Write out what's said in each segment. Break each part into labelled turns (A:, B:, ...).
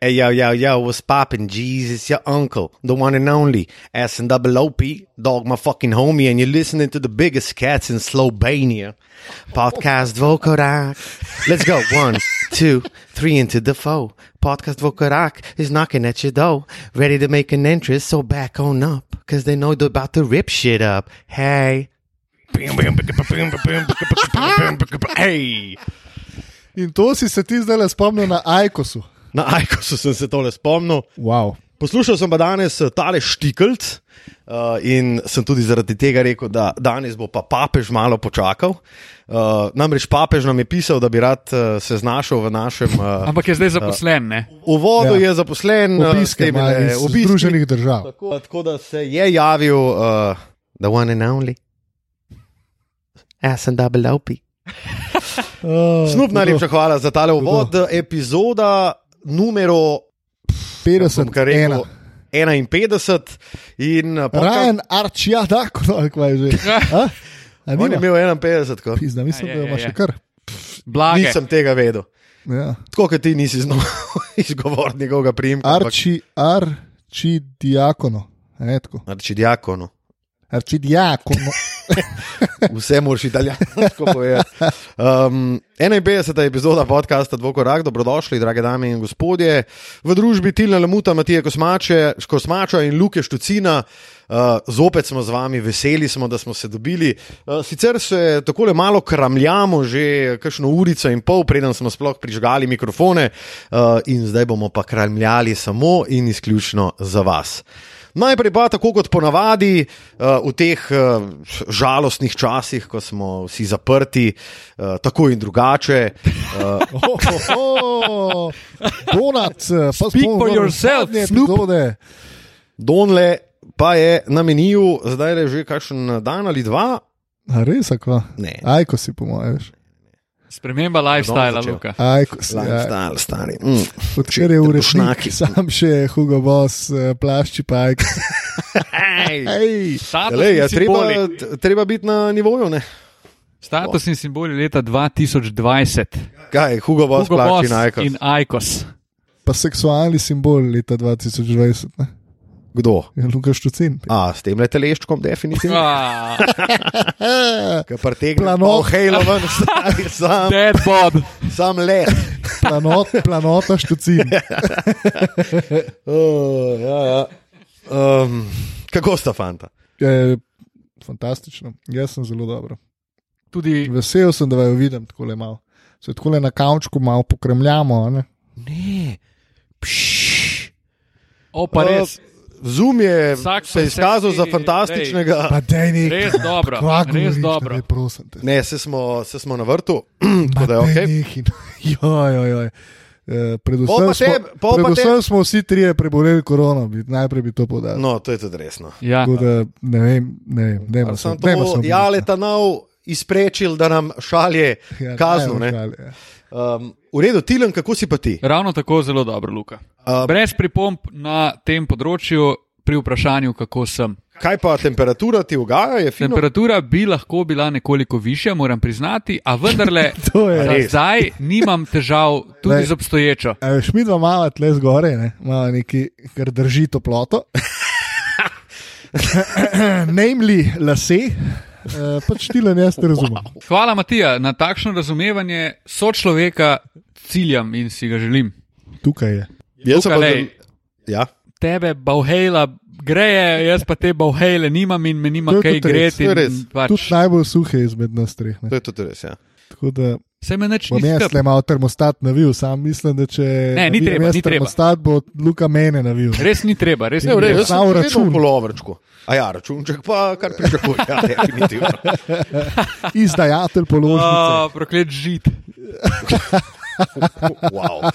A: Hey, yo, yo, yo, what's poppin'? Jeez, it's your uncle, the one and only S and double OP, dog, my fucking homie, and you're listening to the biggest cats in Slovenia. Podcast Vokorak. Let's go. One, two, three, into the foe. Podcast Vokorak is knocking at your door, ready to make an entrance, so back on up, cause they know they're about to rip shit up. Hey. Hey.
B: In to si se ti zdaj spomnil na Aikosu.
A: Na Aikosu sem se tole spomnil.
B: Wow.
A: Poslušal sem pa danes eh, tale štikelc uh, in sem tudi zaradi tega rekel, da danes bo pa papež malo počakal. Uh, namreč papež nam je pisal, da bi rad uh, se znašel v našem. Uh,
C: Ampak je zdaj zaposlen, ne?
A: uvodu
B: Ja.
A: ja. je zaposlen eh, s
B: Obiske
A: temi,
B: ima
A: ne,
B: iz
A: obiski.
B: Združenih držav.
A: Tako, tako da se je javil uh, The One and Only. Jaz sem double OP.
B: Uh,
A: Oh, Snup, najlepša hvala za tale uvod. Epizoda numero bom kar
B: 51.
A: rekel, 51 in eh, podcast-
B: Rajan Arčija, da, no, ali kaj je že. A? A
A: On je
B: nima?
A: imel 51, ko.
B: Pizda, mislim,
C: Ja,
B: da
C: ja,
B: ima
C: ja,
B: še
C: ja.
B: kar.
C: Blage.
A: nisem tega vedel.
B: Ja.
A: Tako kot ti nisi znal izgovoriti njegovega primka. ampak-
B: Arči, arči diakono.
A: Arčidiakonu.
B: Arči diakono.
A: Vse moraš italijansko povedati. Um, 51. epizoda podcasta Dvokorak, dobrodošli, drage dame in gospodje. V družbi Tilna Lemuta, Matija Kosmače, Kosmača in Luke Štucina. Uh, zopet smo z vami, veseli smo, da smo se dobili. Uh, sicer se takole malo kramljamo, že kakšno urico in pol, preden smo sploh prižgali mikrofone, uh, in zdaj bomo pa kramljali samo in izključno za vas. Najprej pa, tako kot ponavadi, eh, v teh eh, žalostnih časih, ko smo vsi zaprti, eh, tako in drugače. eh,
C: Oh.
B: Donat, eh, pa
C: Speak for yourself, Snoop.
B: Epizode.
A: Donle pa je na meniju, zdaj je že kakšen dan ali dva.
B: A res, ako?
A: Ne.
B: Ajko si, po mojem, veš.
C: Sprememba lifestyla,
A: začel.
C: Luka.
B: Ajko si. ja.
A: Lifestyle, stari. Mm.
B: Odkar je v
A: Tršnaki.
B: resnici sam še Hugo Boss, eh, plašči pa Ajko.
A: Ej,
B: Ej,
C: Statusni
A: Lej, ja, treba,
C: simboli.
A: t- treba biti na nivoju. Ne?
C: Statusni simboli leta 2020.
A: Kaj, Hugo Boss
C: Hugo
A: plači
C: Boss
A: na Eko.
C: in Aikos.
B: pa seksualni simbol leta 2020, ne? Ja,
A: Kdo?
B: je Lukaš Tucin.
A: A, s tem le teleščkom, definitivno.
C: Ah,
B: Eh,
A: Ki pretegne
B: Plano.
A: pol Halo ven, stari, sam,
C: Dead Bob.
A: sam le.
B: Planot, planota Štucin.
A: Ja. Uh, ja, ja. Um, kako sta fanta?
B: Je Ja, fantastično, jaz sem zelo dobro.
C: Tudi
B: Vesel sem, da jo vidim tako le malo. Se tako le na kavčku malo pokremljamo. a Ne?
A: Ne.
C: opa, res.
A: Zum je
C: Vsak
A: se izkazal za
C: posebej,
A: fantastičnega.
B: Pa dej nekaj.
C: Res dobro,
B: Kva
C: res
B: govoriš,
C: dobro.
B: Ne, prosim te.
A: Ne, se smo, se smo na vrtu, tako
B: Ma
A: da je
B: daj
A: ok.
B: nekaj, no. Joj, joj, joj. Eh,
A: Pol pa
B: Predvsem,
A: te-
B: smo,
A: pol pa te-
B: predvsem smo vsi trije preboleli korono, bi- najprej bi to podal.
A: No, to je tudi resno.
C: Ja.
B: Tako da ne vem, ne vem, ne vem.
A: Sam to
B: ja.
A: Jaleta nov izprečil, da nam šalje kazno. ne.
B: ja.
A: Um, v redu, Tilen, kako si pa ti?
C: Ravno tako zelo dobro, Luka.
A: A-
C: Brez pripomp na tem področju, pri vprašanju, kako sem.
A: Kaj pa temperatura ti ugaja? Je fino?
C: Temperatura bi lahko bila nekoliko višja, moram priznati, a vendarle
B: To je
C: za
A: res.
C: zdaj nimam težav tudi
B: Lej.
C: z obstoječo.
B: A veš, mi dva mala tle zgore, ne? malo neki, kar drži toploto. Namely, lase, Eh, pač ti le jaz ne razumem.
C: Hvala, Matija, na takšno razumevanje sočloveka ciljam in si ga želim.
B: Tukaj je.
A: Jaz sem pa
C: Luka, lej.
A: zan- ja.
C: Tebe bavhejla greje, jaz pa te bavhejle nimam in me nima
B: To je
C: kaj
B: tudi res,
C: greti.
A: to je res.
C: in Pač,
B: Tudi najbolj suhe izmed nas treh. Ne?
A: To je tudi res. Ja.
B: Tako da
C: se me neč
B: bom
C: ni
B: jaz le
C: skrb.
B: malo termostat navil, sam mislim, da če
C: Ne, ni
B: navijem
C: treba,
B: jaz
C: ni treba.
B: termostat, bo Luka mene navil.
C: Res ni treba, res
A: Ne,
C: ni
A: v redu,
C: treba.
A: jaz sem
B: Samo
A: vedno
B: račun.
A: v polovrčku. A ja, računček pa kar pričakuje. Ja, definitivno.
B: Izdajatelj položnice.
C: A, Proklet žit.
A: wow.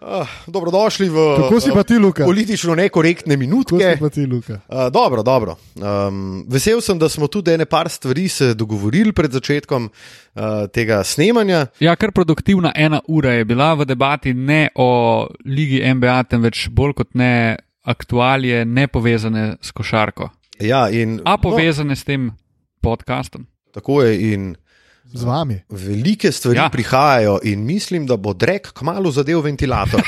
A: uh, dobrodošli v
B: Kako si pa ti, Luka?
A: eh, politično nekorektne
B: Kako
A: minutke.
B: si pa ti, Luka?
A: Uh, dobro, dobro. Um, vesel sem, da smo tudi ene par stvari se dogovorili pred začetkom uh, tega snemanja.
C: Ja, kar produktivna ena ura je bila v debati ne o ligi NBA, temveč bolj kot ne aktualije, ne povezane s košarko,
A: Ja, in,
C: a povezane s tem podcastom.
A: no, tako je. In
B: Z vami.
A: velike stvari ja.
C: Ja.
A: prihajajo, in mislim, da bo Drek kmalo zadev ventilator.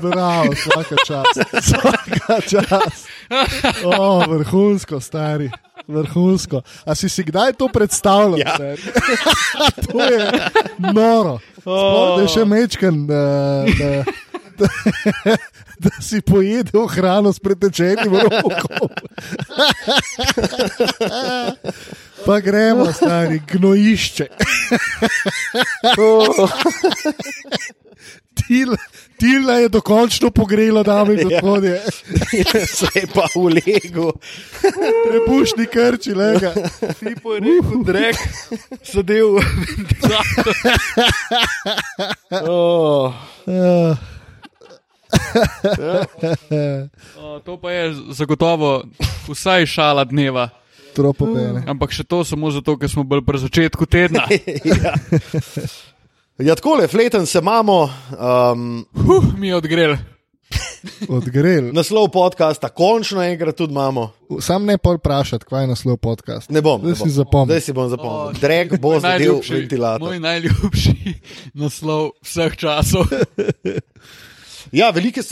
B: Bravo, vsaka čas. Vsaka čas. O, vrhunsko, stari. Vrhunsko. A si si kdaj to predstavljal?
A: Ja.
B: stari? to je noro. Sploh, da je še mečken. Da, da, da, da si pojedel hrano s pretečenim rokom. Pa gremo, stari, gnojišče. Til, tilna je dokončno pogrela, dame in gospodje.
A: Se je pa v legu.
B: Prepušni krči, lega.
C: Tipo je rekel, drek, zadev.
A: Oh.
B: Uh,
C: Eh, To pa je zagotovo vsaj šala dneva,
B: Tropobene.
C: ampak še to samo zato, ker smo bili pri začetku tedna.
A: ja. ja, tako le, fleten se imamo. Um,
C: Huh, mi je odgrel.
B: Odgrel.
A: naslov podcasta, končno enkrat tudi imamo.
B: Sam ne pol vprašati, kaj je naslov podcast.
A: Ne bom.
B: Zdaj
A: ne
B: si
A: bom.
B: zapomnil.
A: Zdaj si bom
C: O,
A: zapomnil. Drek bo
C: Moj
A: zadev
C: najljubši-
A: ventilator.
C: Moj najljubši naslov vseh časov.
A: Ja, velike. s-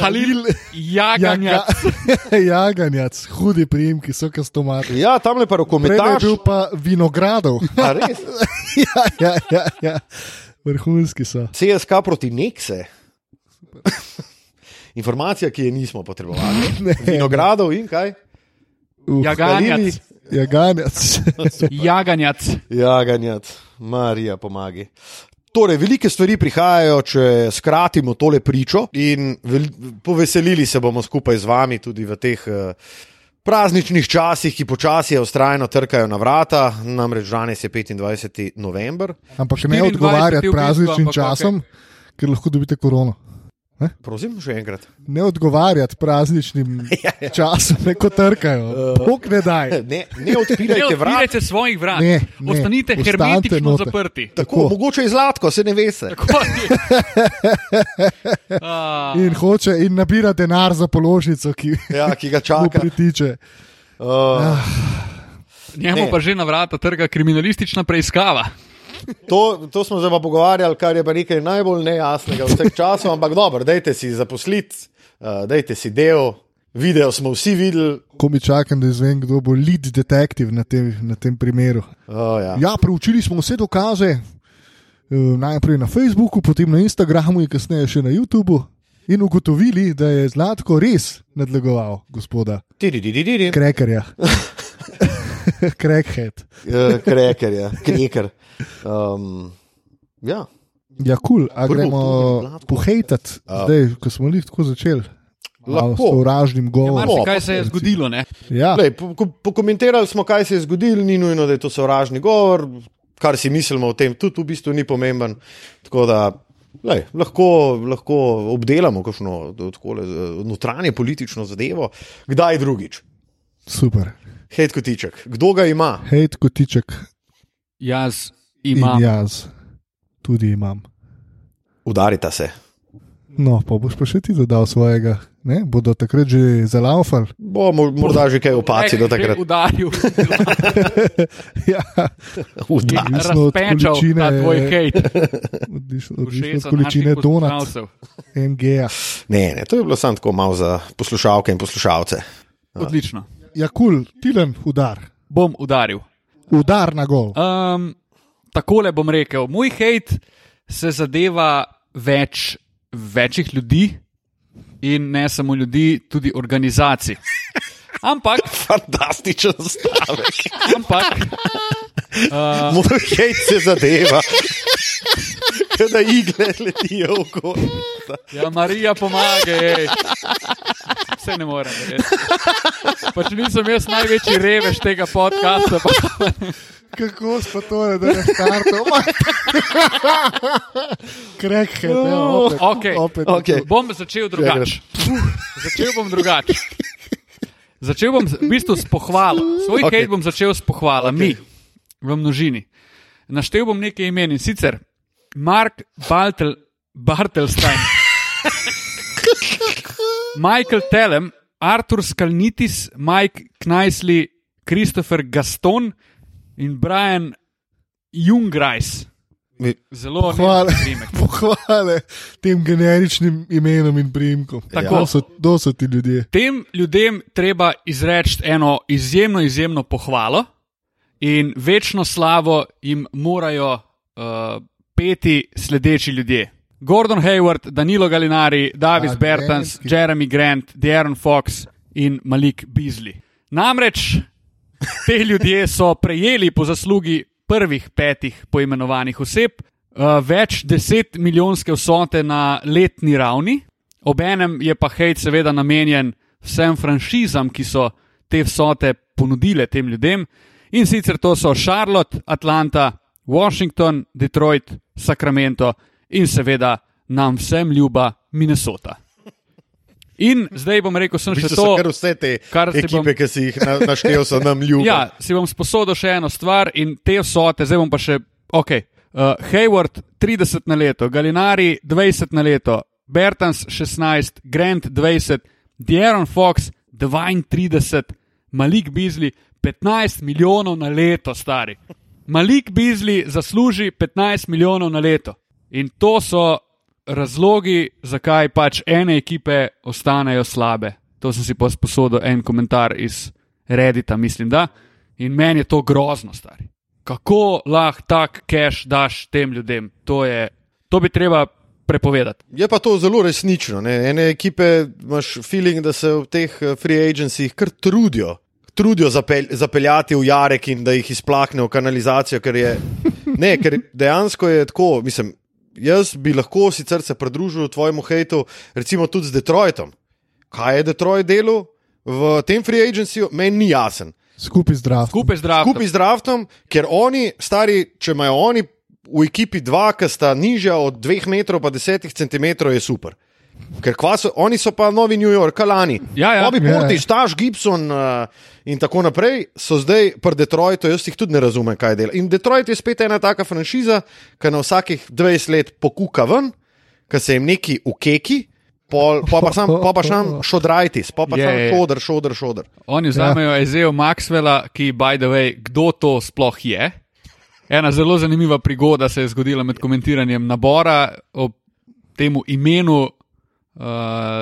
C: Halil Jaganja.
B: Jaga, jaganjac, hudi prijemki so kastomati.
A: Ja, tam le pa
B: Prej je
A: rokometaš.
B: bil pa vinogradov.
A: A res?
B: ja, ja, ja, ja. Vrhunski so.
A: CSK proti Nekse. Informacija, ki je nismo potrebovali.
B: Ne.
A: Vinogradov in kaj?
B: Uh,
C: Jaganjac.
B: Jaganjac.
C: Jaganjac.
A: Jaganjac, Marija, pomagi. Torej, velike stvari prihajajo, če skratimo tole pričo, in vel- poveselili se bomo skupaj z vami tudi v teh eh, prazničnih časih, ki počasi, a vztrajno trkajo na vrata. Namreč danes je 25. november,
B: Ampak ne
C: 24
B: odgovarjati
C: v bistvu,
B: prazničnim
C: ampak
B: časom, ker lahko dobite korono.
A: prosim, še enkrat.
B: Ne odgovarjati prazničnim
A: Ja,
B: časom, ne ko trkajo.
A: Uh.
B: Bog ne daj.
A: Ne, ne
C: Ne
A: odpirajte vrat.
C: odpirajte svojih vrat.
B: Ne, ne.
C: Ostanite
B: Ostanite
C: hermetično
B: noter.
C: zaprti.
A: Tako, mogoče je zlato, se ne ve. Se.
C: Tako je. A,
B: In hoče in nabira denar za položnico, ki
A: Ja, ki ga
B: mu
A: čaka.
B: pritiče.
A: Uh,
C: Njemu
A: Ne.
C: pa že na vrata trga kriminalistična preiskava.
A: to, to smo zdaj pa pogovarjali, kar je pa nekaj najbolj nejasnega vseh časov, ampak dobro, dajte si zaposliti, uh, dajte si del, video smo vsi videli.
B: Ko mi čakam, da izvem, kdo bo lead detektiv na tem, na tem primeru.
A: Oh, ja.
B: Ja, preučili smo vse dokaze, eh, najprej na Facebooku, potem na Instagramu in kasneje še na YouTubu. In ugotovili, da je Zlatko res nadlegoval gospoda
A: Tidididididi.
B: Krekerja. Krekhead.
A: Eh, Kreker, ja, kreker. Um, ja.
B: Ja, kul, cool. a
A: Prvo
B: gremo
A: oktober, Zlatko.
B: pohejtati,
A: A.
B: zdaj, ko smo lih tako začeli. Malo
A: Lahko.
B: S sovražnim govorom.
C: Marsikaj se je zgodilo, ne?
B: Ja,
A: Lej, po, ko- pokomentirali smo, kaj se je zgodilo, ni nujno, da je to sovražni govor, kar si mislimo o tem, tudi v bistvu ni pomemben. Tako da lej, lahko, lahko obdelamo kakšno eh, takole, eh, notranje politično zadevo, kdaj drugič.
B: super.
A: Hej, kotiček, kdo ga ima?
B: Hejt kotiček
C: Jaz
B: in
C: imam.
B: jaz tudi imam.
A: Udarita se.
B: No, pa boš pa še ti dodal svojega, ne? bodo takrat že zalaufali.
A: Bo mo- morda že kaj opaci do
C: Eh,
A: takrat.
C: že Udaril,
B: ja,
A: Udar.
B: Odvisno
C: razpečal
B: od
C: ta
B: količine-
C: tvoj hejt.
B: odlično, odvisno od
C: Všeč
B: količine donat,
C: Poslušalcev.
B: MG-ja.
A: Ne, ne, to je bilo samo tako malo za poslušalke in poslušalce.
C: Odlično.
B: Ja, kul, cool, tilen udar,
C: Bom udaril.
B: udar na gol.
C: Um, takole bom rekel. Moj hejt se zadeva več, večjih ljudi in ne samo ljudi, tudi organizacij. Ampak,
A: Fantastičen stavek.
C: ampak
A: Moj hej se zadeva. Kada igle letijo v gor.
C: ja, Marija pomaga, ej. vse ne morem. res. Pač nisem jaz največji revež tega podcasta. Pa,
B: Kako smo to naredili, startov? Krekhe, ne, ja, opet.
C: Okej,
B: opet
A: okej.
C: Bom začel drugače. Začel bom drugače. Začel bom z- v bistvu s pohvalo. Svoj okay. hate bom začel s pohvalami okay. v množini. Naštel bom nekaj imen in sicer Mark Bartel, Bartelstein, Michael Telem, Artur Skalnitis, Mike Knajsli, Kristofer Gaston in Brian Jungrajs.
A: Mi-
C: Zelo
B: Hvala.
C: lep primek.
B: Pohvale tem generičnim imenom in priimkom.
C: Tako.
B: Kdo so, kdo so ti ljudje?
C: Tem ljudem treba izreči eno izjemno, izjemno pohvalo in večno slavo jim morajo uh, peti sledeči ljudje. Gordon Hayward, Danilo Galinari, Davis
B: A,
C: Bertans,
B: Galinski.
C: Jeremy Grant, Deron Fox in Malik Beasley. Namreč te ljudje so prejeli po zaslugi prvih petih poimenovanih oseb uh, več deset milijonske vsote na letni ravni, obenem je pa hejt seveda namenjen vsem franšizam, ki so te vsote ponudile tem ljudem in sicer to so Charlotte, Atlanta, Washington, Detroit, Sacramento in seveda nam vsem ljuba Minnesota. In zdaj bom rekel, sem
A: V
C: še
A: bistvu
C: to.
A: so kar vse te
C: kar si
A: ekipe,
C: bom-
A: ki si jih na- naštel, so nam ljubili.
C: Ja, si bom sposodil še eno stvar in te vsote, zdaj bom pa še, ok, uh, Hayward 30 na leto, Galinari 20 na leto, Bertans 16, Grant 20, Dieron Fox 32, Malik Beasley 15 milijonov na leto, stari. Malik Beasley zasluži 15 milijonov na leto. In to so razlogi, zakaj pač ene ekipe ostanejo slabe. To sem si pa sposodil en komentar iz Reddita, mislim, da. In meni je to grozno, stari. Kako lahko tak cash daš tem ljudem? To, je, to bi treba prepovedati.
A: Je pa to zelo resnično. Ne? Ene ekipe imaš feeling, da se v teh eh, free agencijih kar trudijo. Trudijo zapel, zapeljati v Jarek in da jih izplahne v kanalizacijo, ker je. Ne, ker dejansko je tako. Mislim, jaz bi lahko sicer se pridružil tvojemu hejtu, recimo tudi z Detroitom. Kaj je Detroit delo v tem free agencyju, meni ni jasen
B: Skupaj zdrav.
C: Skupaj zdrav.
A: skupaj z Draftom, ker oni, stari, če imajo oni v ekipi dva, ki sta nižja od 2 metrov, pa 10 centimetrov, je super. Ker kva so, oni so pa novi New York, Kalani.
C: Ja, ja.
A: Bobby
B: Ja, ja.
A: Portiš, Taš Gibson uh, in tako naprej so zdaj pri Detroitu, jaz jih tudi ne razumem, kaj dela. In Detroit je spet ena taka franšiza, ki na vsakih 20 let pokuka ven, ki se jim neki ukeki, pol, pol pa sam, pol pa sam šodrajtis, pol pa
C: Je,
A: sam
C: je.
A: šodr, šodr, šodr.
C: Oni vzamejo ja. Ezeo Maxwella, ki, by the way, kdo to sploh je. Ena zelo zanimiva prigoda se je zgodila med komentiranjem nabora. Ob temu imenu uh,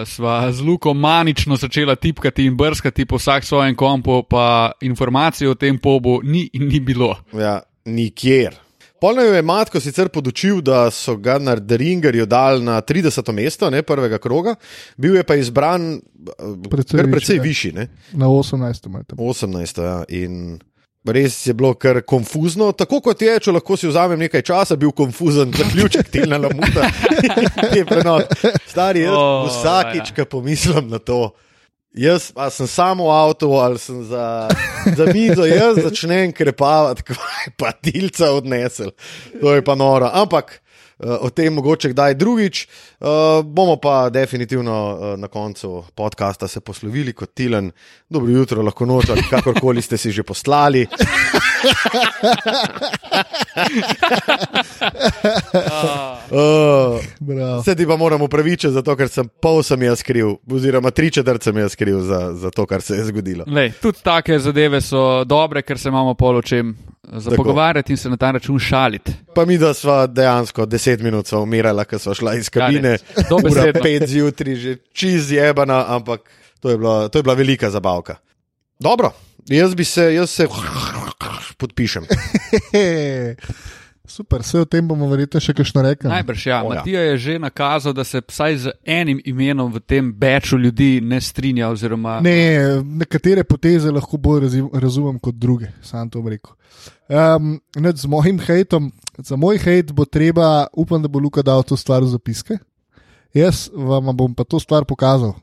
C: sva z Luko manično začela tipkati in brskati po vsak svojem kompu, pa informacij o tem pobu ni in ni bilo.
A: Ja, nikjer. Polno je Matko sicer podočil, da so ga na Ringerju dali na 30. mesto, ne prvega kroga, bil je pa izbran eh,
B: Precej
A: kar
B: višji,
A: precej
B: ja.
A: višji, ne?
B: Na 18. imate.
A: 18. Ja, in res je bilo kar konfuzno. Tako kot je, če lahko si vzamem nekaj časa, bil konfuzen zaključek tega lamuta. Te prenos. Stari, jaz
C: O,
A: oh, vsakič,
C: ja.
A: ko pomislim na to. Jaz a sem samo v avtu ali sem za, za mizo, jaz začnem krepavati, kaj je pa tilca odnesel. To je pa noro. Ampak eh, o tem mogoče kdaj drugič. Eh, Bomo pa definitivno eh, na koncu podcasta se poslovili kot Tilen. Dobro jutro, lahko noč, ali kakorkoli ste si že poslali. Eh,
B: Bravo.
A: Se ti pa moram upravičiti, zato ker sem pol sem jaz kriv, oziroma tri četrt sem jaz kriv za, za to, kar se je zgodilo.
C: Lej, tudi take zadeve so dobre, ker se imamo pol o čem za
A: Tako.
C: pogovarjati in se na ta račun šaliti.
A: Pa mi, da smo dejansko deset minut sva umirala, ker smo šla iz kabine,
C: Ja, res. Dobesedno.
A: ura pet zjutraj, že čez jebana, ampak to je, bila, to je bila velika zabavka. Dobro, jaz bi se, jaz se podpišem.
B: Hehe. Super, vse o tem bomo verjetno še kakšno rekli.
C: Najbrž ja.
A: O, ja.
C: Matija je že nakazal, da se vsaj z enim imenom v tem beču ljudi ne strinja. Oziroma,
B: Ne, nekatere poteze lahko bolj razi- razumem kot druge, sam to bom rekel. Um, nad, z mojim hejtom, za moj hejt bo treba, upam, da bo Luka dal to stvar v zapiske. Jaz vam bom pa to stvar pokazal,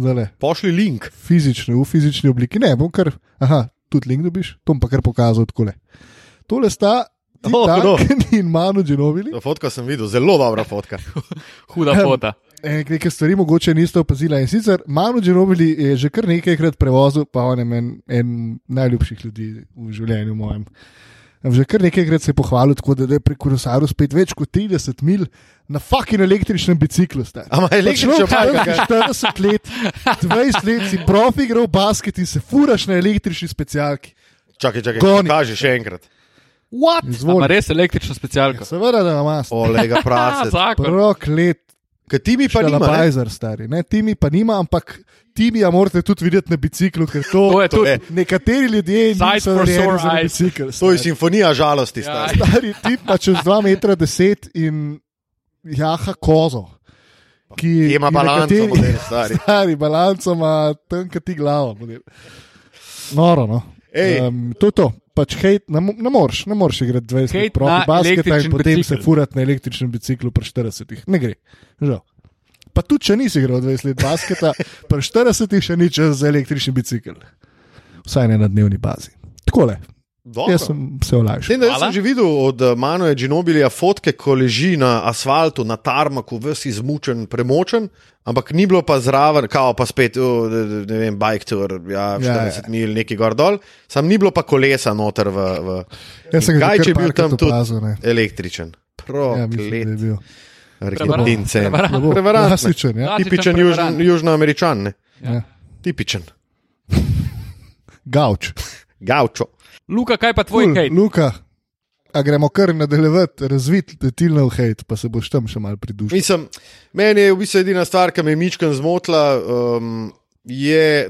B: zdaj
A: Pošli link.
B: fizično, v fizični obliki. Ne, bom kar, aha, tudi link dobiš, to bom pa kar pokazal tako. Tole sta Tim
A: Oh, hudo.
B: Duncan in Manu Genovili.
A: To fotko sem videl, zelo dobra fotka.
C: Huda fota.
B: Ene- Nekaj stvari mogoče niste opazili. In sicer Manu Džerobili je že kar nekajkrat prevozil, pa on je meni en najljubših ljudi v življenju mojem. Že kar nekajkrat se je pohvalil, tako da da je pri kolesarju spet več kot 30 mil na fucking električnem biciklu. stari.
A: A ima
B: Pa
A: električno
B: človek tam
A: bajko, kaj?
B: 40 let, 20 let si profi igral basket in se furaš na električni specialki.
A: Čakaj, čakaj,
B: Goni.
A: kaži še enkrat.
C: What?
B: Izvoli.
C: Ampak res električno specialko.
B: Seveda, da imaš.
A: Olega
C: Ja,
A: prase.
C: zakon.
B: Proklet,
A: Kaj ti mi pa
B: pa ni
A: nima? ne?
B: Pfizer, stari. Ne, ti mi pa nima, ampak ti mi ja morate tudi videti na biciklu, ker to,
C: To je
A: to
C: tudi.
A: je.
B: nekateri ljudje
C: Sight
B: niso
C: for
B: rojeni
C: sore
B: za na
C: eyes.
B: bicikl.
A: To je
B: Stari.
A: simfonija žalosti.
C: Ja.
A: stari.
B: stari tip pa čez 2,10 metra deset in jaha kozo. Ki
A: Ima
B: ki
A: balanco,
B: nekateri-
A: model, stari.
B: Stari balanco ima tanka ti glava. model. Noro, no.
A: Ej.
B: Um, to je to. Pač hejt, ne, mo- ne moreš, ne moreš igrati 20
C: Hejt
B: let
C: na
B: proti basketa in
C: električen
B: potem
C: bicikel.
B: se furati na električnem biciklu pri 40. Ne gre, žal. Pa tudi, če nisi igral 20 let basketa, pri 40 še ni čas za električni bicikel. Vsaj ne na dnevni bazi. Takole,
A: Dobro.
B: jaz sem se olajšal.
A: Tem, da, jaz
C: Hvala.
A: sem že videl od Manuela Ginobilija fotke, ko leži na asfaltu, na tarmaku, vsi izmučen, premočen, ampak ni bilo pa zraven, kao pa spet, uh, ne vem, bike tour, ja,
B: Ja,
A: 40 ja, ja. mil, neki gor dol, sam ni bilo pa kolesa noter v. v...
B: Jaz Ja, sem
A: In
B: ga
A: Kaj,
B: že
A: če je
B: kar
A: bil
B: parkrat
A: tam tudi
B: opazil, ne.
A: električen?
B: Ja, mislim, da
A: Proklet,
B: je bil.
A: argentincen.
C: Prevarant.
B: Bo,
A: Prevarant, ne.
B: Klasičen, ja.
C: Klasičen
A: Tipičen
C: prevarant.
A: južn, južnoameričan, ne?
B: ja.
A: tipičen,
B: Gauč.
A: gaučo.
C: Luka, kaj pa tvoj
B: Cool, No,
C: hejt?
B: Luka, a gremo kar nadaljevati, razviti tilnov hejt, pa se boš tam še mal pridružil.
A: Mislim, meni je v bistvu edina stvar, ki me je mičkam zmotila, um, je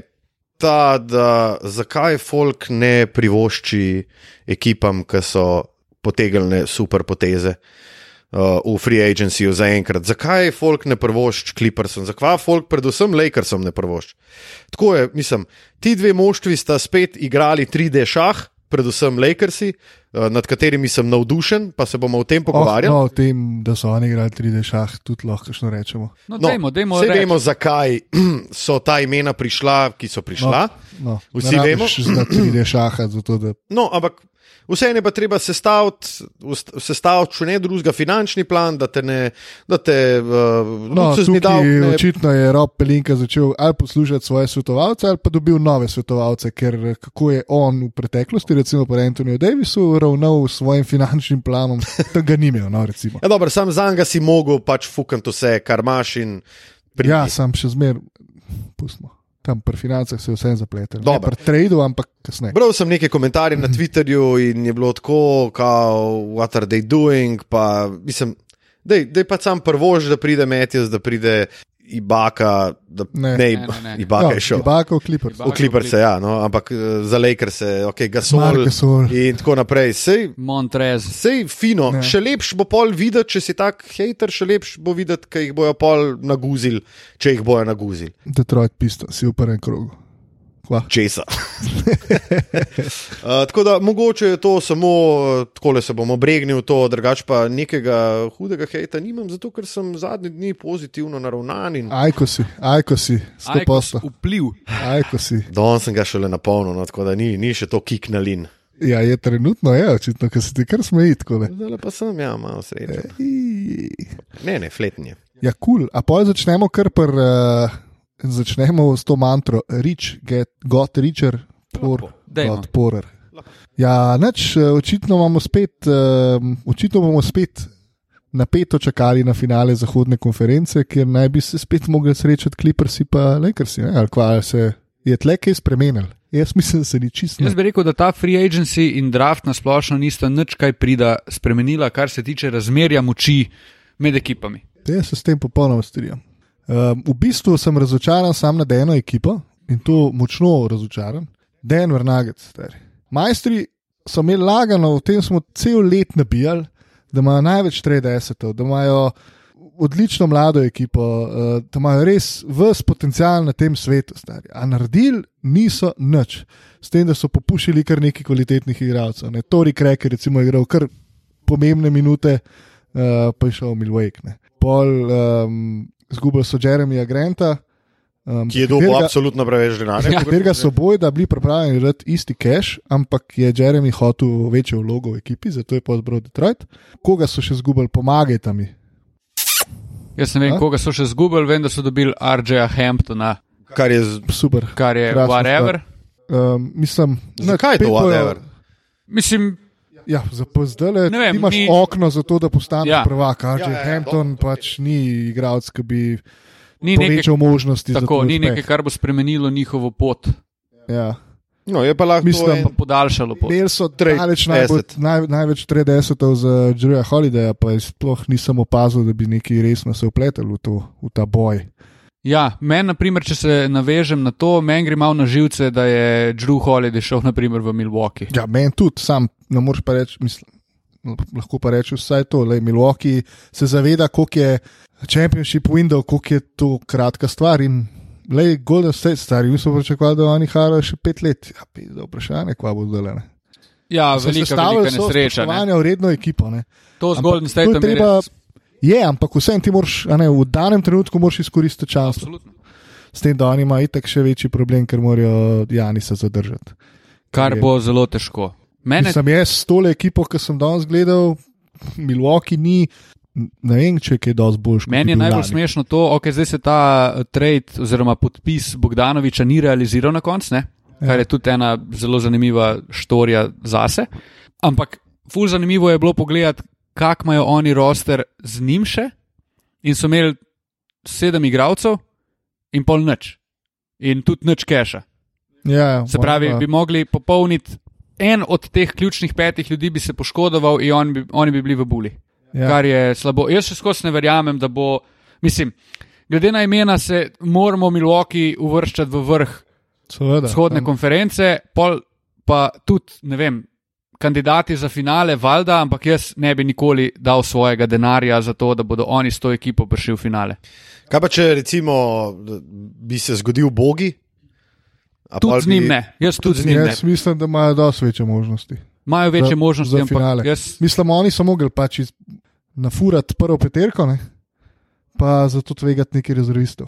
A: ta, da zakaj folk ne privošči ekipam, ki so potegnile super poteze. Uh, v free agencyju za enkrat. Zakaj folk ne prvošč Clippersom, zakaj folk predvsem Lakersom ne prvošč? Tako je, mislim, ti dve moštvi sta spet igrali 3D šah, predvsem Lakersi, uh, nad katerimi sem navdušen, pa se bomo o tem pogovarjali.
B: no, o tem, da so oni igrali 3D šah, tudi lahko kakšno rečemo.
C: No,
A: No,
C: dajmo, dajmo.
A: Vse vemo, zakaj so ta imena prišla, ki so prišla.
B: No,
A: Vsi
B: ne
A: vemo.
B: rabiš znati 3D šaha, zato da
A: No, ampak vseeno je pa treba sestaviti, ust- sestaviti če ne drugega, finančni plan, da te ne, da te uh,
B: No,
A: lukszni
B: tukaj
A: davki ne-
B: očitno je Rob Pelinka začel ali poslušati svoje svetovalce, ali pa dobil nove svetovalce, ker eh, kako je on v preteklosti, recimo pri Antoniju Davisu, ravnal s svojim finančnim planom, da ga ni imel. No, recimo.
A: Ja, dobro, sam za njega si mogel pač fukati vse, kar imaš. in priti.
B: ja, sam še zmer, pustimo. Tam pri financah se je vse zapletel. Ne
A: Dobro.
B: pri tradu, ampak kasneje.
A: Bral sem nekaj komentarjev na Twitterju in je bilo tako, kao, what are they doing, pa mislim, da je pač sam prvož, da pride Metius, da pride Ibaka, da
B: Ne.
A: ne,
B: No,
A: ne,
C: Ne, ne, ne.
A: Ibaka
B: Ja,
A: je šel.
B: Bakov kliper.
C: Ibaka.
A: V Kliprce, ja, no, ampak eh, za Lakerse, okay, Gasol
B: Markesol.
A: in tako naprej. Sej,
C: Montrez.
A: sej fino, ne. še lepš bo pol videti, če si tak hater, še lepš bo videti, ker jih bojo pol naguzili, če jih bojo naguzili.
B: Detroit Piston, si v prvem krogu. Kva?
A: Česa. uh, tako da mogoče je to samo, eh, takole se bom obregnil, to drugač pa nekega hudega hejta nimam, zato ker sem zadnji dni pozitivno naravnan. In...
B: Ajko si, ajko si, sto
C: Ajkos,
B: posto.
C: Vpliv.
B: Ajko si.
A: Don sem ga šele napolnil, no, tako da ni, ni še to kiknalin.
B: Ja, je trenutno, je očitno, ker se ti kar smeji tako. ne.
A: Zdaj pa sem, ja, malo srečen.
B: Ej.
A: Ne, ne, fletnje.
B: Ja, kul, cool. a pa začnemo kar pr. Uh, začnemo s to mantro, rich, get, got richer, poor,
C: dajmo.
B: got poorer. Ja, nič, eh, očitno bomo spet, um, očitno bomo spet napeto čakali na finale zahodne konference, kjer naj bi se spet mogli srečati Clippersi pa Lakersi, ne? ali kva ali se je tle kaj spremenil. Jaz mislim, da se ni čisto.
C: Jaz bi rekel, da ta free agency in draft nasplošno nista nič kaj prida spremenila, kar se tiče razmerja moči med ekipami.
B: Jaz se s tem popolnoma strinjam. Um, v bistvu sem razočaran sam nad eno ekipo in to močno razočaran. Denver Nuggets. stari. Majstri so imeli lagano, o tem smo cel let nabijali, da imajo največ 30, da imajo odlično mlado ekipo, eh, da imajo res vse potencial na tem svetu. Stari. A naredili niso nič, s tem, da so popušili kar nekaj kvalitetnih igralcev. Ne? Tori Kreker, recimo, je igral kar pomembne minute, uh, pa je šel v Milwaukee. Ne. Pol um, zgubili so Jeremija Granta. Um,
A: Ki je dobil absolutno preveč denarja.
B: Ja, katerega so bojda bili pripravljeni dati isti cache, ampak je Jeremy hotel večjo vlogo v ekipi, zato je podbral Detroit. Koga so še izgubili, pomagajte mi.
C: Jaz ne vem,
B: A?
C: koga so še zgubili, vem, da so dobili RJ-a Hamptona,
A: Kar je z-
B: Super.
C: kar je
B: Krasna
C: whatever.
B: Um, mislim,
A: Zakaj je to
B: pet bojo-
A: whatever?
C: Mislim,
B: Ja, za pozdele
C: Ne vem,
B: imaš
C: mi-
B: mi... okno za to, da postaneš
C: Ja.
B: ja. prvak. RJ ja,
A: Ja, ja,
B: ja,
A: ja,
B: Hampton
A: dobro,
B: ja, pač ni igralec, ki bi
C: Ni nekaj,
B: povečal možnosti za
C: tako,
B: tvoj
C: ni
B: uspeh.
C: nekaj, kar bo spremenilo njihovo pot,
B: Ja.
A: No, je pa lahko
B: Mislim,
A: en-
C: pa podaljšalo pot.
B: Imeli so
A: Trade
B: daleč najbolj,
A: asset.
B: naj, največ 30 za Jerryja Holidaya, eh, pa jaz sploh nisem opazil, da bi neki resno se upletel v, to, v ta boj.
C: Ja, meni, na primer, če se navežem na to, meni gre malo na živce, da je Drew Holiday šel naprimer, v Milwaukee.
B: Ja, meni tudi, sam ne moreš pa reči, mislim, no, lahko pa rečeš vsaj to, le Milwaukee se zaveda, koliko je Championship window, koliko je to kratka stvar. In le Golden State, stari, mi smo pričakovali, da oni harajo še pet let. Ja, pizda, vprašanje, kva bo zdaj le.
C: Ja, velika, velika nesreča. Ne?
B: Spoštovanja vredno ekipo, ne.
C: To z
B: Ampak
C: Golden
B: to je
C: Stateom je
B: treba-
C: res.
B: Je, ampak vsem ti moraš, a ne, v danem trenutku moraš izkoristiti čas.
C: Absolutno.
B: S tem, da oni imajo itak še večji problem, ker morajo Janisa zadržati.
C: Kar bo zelo težko. Mene,
B: Sem jaz s tole ekipo, ki sem danes gledal, Milwaukee ni, ne vem, če je kaj dosti boljši. kot
C: meni je
B: bil
C: najbolj
B: lani.
C: smešno to, da okay, zdaj se ta eh, trade oziroma podpis Bogdanoviča ni realiziral na koncu, ne? kar je tudi ena zelo zanimiva štorija zase. Ampak ful zanimivo je bilo pogledati, kak imajo oni roster z njim še in so imeli sedem igralcev in pol nič. In tudi nič keša.
B: Ja,
C: Se pravi, bi mogli popolniti en od teh ključnih petih ljudi, bi se poškodoval in on bi, oni bi bili v buli. Ja.
B: ja.
C: Kar je slabo. Jaz še skozi ne verjamem, da bo. Mislim, glede na imena se moramo Milwaukee uvrščati v vrh
B: seveda. ja.
C: vzhodne konference, pol pa tudi, ne vem, kandidati za finale, valjda, ampak jaz ne bi nikoli dal svojega denarja za to, da bodo oni s to ekipo prišli v finale.
A: Kaj pa če recimo bi se zgodil bogi? A pol
C: Tudi z njim
A: bi-
C: ne, jaz tudi z njim ne.
B: Jaz mislim, da imajo dosti večje možnosti.
C: Imajo večje
B: za-
C: možnosti,
B: za finale.
C: ampak jaz
B: Mislim, oni so mogli pač iz- nafurati prvo peterko, ne? pa zato tvegati neki rezervistov.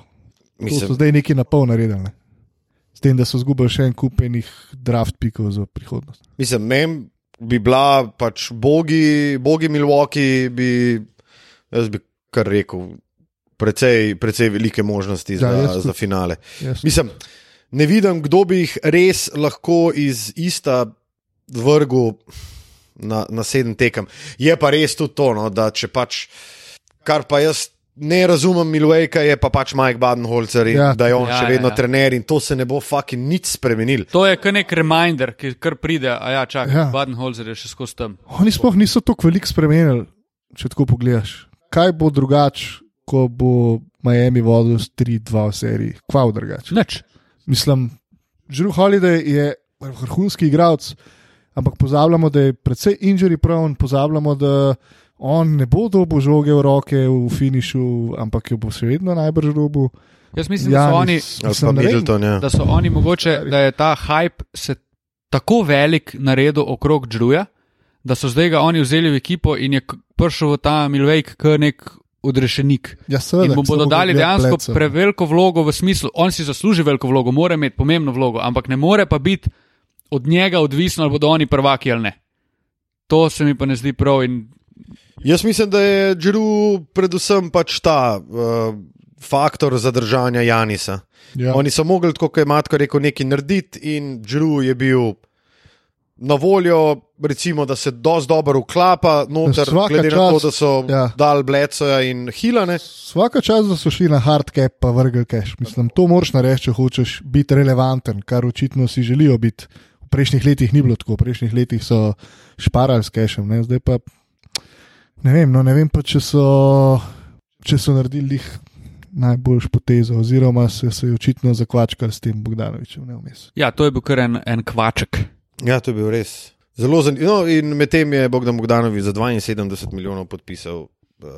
B: Mislim,
A: Mislim,
B: so zdaj neki na pol naredili. Ne? S tem, da so izgubili še en kup enih draft pikov za prihodnost.
A: mislim mem bi bila pač bogi, bogi Milwaukee, bi, jaz bi kar rekel, precej, precej velike možnosti
B: Ja,
A: za,
B: jaz
A: ja,
B: tudi.
A: za finale.
B: Jaz,
A: Mislim, ne vidim, kdo bi jih res lahko iz ista vrgel na, na sedem tekem. Je pa res tudi to, no, da če pač, kar pa jaz ne razumem, Milwaukee je pa pač Mike Badenholzer in ja,
B: Ja.
A: da je on
C: Ja,
A: ja, še
C: ja,
A: vedno
C: ja.
A: ja, ja. trener in to se ne bo fucking nič spremenil.
C: To je kar nek reminder, ki kar pride, a ja, čakaj, ja.
B: Ja.
C: Baden-Holzer je še skozi tam.
B: oni sploh niso tako veliko spremenili, če tako pogledaš. Kaj bo drugače, ko bo Miami vodil s 3-2 v seriji? Kvav drugače.
C: Nič.
B: Mislim, Drew Holiday je vrhunski igralec, ampak pozabljamo, da je precej injury prone, pozabljamo, da on ne bo dobil žoge v roke v finišu, ampak jo bo še vedno najbrž dobil.
C: Jaz mislim,
B: Ja,
C: da so, oni,
A: Ali pa Middleton, ja.
C: da so oni mogoče, da je ta hype se tako velik naredil okrog Džuja, da so zdaj ga oni vzeli v ekipo in je k- prišel v ta Milwaukee kot nek odrešenik.
B: Ja,
C: In
B: seveda,
C: mu
B: samo
C: bodo dali
B: gled
C: dejansko
B: plecem.
C: preveliko vlogo v smislu, on si zasluži veliko vlogo, mora imeti pomembno vlogo, ampak ne more pa biti od njega odvisno, ali bodo oni prvaki ali ne. To se mi pa ne zdi prav in
A: Jaz mislim, da je Džiru predvsem pač ta uh, faktor zadržanja Janisa.
B: Ja.
A: Oni so mogli, tako kot je Matko rekel, nekaj narediti, in Džru je bil na voljo, recimo, da se dosti dobro uklapa, noter,
B: Svaka
A: glede na to,
B: čast,
A: da so ja.
B: ja.
A: dal Blecoja in Hilane.
B: Vsaka čas, da so šli na hard cap, pa vrgli cash. Mislim, to moraš narediti, če hočeš biti relevanten, kar očitno si želijo biti. V prejšnjih letih ni bilo tako, v prejšnjih letih so šparali s cashem, ne? zdaj pa ne vem, no, ne vem pa, če so, če so naredili jih najboljš potezo, oziroma se, se je očitno zakvačkali s tem Bogdanovičem. Ne, vmes.
C: Ja, to je bil kar en, en kvaček.
A: Ja, to je bil res. Zelo zanimivo. No, in medtem je Bogdan Bogdanovič za 72 milijonov podpisal uh,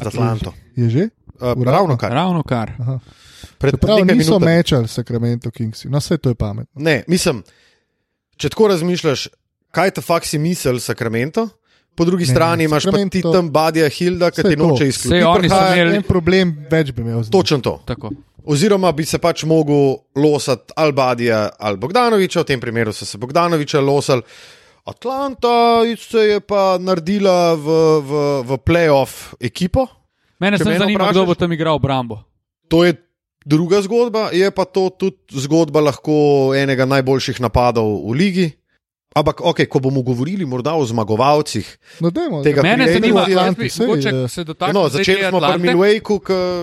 A: za Atlanto.
B: je že?
A: Uh,
B: Uradno?
A: ravno kar.
C: Ravno kar.
B: Aha.
A: Pred
B: Prav,
A: nekaj
B: niso
A: minutami.
B: mečali Sacramento Kingsi, no vse to je pametno.
A: Ne, mislim, če tako razmišljaš, kaj te fakt si misel Sacramento, po drugi
B: Ne,
A: strani imaš pa ti
B: Sacramento-
A: tam Badija Hilda, ki
B: Saj
A: ti
B: to.
A: noče
C: Saj oni so
A: izključiti.
C: imeli-
B: En problem več bi imel z njim.
A: Točno to.
C: Tako.
A: Oziroma bi se pač mogel losati ali Badija ali Bogdanoviča, v tem primeru so se Bogdanoviča losali. Atlanta se je pa naredila v, v, v playoff ekipo.
C: Mene
A: Če
C: samo
A: mene
C: zanima,
A: vprašaš-
C: kdo bo tam igral obrambo.
A: To je druga zgodba, je pa to tudi zgodba lahko enega najboljših napadov v ligi. Ampak, okay, ko bomo govorili morda o zmagovalcih,
B: No, dajmo,
A: Tega
B: da-
A: Mene
B: Dajmo
A: zanima,
B: Atlanti,
C: jaz bi
B: sej,
C: mogoče
B: eh,
C: se dotaknil
A: no,
C: zdaj
A: začeli
C: te
A: smo pri
C: Atlante.
A: Milwaukeeju,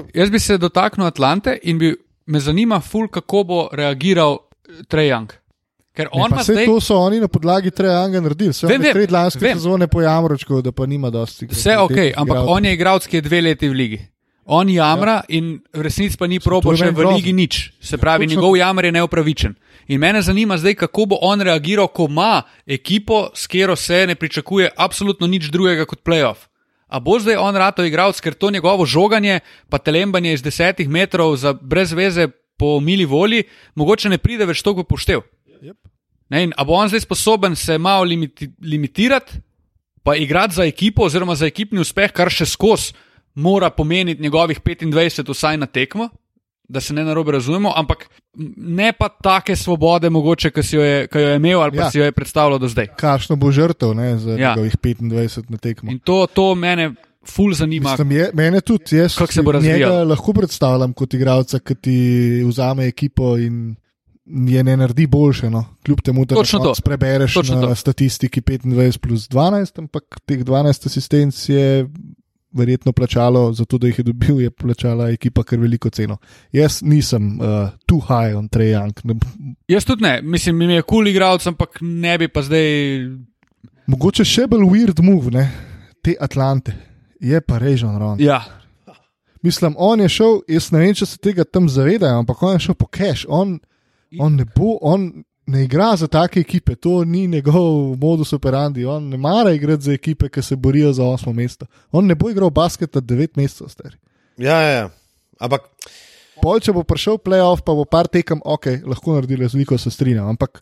A: ki
C: Jaz bi se dotaknil Atlante in bi me zanima, ful, kako bo reagiral Trajang. Ker
B: Ne,
C: on
B: pa
C: ima
B: saj
C: zdaj
B: to so oni na podlagi Trajanga naredili, vse
C: Vem,
B: vem,
C: vem,
B: vem, lanske
C: vem.
B: vem. sezone po Jamročku, da pa nima dosti.
C: vse ok, ampak on je igralec, ki je dve leti v ligi. On jamra ja. in v resnici pa ni probo
B: je
C: še
B: meni
C: v
B: grozno.
C: ligi nič. Se pravi,
B: točno.
C: njegov jamr je neupravičen. In mene zanima zdaj, kako bo on reagiral, ko ima ekipo, s katero se ne pričakuje absolutno nič drugega kot playoff. A bo zdaj on rato igralec, ker to njegovo žoganje, pa telembanje iz desetih metrov za brez veze po mili volji, mogoče ne pride več toliko v poštev. Ne, in a bo on zdaj sposoben se malo limiti, limitirati, pa igrati za ekipo, oziroma za ekipni uspeh, kar še skozi mora pomeniti njegovih 25, vsaj na tekmo, da se ne narobe razumemo, ampak ne pa take svobode, mogoče, ki si jo je, ki jo je imel ali pa
B: Ja.
C: ja. si jo je predstavljal do zdaj.
B: Kašno bo žrtev ne, za
C: Ja.
B: ja. njegovih 25 na tekmo.
C: In to, to mene ful zanima.
B: Mislim, je, mene tudi, jaz
C: Kako se bo
B: si
C: razvijal?
B: njega lahko predstavljam kot igralca, ki ti vzame ekipo in je ne naredi boljše. No. Kljub temu, da
C: Točno to.
B: prebereš
C: Točno
B: na
C: to.
B: statistiki 25 plus 12, ampak teh 12 asistenc je verjetno plačalo, zato da jih je dobil, je plačala ekipa kar veliko ceno. Jaz nisem uh, too high on Trey Young. Ne,
C: Jaz tudi ne, mislim, mi je kul cool igralec, ampak ne bi pa zdaj
B: mogoče še bolj weird move, ne? te Atlante. Je pa režen ravno.
C: Ja,
B: Mislim, on je šel, jaz ne vem, če se tega tam zavedajo, ampak on je šel po cash. On, on ne bo, on ne igra za take ekipe, to ni njegov modus operandi. On ne mara igrati za ekipe, ki se borijo za osmo mesto. On ne bo igral basketa devet mesecev star.
A: Ja, ja, ja. Ampak
B: Pol, če bo prišel playoff, pa bo par tekem, ok, lahko naredi razliko, se strinjam. Ampak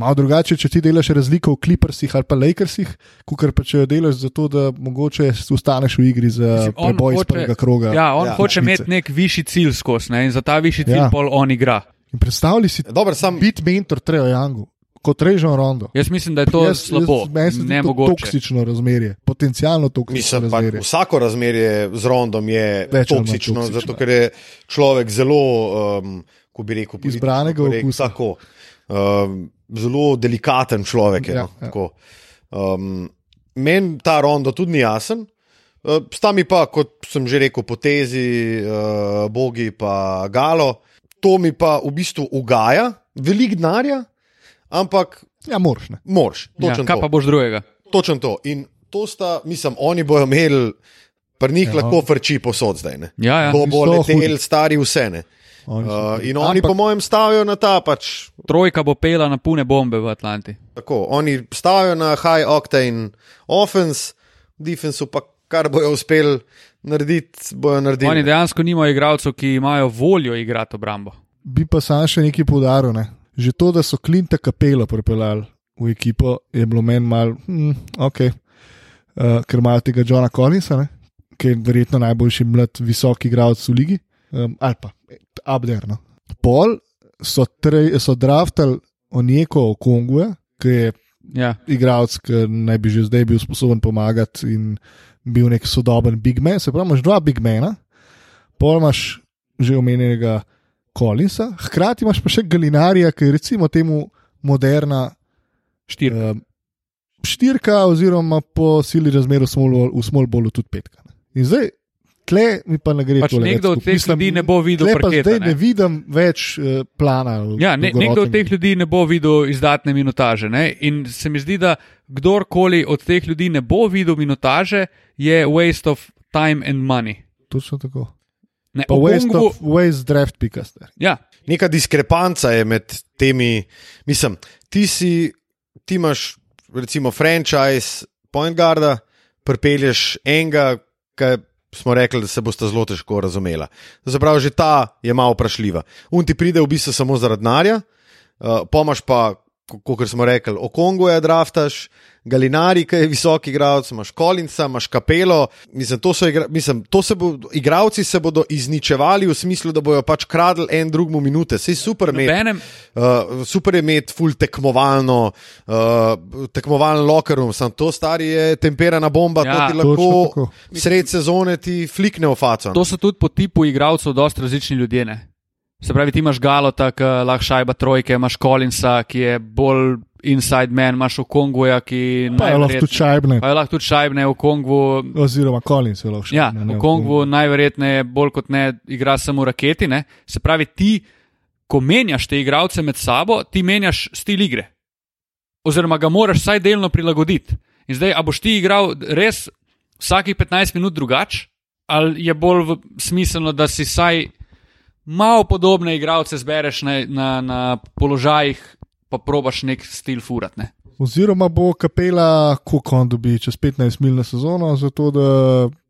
B: malo drugače, če ti delaš razliko v Clippersih ali pa Lakersih, kot pa če jo delaš zato, da mogoče ostaneš v igri za
C: on
B: Ja, preboj iz
C: hoče-
B: prvega kroga.
C: ja on ja,
A: Ja.
C: hoče
B: Končnice.
C: imeti nek višji cilj skozi ne? in za ta višji cilj ja.
B: Ja.
C: pol on igra.
B: In predstavljaj si
A: dober, sam
B: biti mentor Trejo Jangu, kot režem Rondo.
C: Jaz mislim, da je Ja, to jaz, slabo,
B: meni se zdi
C: ne
B: to
C: mogoče.
B: Toksično razmerje, potencialno toksično
A: Mislim, pa,
B: razmerje.
A: vsako razmerje z rondom je
B: Več ali manj
A: toksično,
B: toksično. ja.
A: toksično, zato ker je človek zelo, um, ko bi rekel, politično
B: Izbranega
A: korekt-
B: okusa.
A: Tako, um, zelo delikaten človek. Je,
B: Ja,
A: ja, no,
B: ja.
A: tako. um, Meni ta rondo tudi ni jasen. Uh, Sta mi pa, kot sem že rekel, potezi, uh, bogi pa galo. To mi pa v bistvu ugaja, velik denarja, ampak
B: Ja, moraš. Ne?
A: mož.
C: Ja,
A: točno
C: kaj
A: to.
C: pa boš drugega?
A: Točno to. In to sta, mislim, oni bojo imeli, pri njih ja. lahko frči posod zdaj. Ne?
C: Ja, ja.
A: Bo, bo
B: no. So
A: letel
B: hudi.
A: stari vse. Ne?
B: Oni so
A: Uh,
B: tudi.
A: in oni,
B: Ampak-
A: po mojem, stavijo na ta pač.
C: Trojka bo pela na pune bombe v Atlanti.
A: Tako, oni stavijo na high octane offense, defense pa kar bojo uspeli narediti, bojo naredili.
C: Oni dejansko nimajo igralcev, ki imajo voljo igrati obrambo.
B: Bi pa sam še nekaj poudaril. Ne? Že to, da so Klinta Kapela pripeljali v ekipo, je bilo meni malo, hm, ok, uh, ker imajo tega Johna Collinsa, ne? ki je verjetno najboljši mlad, visok igralec v ligi, um, ali pa Abderno. Pol so, tre, so draftali Onjeko Okonguja, ki je
C: Ja.
B: igralec, ki naj bi že zdaj bil sposoben pomagati in bil nek sodoben big man. Se pravi, imaš dva big mena, pol imaš že omenjenega Collinsa, hkrati imaš pa še Galinarija, ki je recimo temu moderna
C: Štiri.
B: eh, štirka, oziroma po sili razmer v small- v Smallbolu tudi petka. ne. In zdaj. Tle mi pa ne gre
C: Pač
B: tole več
C: nekdo od
B: skupaj.
C: teh
B: Mislim,
C: ljudi ne bo videl
B: tle pa
C: parketa,
B: Zdaj
C: ne.
B: ne vidim več eh, plana.
C: Ja, ne, nekdo od teh ljudi ne bo videl izdatne minutaže. Ne? In se mi zdi, da kdorkoli od teh ljudi ne bo videl minutaže, je waste of time and money.
B: Točno tako.
C: Ne,
B: Pa waste,
C: Okongu-
B: of, waste draft pika ste.
C: ja,
A: Neka diskrepanca je med temi. Mislim, ti si, ti imaš, recimo, franšiz Point Guarda, pripelješ enega, ki smo rekli, da se boste zelo težko razumela. Zapravo, že ta je malo vprašljiva. Un ti pride v bistvu samo zaradi denarja, uh, pomaž pa. Kot smo rekli, o Kongu je draftaš, Galinari, ki je visok igralec, imaš Kolinca, imaš Kapelo. Mislim, to so igra, mislim, to se bo, igravci se bodo izničevali v smislu, da bojo pač kradli en drugemu minute. Sej super, imeti-
C: nobenem,
A: Uh, super je imeti ful tekmovalno, uh, tekmovalen locker room, samo to stari je temperana bomba,
C: Ja,
A: ja, to ti
B: točno
A: lahko
B: tako.
A: sred sezone ti flikne v faco.
C: to so tudi po tipu igralcev, dosta različni ljudje. Ne? Se pravi, ti imaš Galota, ki lahko šajba trojke, imaš Collinsa, ki je bolj inside man, imaš Okonguja, ki
B: Pa je lahko
C: najverjetneje-
B: tudi čajbne,
C: Pa je lahko tudi šajbne v Kongu.
B: oziroma Collins je lahko še.
C: Ja,
B: ne, ne,
C: v Kongu najverjetneje bolj kot ne igra samo v raketi. Ne? Se pravi, ti, ko menjaš te igralce med sabo, ti menjaš stil igre. Oziroma ga moraš vsaj delno prilagoditi. In zdaj, a boš ti igral res vsakih 15 minut drugače, ali je bolj v- smiselno, da si vsaj malo podobne igralce zbereš na, na, na položajih, pa probaš nek stil furatne.
B: Oziroma bo kapela, koliko on dobi čez 15 mil na sezono, zato da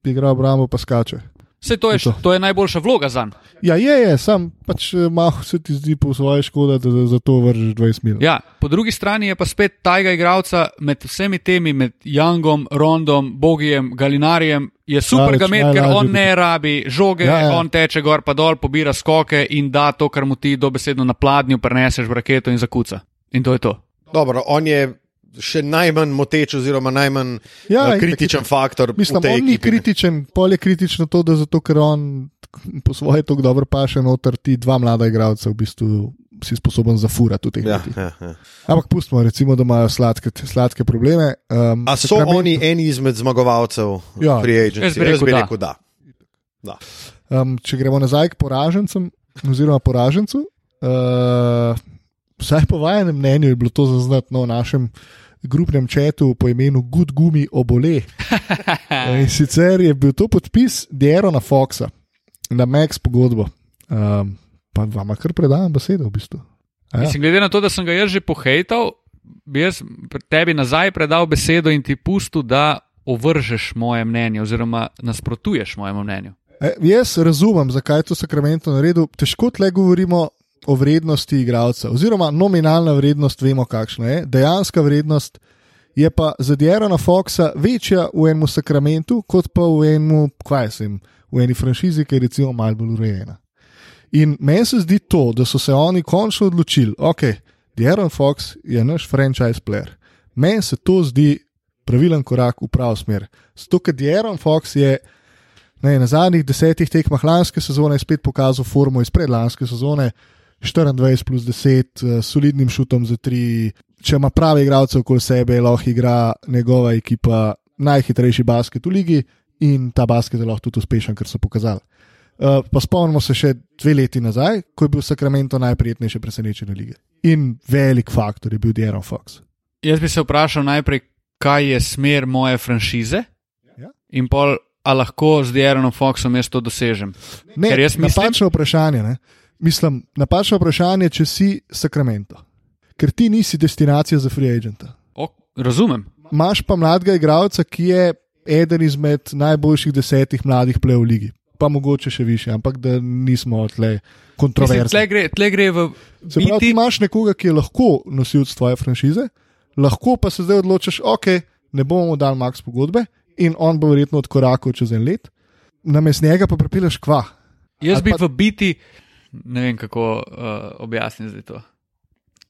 B: igra obrambo pa skače.
C: Vse to je,
B: To.
C: to. to je najboljša vloga za njega.
B: Ja, je, je, sam pač eh, malo se ti zdi po svoje škoda, da za- za to vržeš 20 mil.
C: Ja, po drugi strani je pa spet tajega igralca med vsemi temi, med Jangom, Rondom, Bogijem, Galinarjem, je super
B: Daleč
C: ga imeti, ker
B: najlažje
C: on
B: bi-
C: ne rabi žoge,
B: Ja,
C: ja,
B: ja.
C: ja. on teče gor pa dol, pobira skoke in da to, kar mu ti dobesedno na pladnju preneseš v raketo in zakuca. In to je to.
A: Dobro, on je še najmanj moteč, oziroma najmanj
B: Ja,
A: ja,
B: in-
A: kritičen faktor. v
B: Mislim,
A: tej
B: on ni
A: ekipi, ne.
B: kritičen, pol je kritično to, da zato, ker on po svoje tako dobro paše noter, ti dva mlada igralca v bistvu si sposoben zafurati v teh
A: Ja,
B: letih.
A: ja, ja.
B: Ampak pustimo, recimo, da imajo sladke, sladke probleme. Um,
A: A so oni eni izmed zmagovalcev
B: Ja.
A: ja. pri Agency?
C: Jaz bi rekel da.
A: da. da.
B: Um, če gremo nazaj k poražencem, oziroma poražencu, uh, vsaj po vašem mnenju je bilo to zaznati no, v našem grupnem četu po imenu Good Gumi obole. Eh, In sicer je bil to podpis Dierona Foxa na Max pogodbo. Um, pa vam kar predajam besedo v bistvu. Ja.
C: Mislim, glede na to, da sem ga jaz že pohejtal, bi jaz pri tebi nazaj predal besedo in ti pustil, da ovržeš moje mnenje oziroma nasprotuješ mojemu mnenju.
B: E, jaz razumem, zakaj je to Sacramento naredil. Težko tle govorimo o vrednosti igralca, oziroma nominalna vrednost, vemo, kakšna je. Dejanska vrednost je pa za Dierona Foxa večja v enem Sacramentu, kot pa v enem, kaj jaz vem, v eni franšizi, ki je recimo malo bolj urejena. In meni se zdi to, da so se oni končno odločili, ok, Dieron Fox je naš franchise player. Meni se to zdi pravilen korak v pravo smer. Zato, ker Dieron Fox je ne, na zadnjih desetih tekmah lanske sezone je spet pokazal formo iz predlanske sezone, 24 plus 10, eh, s solidnim šutom za 3. Če ima prave igralce okoli sebe, lahko igra njegova ekipa najhitrejši basket v ligi in ta basket je lahko tudi uspešen, ker so pokazali. Uh, pa spomnimo se še dve leti nazaj, ko je bil Sacramento najprijetnejše presenečenje lige. In velik faktor je bil Dieron Fox.
C: Jaz bi se vprašal najprej, kaj je smer moje franšize
B: Ja.
C: in pol, a lahko z Dieronom Foxom jaz to dosežem.
B: Ne,
C: Ker jaz mislim-
B: napačno vprašanje. Ne? Mislim, napačno vprašanje, če si Sacramento, ker ti nisi destinacija za free agenta.
C: O, razumem.
B: Imáš pa mladega igralca, ki je eden izmed najboljših desetih mladih plev v ligi. Pa mogoče še više, ampak da nismo tle
C: Mislim,
B: kontroverzni.
C: Tle gre, tle gre v
B: Se pravi, ti
C: biti,
B: imaš nekoga, ki je lahko nosilec tvoje franšize, lahko pa se zdaj odločiš, ok, ne bomo mu dal max pogodbe in on bo verjetno odkorakal čez en let, namesto njega pa pripeleš kva.
C: jaz
B: ali
C: bi
B: pa-
C: v biti, ne vem kako uh, objasniti zdaj to.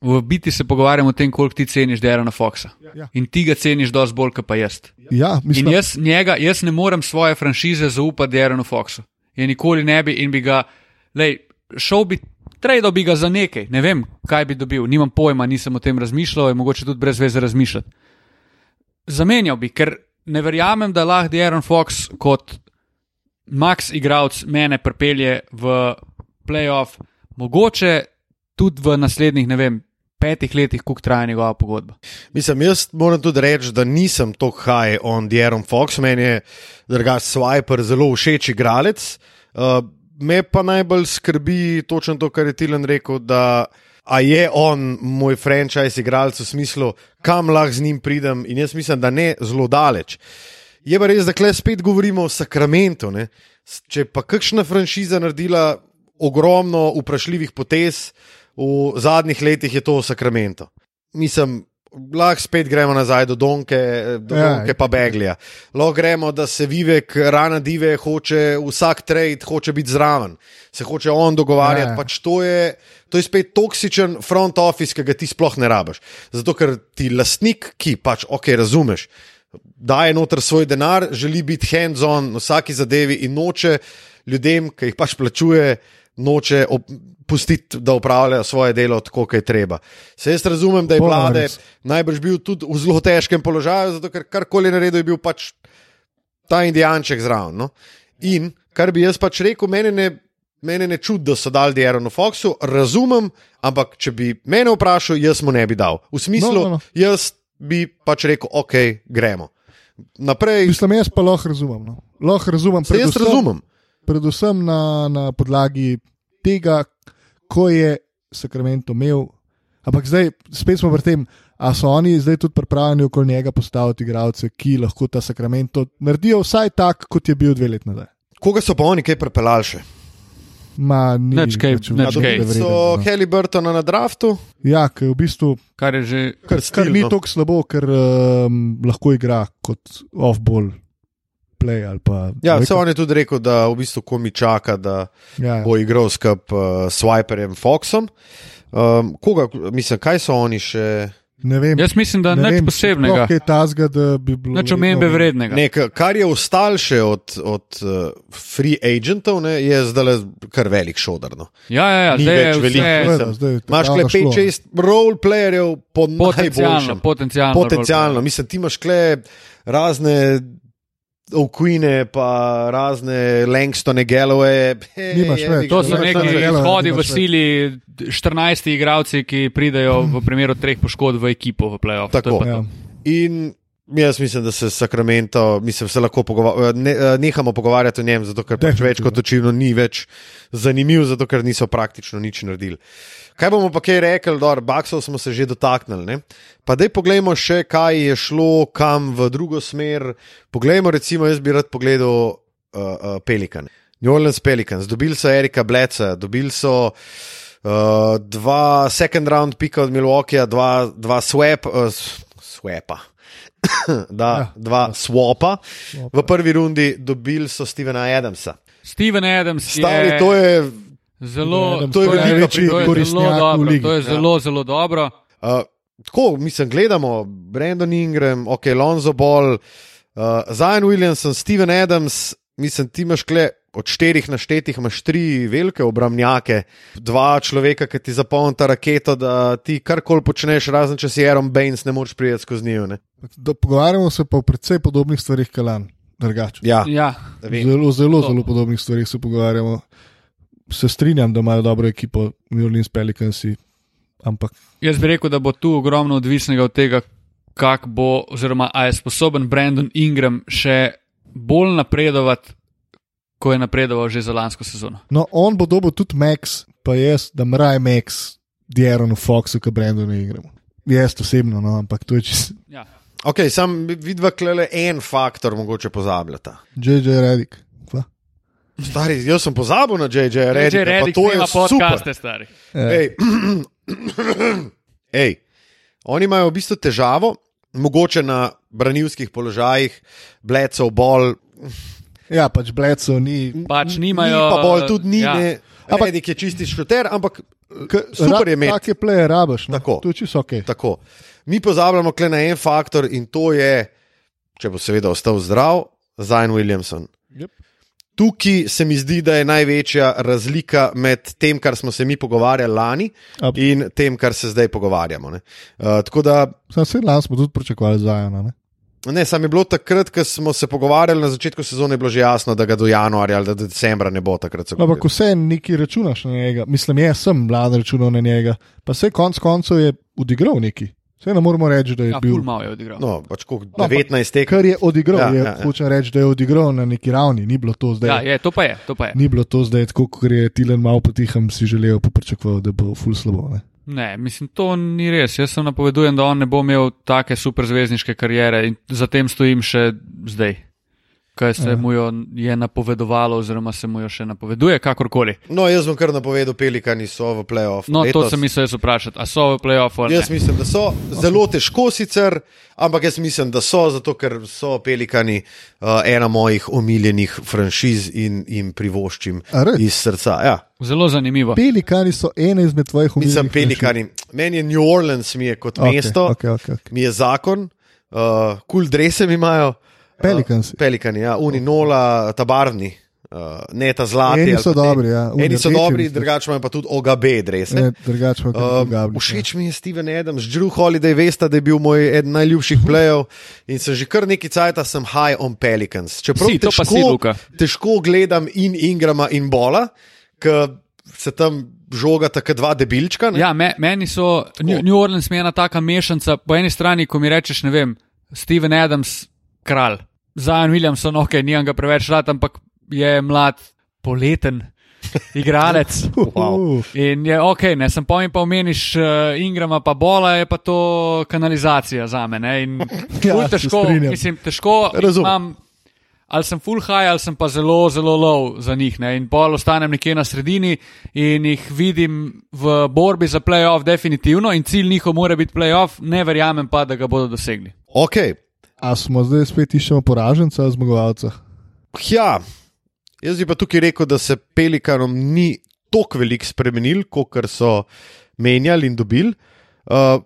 C: V biti se pogovarjamo o tem, koliko ti ceniš Dierona Foxa.
B: Ja.
C: In ti ga ceniš dosti bolj, kot pa jaz.
B: Ja, mislim,
C: In jaz, njega, jaz ne morem svoje franšize zaupati Dieronu Foxu. Je nikoli ne bi in bi ga, lej, šel bi, trajal bi ga za nekaj, ne vem, kaj bi dobil, nimam pojma, nisem o tem razmišljal, je mogoče tudi brez veze razmišljati. Zamenjal bi, ker ne verjamem, da lahko Dieron Fox kot Max igralec mene pripelje v playoff, mogoče tudi v naslednjih, ne vem, petih letih, koliko traja njegova pogodba.
A: Mislim, jaz moram tudi reči, da nisem to high on Dieron Fox, meni je drugač Swiper zelo všeč igralec. Uh, me pa najbolj skrbi točno to, kar je Tilan rekel, da a je on moj franchise igralec v smislu, kam lahko z njim pridem in jaz mislim, da ne zelo daleč. Je pa res, da klej spet govorimo o sakramentu. Ne? S- Če pa kakšna franšiza naredila ogromno vprašljivih potez v zadnjih letih, je to sakramento. Mislim, lahko spet gremo nazaj do Donke, do
B: Ja.
A: ja, Donke pa Beglija. Lahko gremo, da se Vivek, rana dive, hoče vsak trade, hoče biti zraven, se hoče on dogovarjati.
B: Ja.
A: Ja. Pač to, je, to je spet toksičen front office, ki ga ti sploh ne rabiš. Zato ker ti lastnik, ki pač ok, razumeš. Daje noter svoj denar, želi biti hands-on na vsaki zadevi in noče ljudem, ki jih pač plačuje, noče op, pustiti, da upravljajo svoje delo tako, kot je treba. Se jaz razumem, da je
B: Popolnoma
A: vlade
B: res.
A: najbrž bil tudi v zelo težkem položaju, zato ker karkoli je naredil, je bil pač ta indijanček zraven. No? In kar bi jaz pač rekel, mene ne, mene ne čudi, da so dali Dieronu Foxu, razumem, ampak če bi mene vprašal, jaz mu ne bi dal. V smislu,
B: No, no, no.
A: jaz bi pač rekel, ok, gremo. Naprej,
B: Mislim, jaz pa lahko razumem. No. Lahko razumem,
A: se jaz razumem.
B: predvsem na, na podlagi tega, ko je Sakramento imel. Ampak zdaj spet smo pri tem, ali so oni zdaj tudi pripravljeni okoli njega postaviti igralce, ki lahko ta Sakramento naredijo vsaj tak, kot je bil dve leti nazaj.
A: Koga so pa oni kaj prepeljali še?
B: Ma, ni
C: Nič kaj,
B: pač
C: nič
B: vreden,
C: kaj.
B: da vreden,
A: So
B: no.
A: Halliburtona na draftu,
B: Ja, ker v bistvu
C: Kar je že.
A: kar, no.
B: kar ni
A: stilno.
B: tako slabo, ker um, lahko igra kot off-ball play ali pa.
A: Ja,
B: ne
A: se
B: vem,
A: on je tudi rekel, da v bistvu komi čaka, da
B: ja, ja.
A: bo igral skup uh, Swiperjem Foxom. Um, koga, mislim, kaj so oni še?
B: Ne vem.
C: Jaz mislim, da nič posebnega,
B: Kaj je tazga, da bi bilo.
C: nič
B: vredno-
C: omembe vrednega.
A: Nek, kar je ostalo še od, od uh, free agentov, ne, je zdaj kar velik no. šodarno.
C: Ja, ja, ja
A: Ni
C: zdaj je
A: več veliko.
C: vse
B: Seveda, zdaj je
A: Imáš
B: težava
A: kle
B: šlo, no. ne.
A: 5-6 roleplayerjev po
C: potencialno.
A: najboljšem.
C: Potencialno.
A: Potencialno, mislim, ti imaš kle razne okvine, pa razne Langstone, Galloway.
B: Nimaš več.
C: To so
B: Nimaš
C: neki
B: več.
C: izhodi v
B: Nimaš več.
C: sili, 14 igralci, ki pridajo v primeru treh poškodb v ekipo v playoff. To je
A: Tako.
C: pa
B: Ja.
C: to.
A: In jaz mislim, da se Sacramento, mislim, se lahko pogova ne, eh, nehamo pogovarjati o njem, zato ker pač več
B: Definitivno.
A: kot očitno ni več zanimiv, zato ker niso praktično nič naredili. Kaj bomo pa kaj rekli, da Baksov smo se že dotaknili. Ne? Pa dej poglejmo še, kaj je šlo kam v drugo smer. Poglejmo, recimo, jaz bi rad pogledal uh, uh, Pelikan. New Orleans Pelicans, dobili so Erika Bleca, dobili so uh, dva second round pika od Milwaukeeja, dva, dva swap, uh, s- swapa. da,
B: Ja.
A: dva swapa.
B: Swapa.
A: V prvi rundi dobili so Stevena Adamsa.
C: Steven Adams
A: Stari,
C: je,
A: to je.
C: zelo,
B: Adams, to je največji
C: to je zelo
B: koristnjak v
C: dobro,
B: ligi.
C: To je zelo, zelo dobro.
A: Uh, tako, mislim, gledamo Brandon Ingram, ok, Lonzo Ball, uh, Zion Williamson, Steven Adams, mislim, ti imaš kle. Od štirih naštetih imaš tri velike obramnjake, dva človeka, ki ti zapolnita raketo, da ti karkoli počneš, razen če si Aaron Baines, ne moreš priti skozi njo. ne.
B: Da, pogovarjamo se pa o precej podobnih stvarih, kalan, drugače.
A: Ja,
C: Ja.
A: vem.
B: Zelo, zelo,
C: To.
B: zelo podobnih stvarih se pogovarjamo. Se strinjam, da imajo dobro ekipo, New Orleans Pelicansi, ampak
C: Jaz bi rekel, da bo tu ogromno odvisnega od tega, kak bo, oziroma a je sposoben Brandon Ingram še bolj napredovati, ko je napredoval že za lansko sezono.
B: no, on bo dobil tudi Max, pa jaz, da mraj Max, Dieronu Foxu, ki Brendonu igramo. Jaz osebno, no, ampak to je čisto
C: Ja.
A: Okay, sam vidva klele en faktor, mogoče pozabljata.
B: J.J. Redik. Kva?
A: Stari, jaz sem pozabil na JJ
C: Že
A: Reddick,
C: redi,
A: to je super.
C: podcaste, stari.
B: Eh,
A: Ej. Ej. Oni imajo v bistvu težavo, mogoče na branilskih položajih, blecov, bol,
B: ja, pač Bledsoe ni.
C: Pač nimajo.
A: ni pa bol, tudi ni.
C: ja.
A: Ja.
B: Ampak-
A: Ampak nek je čisti šuter, ampak eh, super je imeti.
B: Take pleje rabaš. No.
A: Tako.
B: To je čisto ok.
A: Tako. Mi pozabljamo kle na en faktor in to je, če bo seveda ostal zdrav, Zayn Williamson.
B: Yep.
A: Tukaj se mi zdi, da je največja razlika med tem, kar smo se mi pogovarjali lani,
B: Ab-
A: in tem, kar se zdaj pogovarjamo. ne. Uh, tako da
B: Sam se lani smo tudi pričakovali zajana. Ne?
A: Ne, sam je bilo takrat, ko smo se pogovarjali na začetku sezone, je bilo že jasno, da ga do januarja ali da do decembra ne bo takrat. se
B: No, Ampak
A: govorilo.
B: vse nekaj računaš na njega, mislim, jaz sem mlad računal na njega, pa vse konc koncev je odigral neki. Vse ne moremo reči, da je
C: Ja,
B: bil.
C: ful malo je odigral.
A: No, pač koliko,
B: No, ampak
A: 19 tekem.
B: Kar je odigral,
A: Ja,
B: ja, je,
A: ja,
B: ja,
A: ja.
B: hočem reči, da je odigral na neki ravni, ni bilo to zdaj.
C: ja, je, to pa je, to pa je.
B: Ni bilo to zdaj, tako kot je Tilen malo potihem si želel, pa pričakoval, da bo ful slabo. Ne?
C: Ne, mislim, to ni res. Jaz sem napovedujem, da on ne bo imel take superzvezdniške karijere in zatem stojim še zdaj. Kaj se
B: Ja.
C: mu jo je napovedovalo, oziroma se mu jo še napoveduje, kakorkoli.
A: No, jaz bom kar napovedal, pelikani so v playoffu.
C: No, to
A: letos.
C: sem mislil jaz vprašati, a so v playoffu ali
A: Jaz
C: ne.
A: mislim, da so zelo težko sicer, ampak jaz mislim, da so, zato ker so pelikani uh, ena mojih omiljenih franšiz in jim privoščim
B: A res?
A: iz srca. Ja.
C: Zelo zanimivo.
B: Pelikani so ena izmed tvojih umetnosti.
A: Nisem pelikani. Meni je New Orleans, mi je kot okay, mesto, okay.
B: Okay, okay, okay.
A: mi je zakon, uh, kul cool drese mi imajo.
B: Pelikansi.
A: Pelikani, ja, Uninola, tabarni. Uh, ne, ta zlati.
B: Eni
A: ali
B: so
A: pa te-
B: dobri, ja. Oni
A: Eni so
B: rdeči,
A: dobri,
B: mislim.
A: drugače imajo pa tudi ogabe, res.
B: Ne, ja. drugače pa kot
A: Um,
B: drugače.
A: všeč mi je Steven Adams, Drew Holiday, veste, da je bil moj eden najljubših plejev in sem že kar nekaj časa sem high on Pelicans. Čeprav
C: Si, to pa
A: težko,
C: si, Luka.
A: težko gledam in Ingrama in Bola, ker se tam žogata kot dva debilčka. ne.
C: Ja, me, meni so New, New Orleans mi je ena taka mešanica. Po eni strani, ko mi rečeš, ne vem, Steven Adams, kralj. Zajan Williamson, ok, nimam ga preveč rad, ampak je mlad, poleten igralec.
A: Wow.
C: In je ok, ne, sem pomem, pa omeniš uh, Ingrama, pa bola je pa to kanalizacija za me. Ne, in
B: Ja,
C: ful
B: se
C: težko,
B: strinjam.
C: mislim, težko
A: Razumem.
C: imam. Ali sem full high, ali sem pa zelo, zelo low za njih. Ne? In pol ostanem nekje na sredini in jih vidim v borbi za playoff, definitivno. In cilj njihov mora biti playoff, ne verjamem pa, da ga bodo dosegli.
A: Ok,
B: A smo zdaj spet iščemo poraženca ali zmagovalca?
A: ja, jaz bi pa tukaj rekel, da se Pelikanom ni tako veliko spremenil, kot so menjali in dobili. Uh,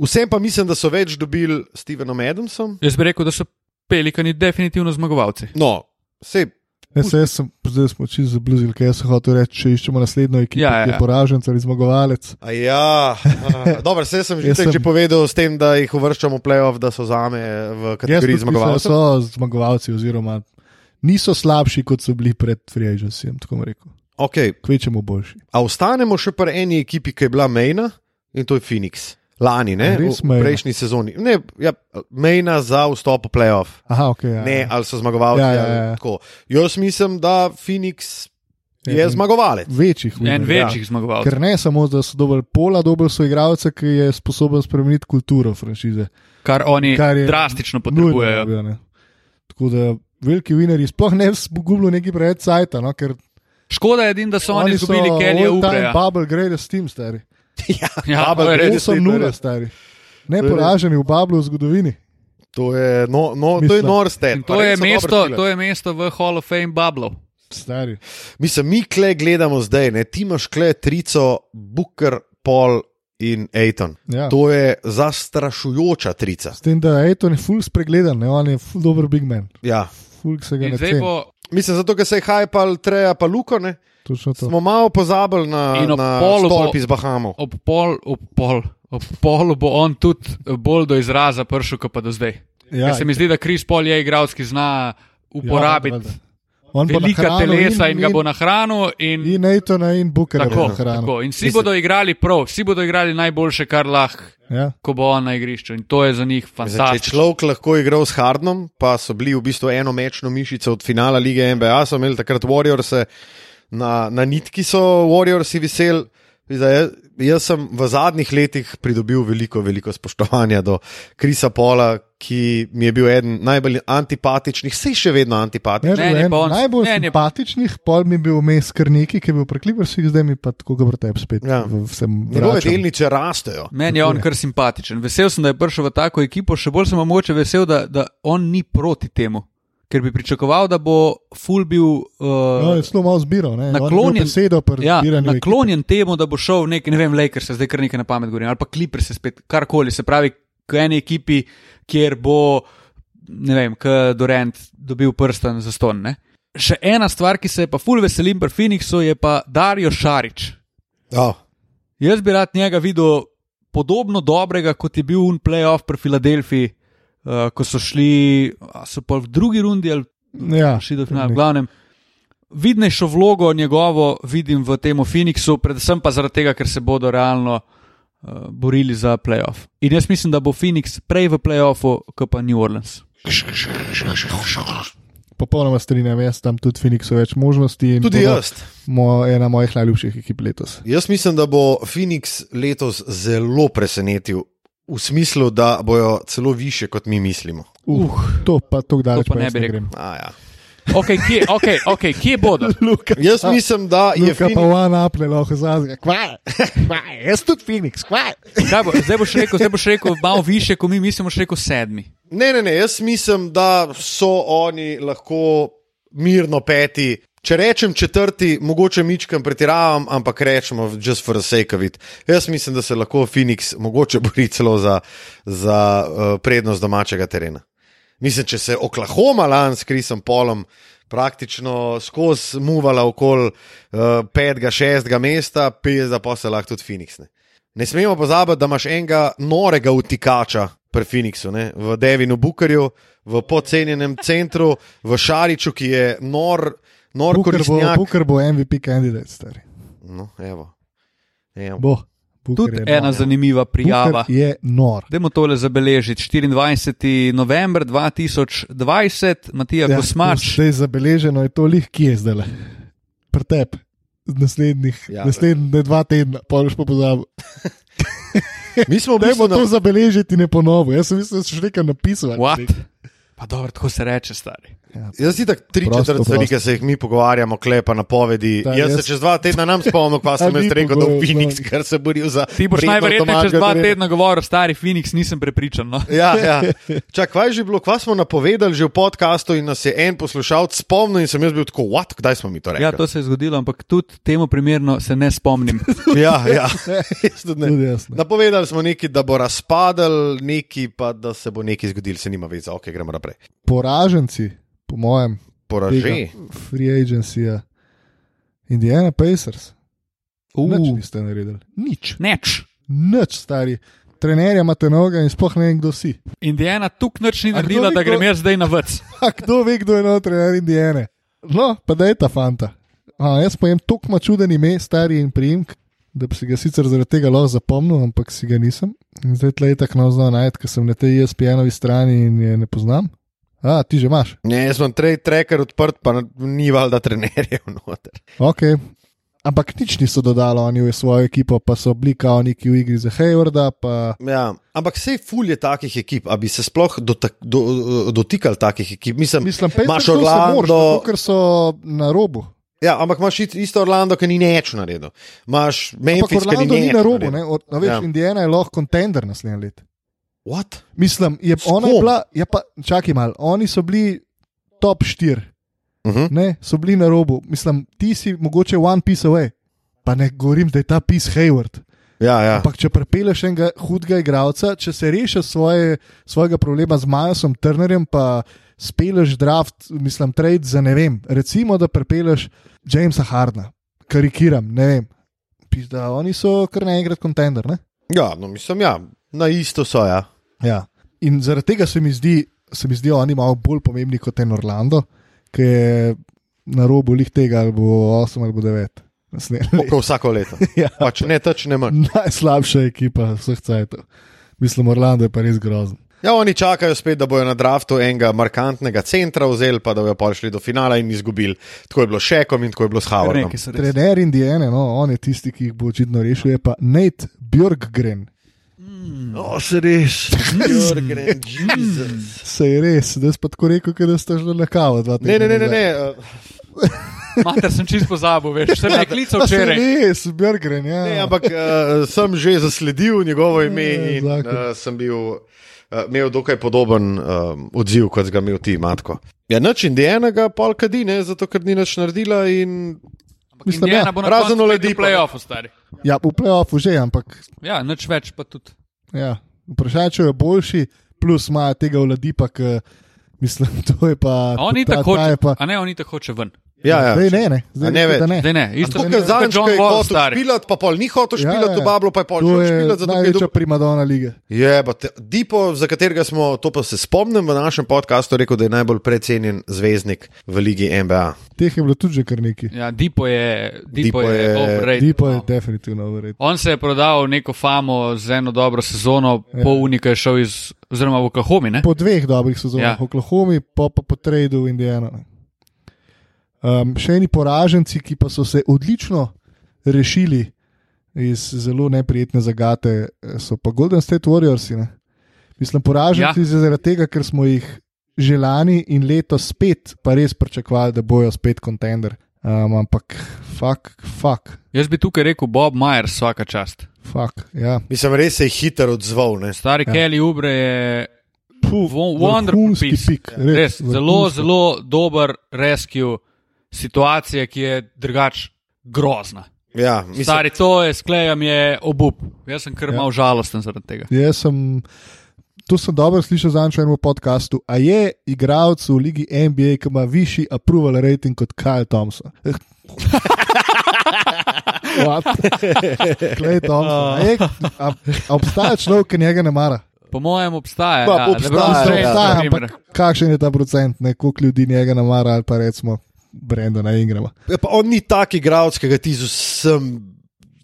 A: vsem pa mislim, da so več dobili s Stevenom Adamsom.
C: Jaz bi rekel, da so pelikani definitivno zmagovalci.
A: No, sej,
B: Ne, se, jaz sem, zdaj smo čisto zabluzili, kaj jaz sem hotel reči. Če iščemo naslednjo ekipo,
C: Ja, ja,
B: ja, ja.
C: ja.
B: je poraženec ali zgovalec.
A: a ja, a, dobro, vse sem že,
B: Jaz
A: sem... že
B: sem-
A: povedal s tem, da jih uvrščamo v playoff, da so zame v
B: Jaz
A: kategoriji
B: mislim, da
A: zmagovalcev.
B: so zmagovalci, oziroma niso slabši, kot so bili pred Free Agencyjem, tako bom rekel.
A: Okay.
B: Kvečemo boljši.
A: A ostanemo še pri eni ekipi, ki je bila Mejna in to je Phoenix. Lani, ne, v
B: Res Mejna?
A: prejšnji sezoni. Ne, ja, Mejna za vstop v playoff.
B: Aha, ok. Ja,
A: ne, ali so zmagovalci.
B: Ja,
A: Ja,
B: ja,
A: ja,
B: ja.
A: ja. Jaz mislim, da Phoenix je
B: En-
A: zmagovalec.
B: Večjih
C: En
B: winner,
C: večjih zmagovalcev.
B: Ker ne samo, da so dobili pola, dobili so igralca, ki je sposoben spremeniti kulturo franšize.
C: kar oni
B: Kar je
C: drastično
B: Nujno ja. je
C: potrebujejo.
B: bilo, ne. Tako da veliki vinerji sploh ne zgubljajo neki preveč cajta, no, ker
C: Škoda je, edin, da so oni izgubili Kellyja Ubreja.
B: Ubreja. Bubble greatest team, stari.
C: Ja,
A: Bubble
C: to je res.
A: greatest. team,
B: 8-0,
A: res.
B: stari.
A: To je res.
B: Neporaženi v Bublu v zgodovini.
A: To je, no, no, to je
B: Mislim.
A: nor stet.
C: In To je, mesto, to je mesto v Hall of Fame Bubble.
B: Stari.
A: Mislim, mi kle gledamo zdaj, ne? ti imaš kle trico, Booker, Paul in Aiton.
B: Ja.
A: To je zastrašujoča trica.
B: S tem, da je Aiton je ful spregledan, ne? on je ful dober big man.
A: Ja.
B: Ful se ga
C: In
B: ne
C: zdaj
B: ceni.
C: bo
A: Mislim, zato ker se je hajpal Treja pa Luko, ne?
B: Točno to.
A: smo malo pozabili na,
C: In ob
A: na
C: Paulu bo-
A: stolp iz Bahamov.
C: ob pol, ob pol. Ob polu bo on tudi eh, bolj do izraza prišel, kot pa do zdaj. Ja,
B: Ja,
C: se mi zdi, da Kris Pol je igralec, ki zna uporabiti
B: valjda.
C: ja,
B: on bo
C: velika
B: nahranil
C: telesa in, in ga bo nahranil. In, in,
B: In Aitona in Booker bo
C: tako,
B: nahranil.
C: tako. in vsi Mislim. bodo igrali prav, vsi bodo igrali najboljše, kar lahko,
B: Ja.
C: ko bo on na igrišču. In to je za njih
A: Mislim, Če je
C: fantastično.
A: človek lahko igral s Hardnom, pa so bili v bistvu eno mečno mišico od finala lige NBA, so imeli takrat Warriors, na, na nitki so Warriors veseli. Zdaj, jaz sem v zadnjih letih pridobil veliko, veliko spoštovanja do Krisa Pola, ki mi je bil eden najbolj antipatičnih, sej še vedno antipatičen.
B: Ne,
C: Ne, ne,
B: ne,
C: pa on-
B: najbolj
C: ne,
B: ne,
C: ne.
B: simpatičnih, pol mi je bil vmes kar neki, ki je bil prekliper, zdaj mi pa tako ga vrtep spet.
A: Ja.
B: v- Vsem
A: Njegove
B: vračam.
A: delnice rastejo.
C: Meni je on kar simpatičen. Vesel sem, da je prišel v tako ekipo, še bolj sem pa mogoče vesel, da, da on ni proti temu. Ker bi pričakoval, da bo Ful bil uh,
B: No, je zelo malo zbiral, ne.
C: naklonjen,
B: besedo,
C: ja, naklonjen temu, da bo šel v neki, ne vem, Lakers, zdaj kar nekaj na pamet govorim, ali pa Clippers, se spet karkoli. Se pravi, k eni ekipi, kjer bo, ne vem, k Dorent dobil prsten za ston. Ne? Še ena stvar, ki se je pa Ful veselim pri Phoenixu, je pa Dario Šarič.
A: Oh.
C: Jaz bi rad njega videl podobno dobrega, kot je bil un playoff pri Filadelfiji, uh, ko so šli, a so pa v drugi rundi ali
B: Ja,
C: šli do finala, v glavnem. Vidnejšo vlogo njegovo vidim v tem Phoenixu, predvsem pa zaradi tega, ker se bodo realno uh, borili za playoff. In jaz mislim, da bo Phoenix prej v playoffu, kot pa New Orleans.
B: Popolnoma strinjam, jaz tam tudi Phoenixu več možnosti. in
A: Tudi
B: bodo
A: jaz.
B: Mo, ena mojih najljubših ekip letos.
A: Jaz mislim, da bo Phoenix letos zelo presenetil, v smislu, da bojo celo više, kot mi mislimo.
B: Uh, uh, to pa tako daleč
C: to pa
B: pa
C: ne
B: jaz
C: bi
B: ne
C: rekel.
B: grem.
A: A, ja.
C: Ok, kje, okay, okay, kje bodo?
B: Luka,
A: Jaz mislim, da je
B: Luka pa
A: Phoenix.
B: one up, ne lahko zazga. Kvaj, kvaj, jaz tudi Phoenix, kvaj.
C: Kaj Bo, zdaj boš rekel, zdaj boš rekel malo više, kot mi mislimo, boš rekel sedmi.
A: Ne, ne, ne, jaz mislim, da so oni lahko mirno peti. Če rečem četrti, mogoče mičkam pretiravam, ampak rečemo, just for the sake of it. Jaz mislim, da se lahko Phoenix mogoče bori celo za, za uh, prednost eh, domačega terena. Mislim, če se Oklahoma lani s Krisom Polom praktično skozi muvala okoli uh, petega, šestega mesta, pizda pa se lahko tudi Phoenix. Ne, ne smemo pozabiti, da imaš enega norega utikača pri Phoenixu, ne? v Devinu Bukarju, v podcenjenem centru, v Šariču, ki je nor, nor
B: Booker bo,
A: koristnjak.
B: Booker bo MVP kandidat, stari.
A: No, evo. Evo.
B: Bo. Booker
C: Tudi
B: je nor.
C: ena zanimiva prijava.
B: Booker je nor.
C: Dajmo tole zabeležiti. 24. november 2020, Matija ja, Kosmač.
B: Zdaj zabeleženo je to lih, ki je zdaj le. Pretep. Naslednjih,
A: Ja.
B: ja, naslednje dva tedna, pa boš pa pozabil.
A: Mi smo v
B: Dajmo
A: bistvu na
B: to zabeležiti in ne ponovno. Jaz sem mislil, da si še nekaj napisal.
C: What? Pa dobro, tako se reče, stari.
A: Jaz si tako tri
B: Prosto,
A: četrt stvari, ki
B: prosto.
A: se jih mi pogovarjamo, klepa napovedi. Da,
B: Da,
A: jaz, jaz
B: jaz-
A: se čez dva tedna nam spomnim, kva sem
B: A
A: jaz
B: ni
A: rekel, da je
B: pogovoril,
A: Phoenix, ker se boril za.
C: Ti boš
A: prednost
C: najverjetneje čez
A: domačega
C: dva
A: terena.
C: tedna govoril, stari Phoenix, nisem prepričan. No?
A: Ja, ja. Čak, kva je že bilo, kva smo napovedali že v podkastu in nas je en poslušalec spomnil in sem jaz bil tako, what, kdaj smo mi to rekli?
C: Ja, to se je zgodilo, ampak tudi temu primerno se ne spomnim.
A: ja, ja. Jaz tudi ne.
B: Tudi jaz ne.
A: Napovedali smo nekaj, da bo razpadel, nekaj pa da se bo nekaj zgodil, se nima veze, ok, gremo naprej.
B: Poraženci, po mojem,
A: Poraže.
B: tega free agencija, Indiana Pacers. Nič
C: Uh,
B: niste naredili. Nič.
C: Neč.
B: Nič, stari. Trenerja imate noga in sploh ne vem, kdo si.
C: Indijana tukaj nič ni
B: A kdo
C: naredila,
B: ni
C: da
B: kdo-
C: grem jaz zdaj na vrc.
B: A kdo ve, kdo je nov trener Indijane? No, pa da je ta fanta. A, jaz pojem tako čuden ime, stari in priimek, da bi si ga sicer zaradi tega lahko zapomnil, ampak si ga nisem. In zdaj tle je tako naozno najti, ker sem na tej E ESPN-ovi strani in je ne poznam. A, ti že imaš.
A: Ne, jaz sem trej tracker odprt, pa n- ni valjda trenerjev noter.
B: Ok. Ampak nič niso dodali oni v svojo ekipo, pa so bili kao neki v igri za Haywarda, pa
A: Ja, ampak vse fulje takih ekip, a bi se sploh dotak, do, dotikali takih ekip. Mislim,
B: mislim,
A: Imaš
B: Pacersu se
A: Orlando-
B: moraš, zato ker so na robu.
A: ja, ampak imaš it- isto Orlando, ki ni neč naredil. Imaš
B: Ampak
A: Memphis, ki
B: Orlando
A: ni
B: ni
A: neč
B: na robu, ne?
A: naredil.
B: Or, a veš,
A: Ja.
B: ja. Indiana je lahko kontender naslednje leto.
A: What?
B: Mislim, je,
A: S
B: ona je
A: kom?
B: bila, ja pa, čakaj malo, oni so bili top 4,
A: Uh -huh.
B: ne, so bili na robu. Mislim, ti si mogoče one piece away, pa ne govorim, da je ta piece Hayward.
A: Ja, ja.
B: Ampak če prepeleš enega hudega igralca, če se rešiš svoje, svojega problema z Milesom Turnerjem, pa speleš draft, mislim, trade za ne vem. Recimo, da prepeleš Jamesa Hardna, karikiram, ne vem. Pizda, oni so kar naenkrat kontender, ne?
A: ja, no mislim, ja, na isto so, ja.
B: Ja. In zaradi tega se mi zdi, se mi zdijo oni malo bolj pomembni kot en Orlando, ki je na robu lih tega ali bo 8 ali bo 9.
A: Tako kot vsako leto.
B: Ja.
A: Pač ne teč, ne manj.
B: Najslabša ekipa vseh cajtov. Mislim, Orlando je pa res grozen.
A: Ja, oni čakajo spet, da bojo na draftu enega markantnega centra vzeli, pa da bojo prišli do finala in izgubili. Tako je bilo s Šekom in tako je bilo s Howardom.
C: Nekaj se reče.
B: Trener Indijane, no, on je tisti, ki jih bo očitno rešil, je pa Nate Björkgren.
A: No, se res. Jorgen, Jesus.
B: Se je res, da si pa tako rekel, ke da ste že na kavo. dva
A: Ne, ne, ne,
B: tedna
A: ne.
B: nazaj.
A: ne. eh,
C: Mater sem čist pozabil, veš, sem me klical
B: A Ja, Se je
C: včeraj.
B: res, Björkgren, ja.
A: Ne, ampak uh, sem že zasledil njegovo ime in
B: zakon.
A: uh, sem bil, uh, imel dokaj podoben um, odziv, kot si ga imel ti, matko. Ja, nič indijenega, pol kadi, ne, zato ker ni nič naredila in
B: Mislim,
C: Indijana
B: ja.
C: bo na
A: Razen
C: koncu
A: Oladipo,
C: spet v playoffu, stari.
B: ja, v playoffu že, ampak
C: Ja, nič več pa tudi.
B: Ja, vprašanje, če je boljši, plus ima tega vladipa, ki mislim, to je pa.
C: A on ni
B: ta-
C: tako
B: ta je
C: hoče,
B: pa.
C: a ne, on ni tako hoče ven.
A: ja, ja.
B: Zdaj ne, ne, zdaj
A: A ne
B: rekel, da
A: več.
B: ne.
C: Zdaj ne, isto
A: To,
C: kot
A: kar zadnjič, ko
C: John
A: je
C: Wall,
A: hotel
C: stari.
A: špilat, pa pol ni hotel špilat,
B: ja.
A: ja, bablo pa je pol
B: To
A: že
B: je
A: špilat, zato ker je
B: največja
A: dobil.
B: primadona lige.
A: Je, pa te, Dipo, za katerega smo, to pa se spomnim v našem podkastu, rekel, da je najbolj precenjen zvezdnik v ligi NBA.
B: Teh je bilo tudi že kar nekaj.
C: Ja, Dipo je, Dipo
A: Dipo
C: je,
A: je-
C: overrated,
B: Dipo je
C: no.
B: definitivno verjetno.
C: On se je prodal neko famo z eno dobro sezono, ja. po Unika je šel iz, oziroma v Kahomi. Ne?
B: Po dveh dobrih sezonah
C: Ja.
B: v Oklahomi, pa pa po tradu v Indijano. Um, še eni poraženci, ki pa so se odlično rešili iz zelo neprijetne zagate, so pa Golden State Warriorsi. Ne? Mislim, poraženci
C: Ja.
B: ja. zaradi tega, ker smo jih že lani in letos spet, pa res pričakovali, da bojo spet kontender. Um, ampak, fuk, fuk,
C: Jaz bi tukaj rekel Bob Myers, vsaka čast.
B: fuk. Ja.
A: Mislim, res se je hitro odzval. Ne?
C: Stari ja. Kelly Ubre je Wo- wonderful
B: Vrhunski
C: piece.
B: pik,
C: res
B: res,
C: zelo,
B: vrhunski.
C: zelo dober rescue situacije, ki je drugač grozna.
A: Ja, mislim,
C: Stari, to je sklejam je obup. Jaz sem kar
B: Ja.
C: mal žalosten zaradi tega.
B: Jaz sem to sem dobro slišal zadnjič v enem podkastu. A je igralec v ligi NBA, ki ima višji approval rating kot Kyle Thompson? What? Klej Thompson. A je, a, a obstaja človek, ki njega ne mara?
C: Po mojem obstaja.
A: Pa,
C: ja,
A: obstaja,
C: LeBron
A: ja,
C: James,
B: obstaja,
C: na primer.
B: ampak kakšen je ta procent, ne? koliko ljudi njega ne mara ali pa recimo Brendona Ingrama.
A: Ja, pa on ni tak igralec, ki ga ti z vsem,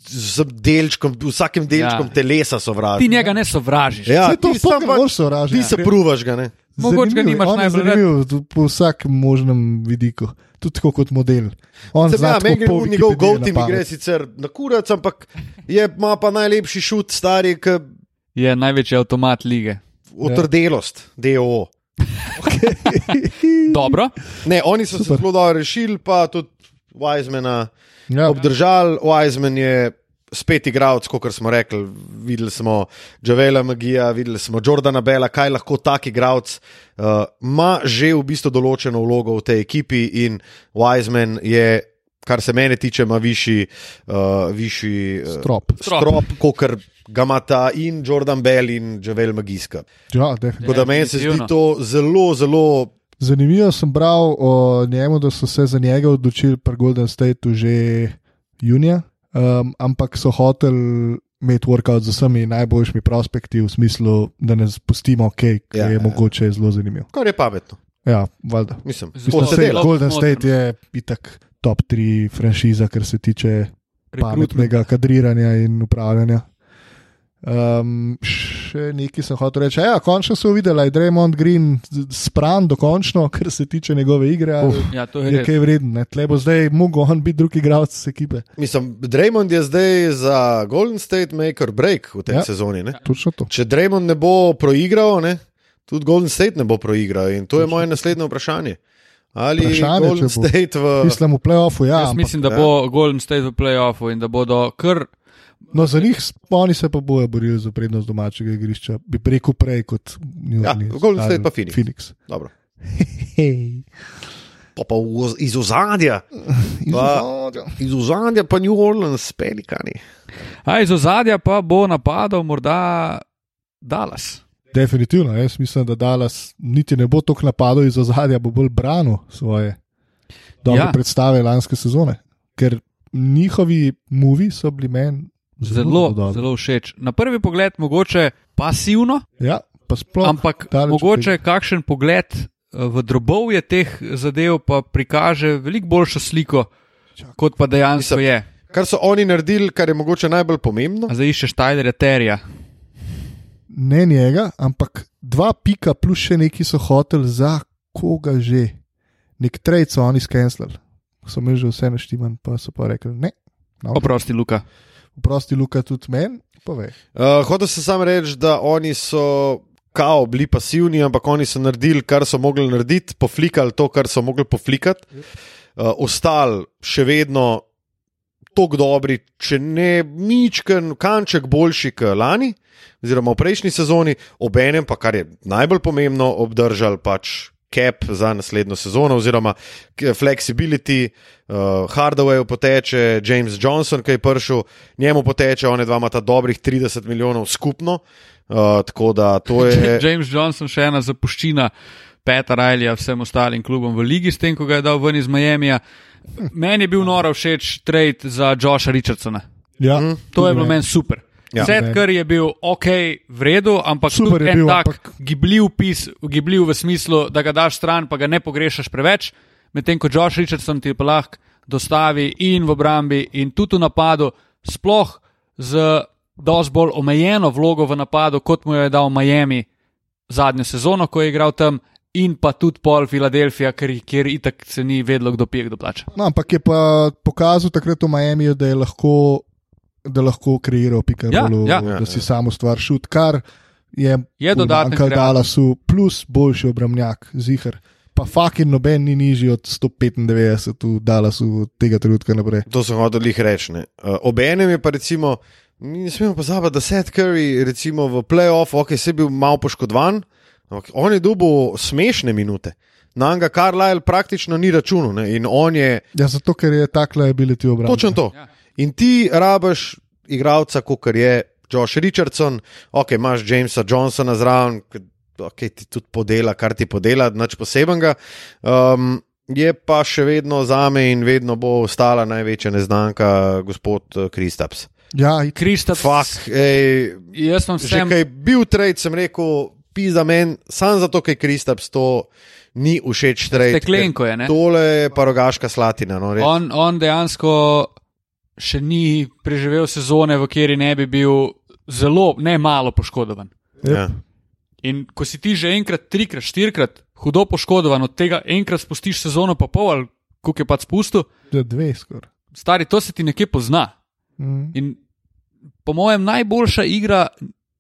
A: z vsem delčkom, vsakim delčkom ja.
C: Ja.
A: telesa sovražiš.
C: Ti njega ne sovražiš.
A: Ja,
B: Saj to ja.
A: ti
B: to,
A: sam
B: kar
A: pa-
B: moraš sovražiti.
A: Ti se pruvaš ga, ne?
C: Mogoče ga nimaš najbolj rad.
B: zanimiv, po vsakem možnem vidiku, tudi tako kot model. On
A: Sem,
B: zna
A: ja,
B: tako
A: meni gre
B: po
A: v njegov
B: Wikipediji
A: gol, ti
B: na
A: mi gre
B: pamet.
A: sicer na kurac, ampak je, ima pa najlepši šut, stari, ki
C: Je največji avtomat lige.
A: otrdelost, DO.
C: Dobro,
A: Ne, oni so Super. se zelo dobro rešili, pa tudi Wisemana
B: Ja,
A: obdržali. Wiseman je spet igralec, kot smo rekli. Videli smo Javela Magija, videli smo Jordana Bela, kaj lahko tak igralec uh, ima že v bistvu določeno vlogo v tej ekipi in Wiseman je. Kar se mene tiče, ima višji, uh, višji uh,
B: Strop.
A: strop, strop kot ga ima ta in Jordan Bell in Javel Magiska.
B: ja, definitivno.
A: Tako da meni se zdi
C: definitivno.
A: to zelo, zelo
B: Zanimivo sem bral o njemu, da so se za njega odločili pri Golden Stateu že junija, um, ampak so hoteli imeti workout z vsemi najboljšimi prospekti, v smislu, da ne spustimo, kaj
A: Ja,
B: ja, je
A: ja,
B: ja.
A: ja.
B: mogoče zelo zanimiv.
A: Kar je pametno,
B: Ja, valjda.
A: mislim.
C: Zelo
B: Mislim,
A: To
B: da
A: se
B: se
A: dela.
B: Golden
C: Smotrno.
B: State je itak top 3 franšiza, kar se tiče
C: rekrutment.
B: pametnega kadriranja in upravljanja. Um, še nekaj sem hotel reči. Ja, končno so videli, da je Draymond Green z- spran, dokončno, kar se tiče njegove igre. ali
C: Ja, to
B: Je
C: je res.
B: kaj vreden, ne? tle bo zdaj mogel on biti drugi igralec iz ekipe.
A: Mislim, Draymond je zdaj za Golden State maker break v tej
B: Ja.
A: ja. sezoni. Ne?
B: Točno to.
A: Če Draymond ne bo proigral, ne? tudi Golden State ne bo proigral. In to je moje naslednje vprašanje. Ali
B: Vprašanje,
A: je Golden
B: če bo.
A: State v.
B: Mislim, v playoffu, ja.
C: Jaz
B: Ampak,
C: mislim, da bo Golden State v playoffu in da bodo kar
B: no, za njih, s- oni se pa bojo borili za prednost domačega igrišča, bi rekel prej kot New
A: Ja,
B: Orleans
A: Golden State
B: ali
A: pa Phoenix.
B: Phoenix.
A: Dobro.
B: Hej.
A: Pa, pa v oz- iz ozadja, Pa- iz ozadja pa New Orleans, pelikani.
C: A iz ozadja pa bo napadal morda Dallas.
B: Definitivno, jaz mislim, da Dallas niti ne bo tako napadal iz ozadja, bo bolj branil svoje dobre ja.
C: Ja.
B: predstave lanske sezone, ker njihovi movi so bili meni zelo,
C: Zelo,
B: dobri.
C: zelo všeč. Na prvi pogled mogoče pasivno,
B: Ja, pa sploh.
C: ampak
B: daleč
C: mogoče kakšen pogled eh, v drobovje teh zadev pa prikaže veliko boljšo sliko, kot pa dejansko je.
A: Kar so oni naredili, kar je mogoče najbolj pomembno.
C: A Zdaj iščeš Tylerja Terja.
B: Ne njega, ampak dva pika plus še neki so hoteli za koga že. Nek trade so oni skenslali. So imeli že vse naštiman, pa so pa rekli ne. No,
C: Oprosti, Luka.
B: Oprosti, Luka, tudi meni, povej.
A: Uh, hotel sem samo reči, da oni so kao bili pasivni, ampak oni so naredili, kar so mogli narediti, poflikali to, kar so mogli poflikati, uh, ostali še vedno tako dobri, če ne ničken, kanček boljši kot lani, oziroma v prejšnji sezoni, obenem pa, kar je najbolj pomembno, obdržali pač. Cap za naslednjo sezono, oziroma k- flexibility, uh, Hardaway poteče, James Johnson, ki je prišel, njemu poteče, oni dva imata dobrih 30 milijonov skupno. Uh, tako da to je.
C: James Johnson še ena zapuščina Peta Rajlija vsem ostalim klubom v ligi, s tem, ko ga je dal ven iz Miamija. Meni je bil noro všeč trade za Josha Richardsona.
B: Ja,
C: To je bilo meni super.
A: Ja.
C: Ja. Set, kar je bil ok, v redu, ampak
B: Super
C: super
B: je
C: je
B: bil,
C: bil, tak
B: ampak-
C: ampak... gibljiv pis, gibljiv v smislu, da ga daš stran, pa ga ne pogrešaš preveč, medtem ko Josh Richardson ti pa lahko dostavi in v obrambi, in tudi v napadu, sploh z dosti bolj omejeno vlogo v napadu, kot mu jo je dal Miami zadnjo sezono, ko je igral tam, in pa tudi pol Filadelfija, ker- kjer itak se ni vedelo, kdo pije, kdo plača.
B: No, ampak je pa pokazal takrat v Miamiju, da je lahko, da lahko kreiral pikarolo, ja,
C: Ja,
B: ja,
A: ja.
B: da si sam ustvar šut, kar je,
C: Je dodaten
B: manjkalo
C: kreativ.
B: Dallasu, plus boljši obramnjak, zihar. Pa fucking noben ni nižji od 195 v Dallasu od tega trenutka naprej.
A: To sem hotel jih reči. ne. Uh, Obenem je pa recimo, mi ne smemo pozabiti, da Seth Curry recimo v playoffu, ok, se je bil malo poškodovan, ampak on je dobil smešne minute. Na njega Carlisle praktično ni računal ne, in on je
B: Ja,
C: Ja.
B: zato ker je takla ability obrambe.
A: točno to. In ti rabaš igralca, kot je Josh Richardson, ok, imaš Jamesa Johnsona zraven, ok, ti tudi podela, kar ti podela, nič posebenega. Um, je pa še vedno za me in vedno bo ostala največja neznanka, gospod eh, Kristaps.
B: Ja, itak.
C: Kristof,
A: Fak, ej,
C: jaz sem
A: Že
C: vsem.
A: kaj je bil trade, sem rekel, pisa meni, samo zato, ker Kristaps to ni všeč trade.
C: Steklenko je, ne?
A: ker Tole je parogaška slatina. No, res.
C: On, on dejansko še ni preživel sezone, v kateri ne bi bil zelo, ne malo poškodovan.
A: ja.
C: In ko si ti že enkrat, trikrat, štirikrat hudo poškodovan, od tega enkrat spustiš sezono pa pol, ali koliko je pač spustil,
B: Ja, dve skoraj.
C: stari, to se ti nekje pozna.
B: Mm.
C: In po mojem, najboljša igra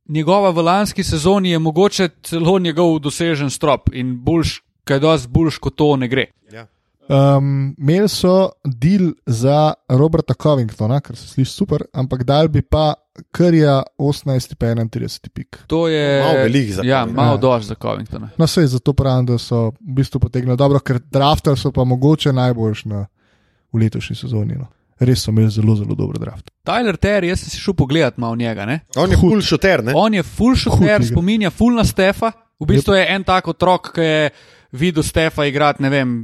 C: njegova v lanski sezoni je mogoče celo njegov dosežen strop in boljš, kaj dosti boljš kot to ne gre.
A: Ja.
B: Um, Imeli so deal za Roberta Covingtona, kar se sliši super, ampak dal bi pa Krija 18, pa 31 pik.
C: To je
A: Malo velik za
C: Ja,
A: Covingtona.
C: malo
B: Ja.
C: dož za Covingtona.
B: No, sej zato pravim, da so v bistvu potegnili dobro, ker drafter so pa mogoče najboljši na, v letošnji sezoni. No. Res so imeli zelo, zelo dober draft.
C: Tyler Terry, jaz sem si šel pogledat malo njega. Ne?
A: On je kul šuter, ne?
C: On je full šuter,
B: E? igra.
C: spominja full na Stefa. V bistvu je en tak otrok, ki je videl Stefa igrati, ne vem,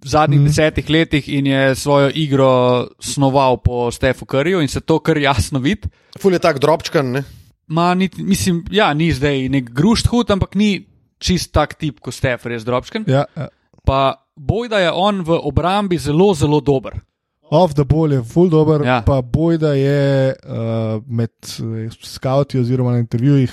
C: v zadnjih mm.
B: Mhm.
C: desetih letih in je svojo igro snoval po Stefu Curryju in se to kar jasno vidi.
A: Ful je tak drobčkan, ne?
C: Ma, niti, mislim, ja, ni zdaj nek grušt hud, ampak ni čist tak tip kot Stef, res drobčken.
B: Ja, ja.
C: Pa bojda je on v obrambi zelo, zelo dober.
B: Off the ball je full dober, ja.
C: Ja.
B: pa bojda je uh, med eh, skauti oziroma na intervjujih,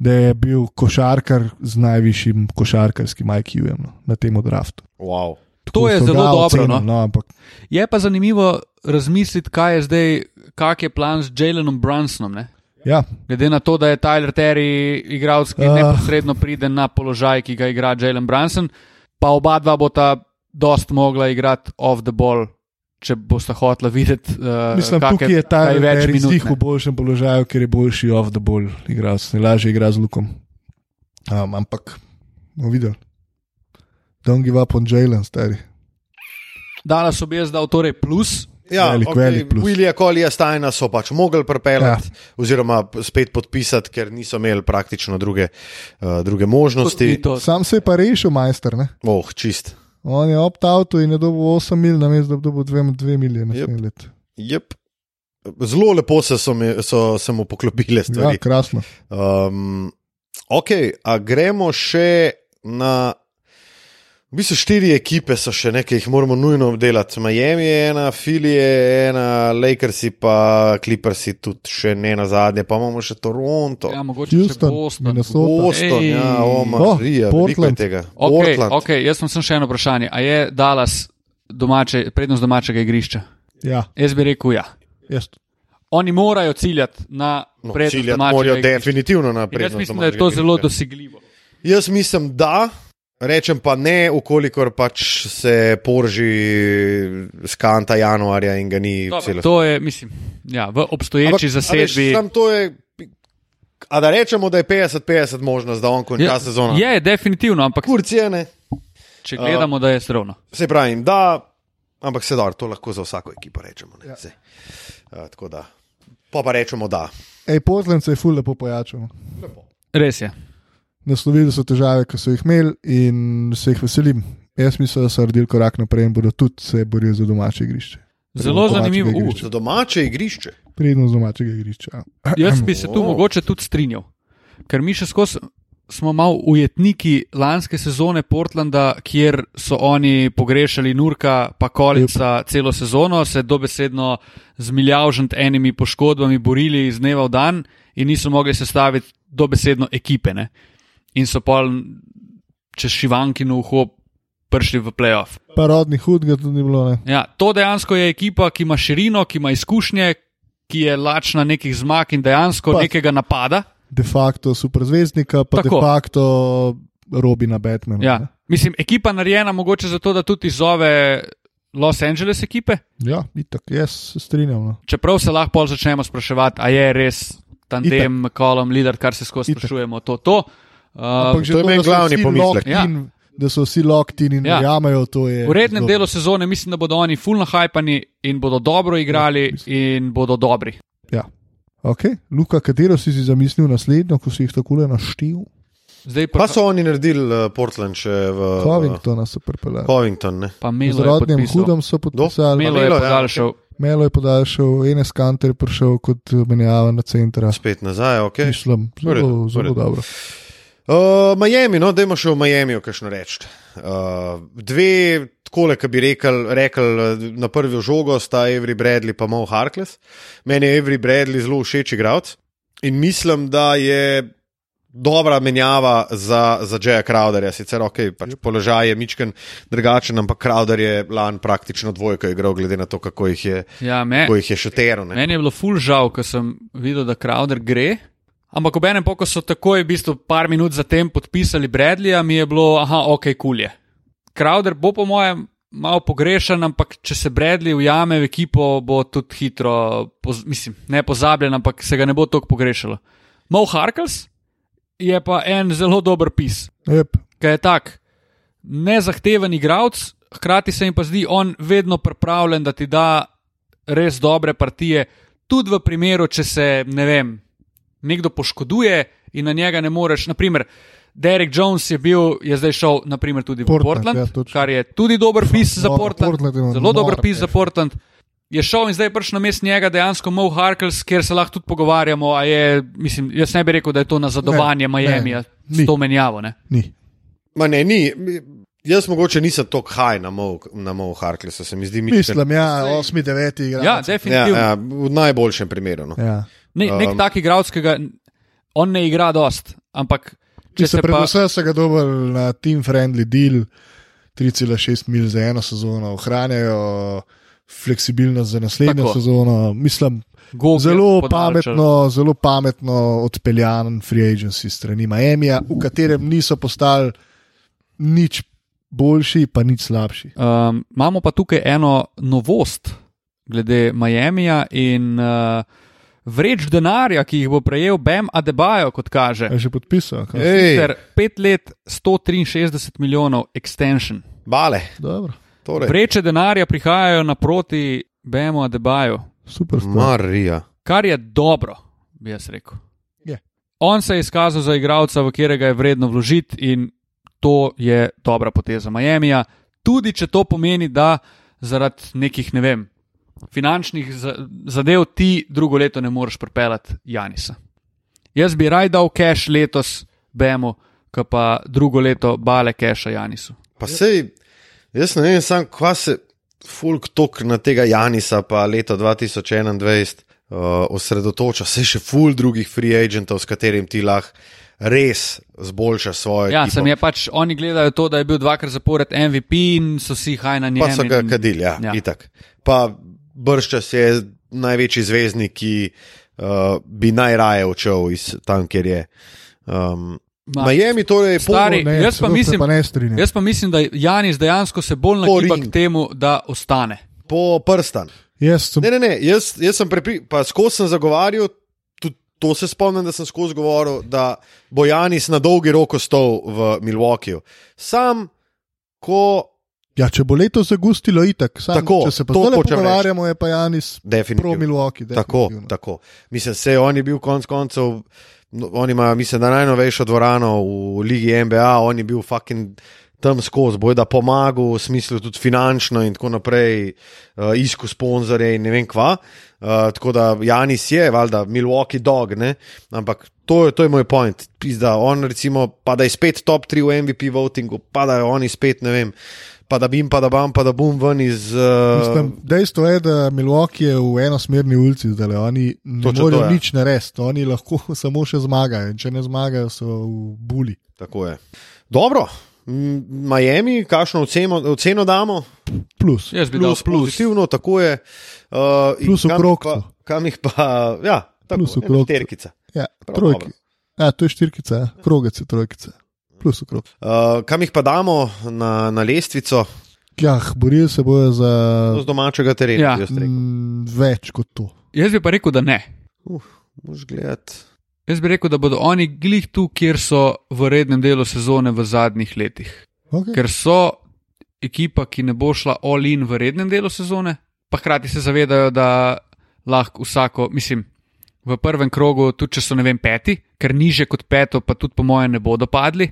B: da je bil košarkar z najvišjim košarkarskim IQ-jem no, na tem draftu.
A: Wow.
C: To je
B: so
C: zelo
B: ga
C: dobro.
B: ocenili,
C: No.
B: no, ampak
C: Je pa zanimivo razmisliti, kaj je zdaj, kak je plan z Jalenom Brunsonom. Ne?
B: Ja,
C: Glede na to, da je Tyler Terry igralec, ki
B: Ah.
C: uh. neposredno pride na položaj, ki ga igra Jalen Brunson, pa oba dva bota dost mogla igrati off the ball, če bosta hotla videti, uh,
B: mislim,
C: kake-
B: tukaj je ta
C: kaj več
B: več
C: minut.
B: minut.
C: ne.
B: V boljšem položaju, ker je boljši off the ball igralec, ne lažje igra z lukom. Um, ampak, bomo videli. Don't give up on Jalen, stari.
C: Dala so bi jaz dal torej plus.
A: Ja,
B: Velik,
A: velik, okay,
B: velik
A: velik
B: plus.
A: Willija Kolija Stajna so pač mogli prepeljati, ja. oziroma spet podpisati, ker niso imeli praktično druge, uh, druge možnosti.
C: To,
B: Sam se je pa rešil, majster. Ne?
A: Oh, čist.
B: On je opt-out in je dobil 8 mil, na mestu, da bi dobil 2, 2 milje na
A: Jep.
B: yep. let.
A: Yep. Zelo lepo se, so mi, so, se mu poklopile
B: Ja,
A: stvari.
B: krasno.
A: Um, ok, a gremo še na. V bistvu štiri ekipe so še nekaj, jih moramo nujno obdelati. Miami je ena, Fili je ena, Lakersi pa Clippersi tudi še ne na zadnje, pa imamo še Toronto.
C: ja, mogoče Houston,
B: Houston,
C: Boston.
B: Minnesota.
A: Boston,
C: Ej.
A: ja, o,
C: Oh,
A: Marija, oh, veliko je
B: Portland.
A: tega.
C: Okay,
A: Portland.
C: okay, jaz sem še eno vprašanje. A je Dallas domače, prednost domačega igrišča?
B: Ja,
C: Jaz bi rekel ja.
B: jaz.
C: Oni morajo ciljati na
A: No,
C: prednost
A: ciljati
C: domačega
A: morajo
C: igrišča.
A: definitivno na
C: In Jaz
A: prednost
C: mislim, da je to
A: domačega
C: zelo
A: igrišča.
C: dosegljivo.
A: Jaz mislim, da. Rečem pa ne, ukolikor pač se porži skanta januarja in ga ni v
C: Dobro,
A: celosti.
C: to je, mislim, ja, v obstoječi zasedbi.
A: Sam to je. A da rečemo, da je 50-50 možnost, da on konča ja, sezono.
C: je, definitivno, ampak
A: Kurcijene.
C: če gledamo, da je srovno.
A: Se pravi, da, ampak se da, to lahko za vsako ekipo rečemo. Ja. Uh, tako da. Pa pa rečemo, da.
B: Ej, Portland se je ful lepo pojačal. no.
C: Res je.
B: Naslovili so težave, ki so jih imeli in se jih veselim. Jaz mislim, da so naredili korak naprej in bodo tudi se borili za domače igrišče.
C: Zelo
B: Domačega
C: zanimivo. U,
B: igrišča.
A: Za domače igrišče.
B: Prednost domačega igrišča. ja.
C: Jaz bi se tu
A: O.
C: mogoče tudi strinjal, ker mi še skozi smo malo ujetniki lanske sezone Portlanda, kjer so oni pogrešali Nurka, pa Kolica celo sezono, se dobesedno z miljavžant enimi poškodbami borili iz dneva v dan in niso mogli sestaviti dobesedno ekipe. Ne? In so pol čez Šivankino vhop prišli v playoff.
B: Pa rodni hud ga tudi ni bilo. Ne?
C: Ja, to dejansko je ekipa, ki ima širino, ki ima izkušnje, ki je lačna nekih zmag in dejansko
B: Pa-
C: pa. nekega napada.
B: De facto superzvezdnika, pa Tako.
C: Tako.
B: de facto Robina Batmana.
C: Ja.
B: ne.
C: Mislim, ekipa narejena mogoče zato, da tudi izzove Los Angeles ekipe,
B: ja itak, jaz se strinjam. No.
C: čeprav se lahko pol začnemo spraševati, a je res tandem, kolom, lider, kar se skozi
B: Itak.
C: sprašujemo. To, to. Uh,
B: Ampak že
A: to je meni
B: da so
A: glavni
B: vsi
A: pomislek.
B: locked
C: Ja.
B: in- Da so vsi locked in in
C: Ja.
B: verjamejo, to je.
C: v rednem
B: zelo-
C: delu sezone mislim, da bodo oni fulno hajpani in bodo dobro igrali in bodo dobri.
B: Ja. Okay. Luka, katero si si zamislil naslednjo, ko si jih tako le naštel?
C: Zdaj pa,
A: Pa so oni naredili uh, Portland še v v
B: Covingtona so pripeljali.
A: Covington. Ne?
C: pa
B: Z
C: Melo je
B: rodnim
C: podpisal.
B: hudom so podpisali,
C: Melo je
A: Melo, ja.
C: podaljšal.
B: Melo je podaljšal, Enes Kanter je prišel kot menjava na centra.
A: Spet nazaj, ok.
B: Mislim,
A: V redu,
B: zelo,
A: v
B: zelo
A: redu.
B: dobro.
A: Uh, Miami, no, dajmo še v Miamiju, kajšno reči. Uh, dve, takole, ki bi rekel, rekel eh, na prvi žogo, sta Avery Bradley in Mo Harkless. Meni je Avery Bradley zelo všeč igralec in mislim, da je dobra menjava za, za Jaya Crowderja. Sicer ok, pač položaj je mičken drugačen, ampak Crowder je lani praktično dvojko igral, glede na to, kako jih je,
C: Ja, me,
A: kako jih je šeteril. ne.
C: meni je bilo ful žal, ko sem videl, da Crowder gre. Ampak ob enem, po, ko so takoj, v bistvu, par minut zatem podpisali Bradleyja, mi je bilo, aha, ok, kulje. Crowder bo, po mojem, malo pogrešen, ampak če se Bradley ujame v ekipo, bo tudi hitro, poz, mislim, ne pozabljen, ampak se ga ne bo toliko pogrešalo. Mo Harkles je pa en zelo dober pis.
B: Yep.
C: ki je tak nezahteven igralec, hkrati se mi pa zdi on vedno pripravljen, da ti da res dobre partije, tudi v primeru, če se ne vem, nekdo poškoduje in na njega ne moreš. Naprimer, Derek Jones je bil, je zdaj šel naprimer, tudi v
B: Portland,
C: Portland,
B: ja,
C: Portland
B: točno.
C: ja, kar je tudi dober pis za
B: Noro,
C: Portland,
B: Portland je
C: zelo dober
B: noro
C: pis za
B: pis.
C: Portland. Je šel in zdaj je prišel na mest njega dejansko Mo Harkles, kjer se lahko tudi pogovarjamo. a Je, mislim, jaz ne bi rekel, da je to nazadovanje
B: Ne, ne,
C: Miamija
B: ni.
C: s to menjavo. Ne?
B: Ni.
A: Ma ne, ni. Jaz mogoče nisem tako haj na Mo, na Mo Harklessu, se mi zdi mičken.
B: Mislim, ja, 8, 9 igra.
C: Ja,
A: Ja,
C: definitivno.
A: ja, v najboljšem primeru. No.
B: ja.
C: Ne, nek
A: Um,
C: um, tak igralec, ki ga on ne igra dost, ampak če
B: Če se
C: se pa,
B: predvsem se ga dober na team friendly deal, 3,6 mil za eno sezono, ohranjajo fleksibilnost za naslednjo
C: Tako.
B: Tako. sezono. Mislim,
C: Goga
B: zelo
C: podaljšali.
B: pametno, zelo pametno odpeljan free agency strani Miamija, v katerem niso postali nič boljši, pa nič slabši.
C: Um, imamo pa tukaj eno novost glede Miamija in uh, vreč denarja, ki jih bo prejel Bem Adebayo, kot kaže.
B: Je že podpisal? kaj?
A: Ej,
C: Ter 5 let 163 milijonov extension.
A: bale,
B: Dobro,
A: torej.
C: Vreče denarja prihajajo naproti Bemu Adebayo,
B: super.
C: no.
B: stvar.
A: Marija.
C: kar je dobro, bi jaz rekel.
B: Je.
C: On se je izkazal za igralca, v katerega je vredno vložiti, in to je dobra poteza Miamija. Tudi če to pomeni, da zaradi nekih, ne vem, finančnih za- zadev ti drugo leto ne moreš prepeljati Janisa. Jaz bi raj dal cash letos Bemu, ki pa drugo leto bale cash Janisu.
A: Pa sej, jaz ne vem, sam kva se fulk tok na tega Janisa, pa leto 2021 uh, osredotoča, se še ful drugih free agentov, s katerim ti lahko res zboljša svoje.
C: Ja,
A: ekipo.
C: sem je pač, oni gledajo to, da je bil dvakrat zapored MVP in so si haj na njem.
A: Pa so ga
C: in-
A: kadili, ja, ja.
C: Ja.
A: itak. Pa brščas je največji zvezdnik, ki uh, bi najraje odšel iz tam, kjer je. Um,
C: Ma,
A: Miami torej
C: Stari,
A: polno-
B: Ne,
C: jaz pa
B: zelo se
C: mislim-
B: pa ne strinjam.
C: Jaz pa mislim, da Janis dejansko se bolj
A: Po
C: nagiba
A: ring.
C: k temu, da ostane.
A: po prstan.
B: Jaz sem
A: Ne, ne, ne, jaz, jaz sem prepričan, pa skozi sem zagovarjal, tudi to se spomnim, da sem skozi govoril, da bo Janis na dolgi rok ostal v Milwaukeeju. Sam, ko
B: Ja, če bo letos zagustilo, itak. Sam,
A: Tako,
B: tako, če se pa
A: to
B: zdaj
A: hočem reči.
B: pogovarjamo, je pa Janis pro
A: definitivno.
B: Milwaukee.
A: Tako,
B: definitivno.
A: tako. Mislim, se on je bil konec koncev, no, on ima, mislim, da najnovejšo dvorano v Ligi NBA, on je bil fucking tam skozi, bojda pomagal, v smislu tudi finančno in tako naprej, uh, isku sponzorje in ne vem kva. Uh, tako da Janis je, valjda, Milwaukee dog, ne? ampak to, je- to je moj point. Pizda, on recimo, pa da je spet top 3 v MVP votingu, pa da je oni spet, ne vem, pa da bim, pa da bam, pa da bum ven iz. Uh,
B: Mislim, dejstvo je, da Milwaukee je v enosmerni ulici, zdaj oni ne
A: Točno to,
B: morejo
A: ja.
B: nič narediti, oni lahko samo še zmagajo. In če ne zmagajo, so v buli.
A: Tako je. Dobro, M, Miami, kakšno oceno, oceno damo?
B: Plus.
C: Jaz bi dal plus.
A: Pozitivno, tako je. Uh, in
B: Plus v
A: kam jih
B: krogcu.
A: pa- Kam jih pa, ja, tako
B: Plus v
A: je.
B: krogcu.
A: Terkica.
B: Ja,
A: Prav
B: trojki. Ja, to je štirkica, ja. krogec je trojkica. Plus okrog.
A: Uh, kam jih pa damo na, na lestvico,
B: Ja, borili se bojo za
A: no, z domačega terena?
C: Ja.
A: bi jaz rekel.
B: m, več kot to.
C: Jaz bi pa rekel, da ne.
A: Moš gledati.
C: Jaz bi rekel, da bodo oni glih tu, kjer so v rednem delu sezone v zadnjih letih.
B: Okay.
C: Ker so ekipa, ki ne bo šla all-in v rednem delu sezone, pa hkrati se zavedajo, da lahko vsako, mislim, v prvem krogu, tudi če so ne vem peti, ker niže kot peto, pa tudi po mojem ne bodo padli,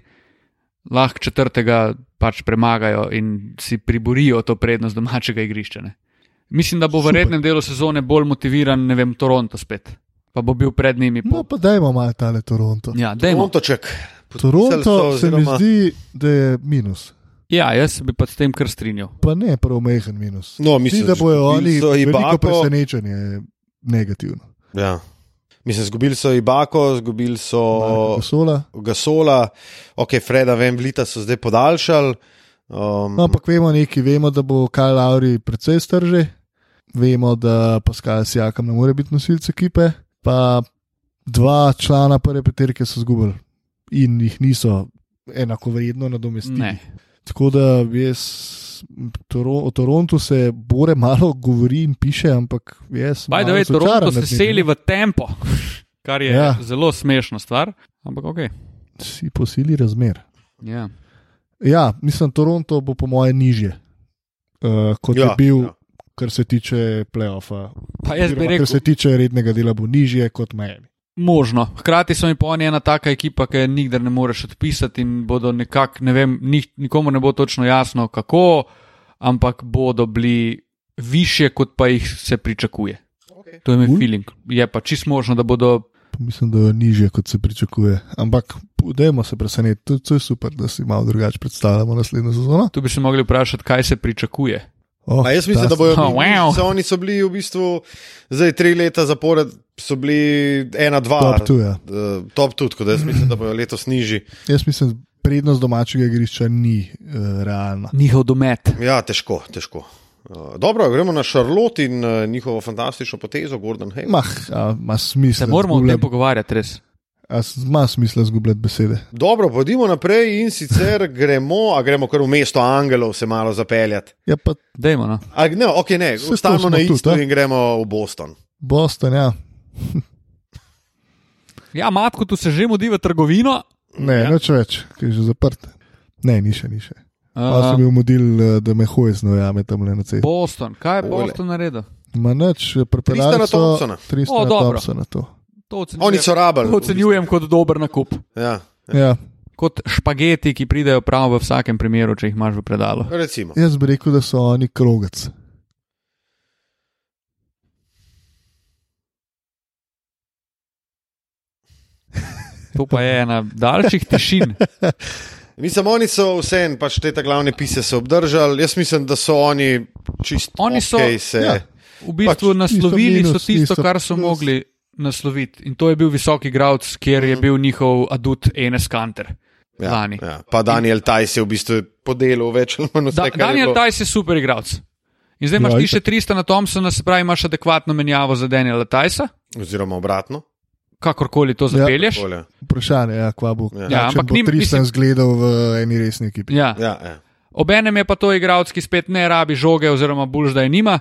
C: lahko četrtega pač premagajo in si priborijo to prednost domačega igrišča. Ne. Mislim, da bo v
B: Super.
C: rednem delu sezone bolj motiviran, ne vem, Toronto spet, pa bo bil pred njimi.
B: No, pa dajmo malo tale Toronto.
C: Ja, dajmo.
A: Montoček.
B: Toronto se mi zdi, da je minus.
C: ja, jaz bi pa s tem kar strinjal.
B: Pa ne prav mehen minus.
A: No,
B: Mislim,
A: mislim,
B: Zdi, da bojo oni
A: so
B: veliko
A: Ibako.
B: presenečenje negativno.
A: Ja. Mislim, izgubili so Ibako, izgubili so
B: Marko Gasola.
A: Gasola, ok, Freda, vem, Vlita so zdaj podaljšali. Um,
B: No, ampak vemo nekaj, vemo, da bo Kyle Lauri precej strže, vemo, da Pascal Sijakam ne more biti nosilce ekipe, pa dva člana prve peterke so izgubili in jih niso enako vredno nadomestili.
C: Ne.
B: Tako da jaz toro, o Torontu se bore malo govori in piše, ampak jaz.
C: Baj, da
B: malo
C: ve,
B: razočaran
C: Toronto
B: nad
C: se
B: njimi.
C: seli v tempo, kar je
B: Ja.
C: ja. zelo smešna stvar, ampak ok.
B: Si posili razmer.
C: Ja.
B: Ja, mislim, Toronto bo po moje nižje, uh, kot ja, je
A: Ja,
B: bil, ja.
A: ja.
B: kar se tiče playoffa.
C: Pa jaz bi
B: Oziroma,
C: rekel,
B: Kar se tiče rednega dela, bo nižje kot Miami.
C: Možno. Hkrati so mi pa oni ena taka ekipa, ki je nikdar ne moreš odpisati in bodo nekako, ne vem, nih, nikomu ne bo točno jasno kako, ampak bodo bili više, kot pa jih se pričakuje. Okay. To je mi
B: Cool.
C: feeling. Je pa čist možno, da bodo.
B: Pa Mislim, da je nižje, kot se pričakuje. Ampak dajmo se presenetiti, to, to je super, da si malo drugače predstavljamo naslednjo sezono.
C: Tu bi se mogli vprašati, kaj se pričakuje.
B: Oh,
A: Pa jaz mislim, da
B: krasno.
A: bojo.
C: Oh, wow.
A: so, oni so bili v bistvu zdaj tri leta zapored, so bili ena, dva.
B: Top two, ja.
A: Eh, top tudi, tako da jaz mislim, da bojo letos nižji.
B: Jaz mislim, prednost domačega igrišča ni uh, realna.
C: Njihov domet.
A: Ja, težko, težko. Eh, Dobro, gremo na Charlotte in eh, njogovo fantastično potezo, Gordon Hayes.
B: Mah, a ima smisel.
C: Se moramo o tem
B: zgubljati-
C: pogovarjati, res.
B: a s- Ima smisel zgubljati besede.
A: Dobro, pojdimo naprej in sicer gremo, a gremo kar v mesto Angelov se malo zapeljati.
B: Ja, pa
C: Dajmo, no.
A: A, ne, ok, ne,
B: Saj to
A: ostanemo
B: smo
A: na
B: tudi,
A: isto
B: a?
A: in gremo v Boston.
B: Boston, ja.
C: Ja, matko, tu se že mudi v trgovino.
B: Ne,
A: Ja.
B: ja. noč več, ki je že zaprt. Ne, ni še, ni še. Pa
C: Aha.
B: sem bil modil, da me hoje znojame tam le na cesti.
C: Boston, kaj
A: Ole.
C: je Boston naredil?
B: Ma nič, prepeljal
A: Tristana
B: so
A: Thompsona.
C: O,
B: 300
C: dobro.
B: Thompsona to.
C: To ocenjujem,
A: Oni so rabali.
C: to ocenjujem kot dober nakup.
A: Ja,
B: Ja,
C: kot špageti, ki pridejo prav v vsakem primeru, če jih imaš v predalu.
A: recimo.
B: jaz bi rekel, da so oni krogec.
C: To pa je ena daljših tišin.
A: Mislim, oni so vse en, pač te ta glavne pise so obdržali. Jaz mislim, da so oni čisto.
C: Oni so-
A: Okay se,
B: Ja.
A: ja.
C: V bistvu
B: Pač,
C: naslovili
B: niso
C: so
B: minus,
C: tisto,
B: niso
C: kar so
B: plus.
C: mogli nasloviti. In to je bil visok igralec, kjer je bil njihov adut Enes Kanter.
A: Ja,
C: Lani.
A: ja. Pa Daniel Tajs je v bistvu podelil več ali manj vse,
C: Da,
A: kar je bilo.
C: Daniel Tajs je super igralec. In zdaj imaš
B: Ja,
C: ti še
B: itak.
C: 300 na Thompsona, se pravi, imaš adekvatno menjavo za Daniela Tajsa,
A: Oziroma obratno.
C: kakorkoli to
B: Ja.
C: zapelješ.
A: Bolje.
B: Vprašanje je, ja, kva bo.
A: Ja.
C: Ja, ampak njim,
B: Tristan
C: mislim-
B: zgledal v eni resni ekipi.
C: Ja.
A: Ja, ja.
C: Obenem je pa to igralec, ki spet ne rabi žoge, oziroma bulž, da je nima,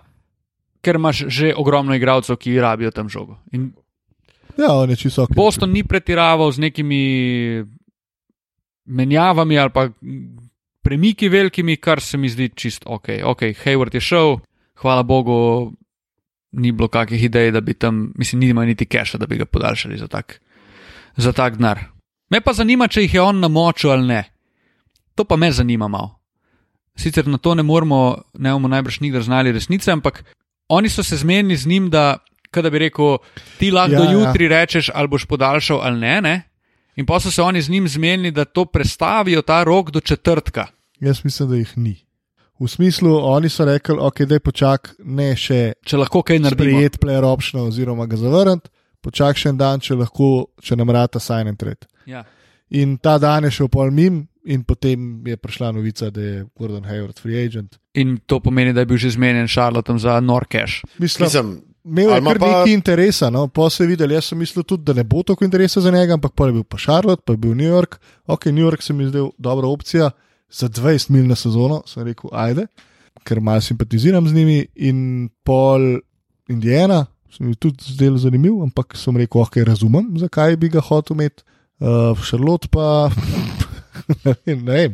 C: ker imaš že ogromno igralcev, ki rabijo tam žogo. In
B: Ja, on je čisto ok.
C: Boston ni pretiraval z nekimi menjavami ali pa premiki velikimi, kar se mi zdi čist ok. Ok, Hayward je šel, hvala Bogu, ni bilo kakih idej, da bi tam, mislim, nima niti keša, da bi ga podaljšali za tak, za tak denar. Me pa zanima, če jih je on namočil ali ne. To pa me zanima malo. Sicer na to ne moremo, ne bomo najbrž nikdar znali resnice, ampak oni so se zmenili z njim, da kada bi rekel, ti lahko
B: Ja,
C: ja,
B: ja.
C: jutri ja. rečeš, ali boš podaljšal ali ne, ne. In pa so se oni z njim zmenili, da to prestavijo ta rok do četrtka.
B: Jaz mislim, da jih ni. V smislu, oni so rekli, ok, daj počak, ne še
C: Če lahko kaj naredimo.
B: prijet player option oziroma ga zavrniti, počak še en dan, če lahko, če nam rata sign and trade.
C: Ja.
B: In ta dan je šel pol mim, in potem je prišla novica, da je Gordon Hayward free agent.
C: In to pomeni, da je bil že zmenjen Šarlotom za Norcash.
B: Mislim, Mislim
A: Mislim,
B: imel je
A: ali ima
B: kar
A: pa-
B: pa... nekaj interesa, no, pa se je videl, jaz sem mislil tudi, da ne bo toliko interesa za njega, ampak pa je bil pa Charlotte, pa je bil New York. Ok, New York se mi je zdel dobra opcija za 20 mil na sezono, sem rekel, ajde, ker malo simpatiziram z njimi in pol Indiana. Se mi je tudi zdelo zanimiv, ampak sem rekel, ok, razumem, zakaj bi ga hotel imeti. Uh, Charlotte pa ne vem, ne vem.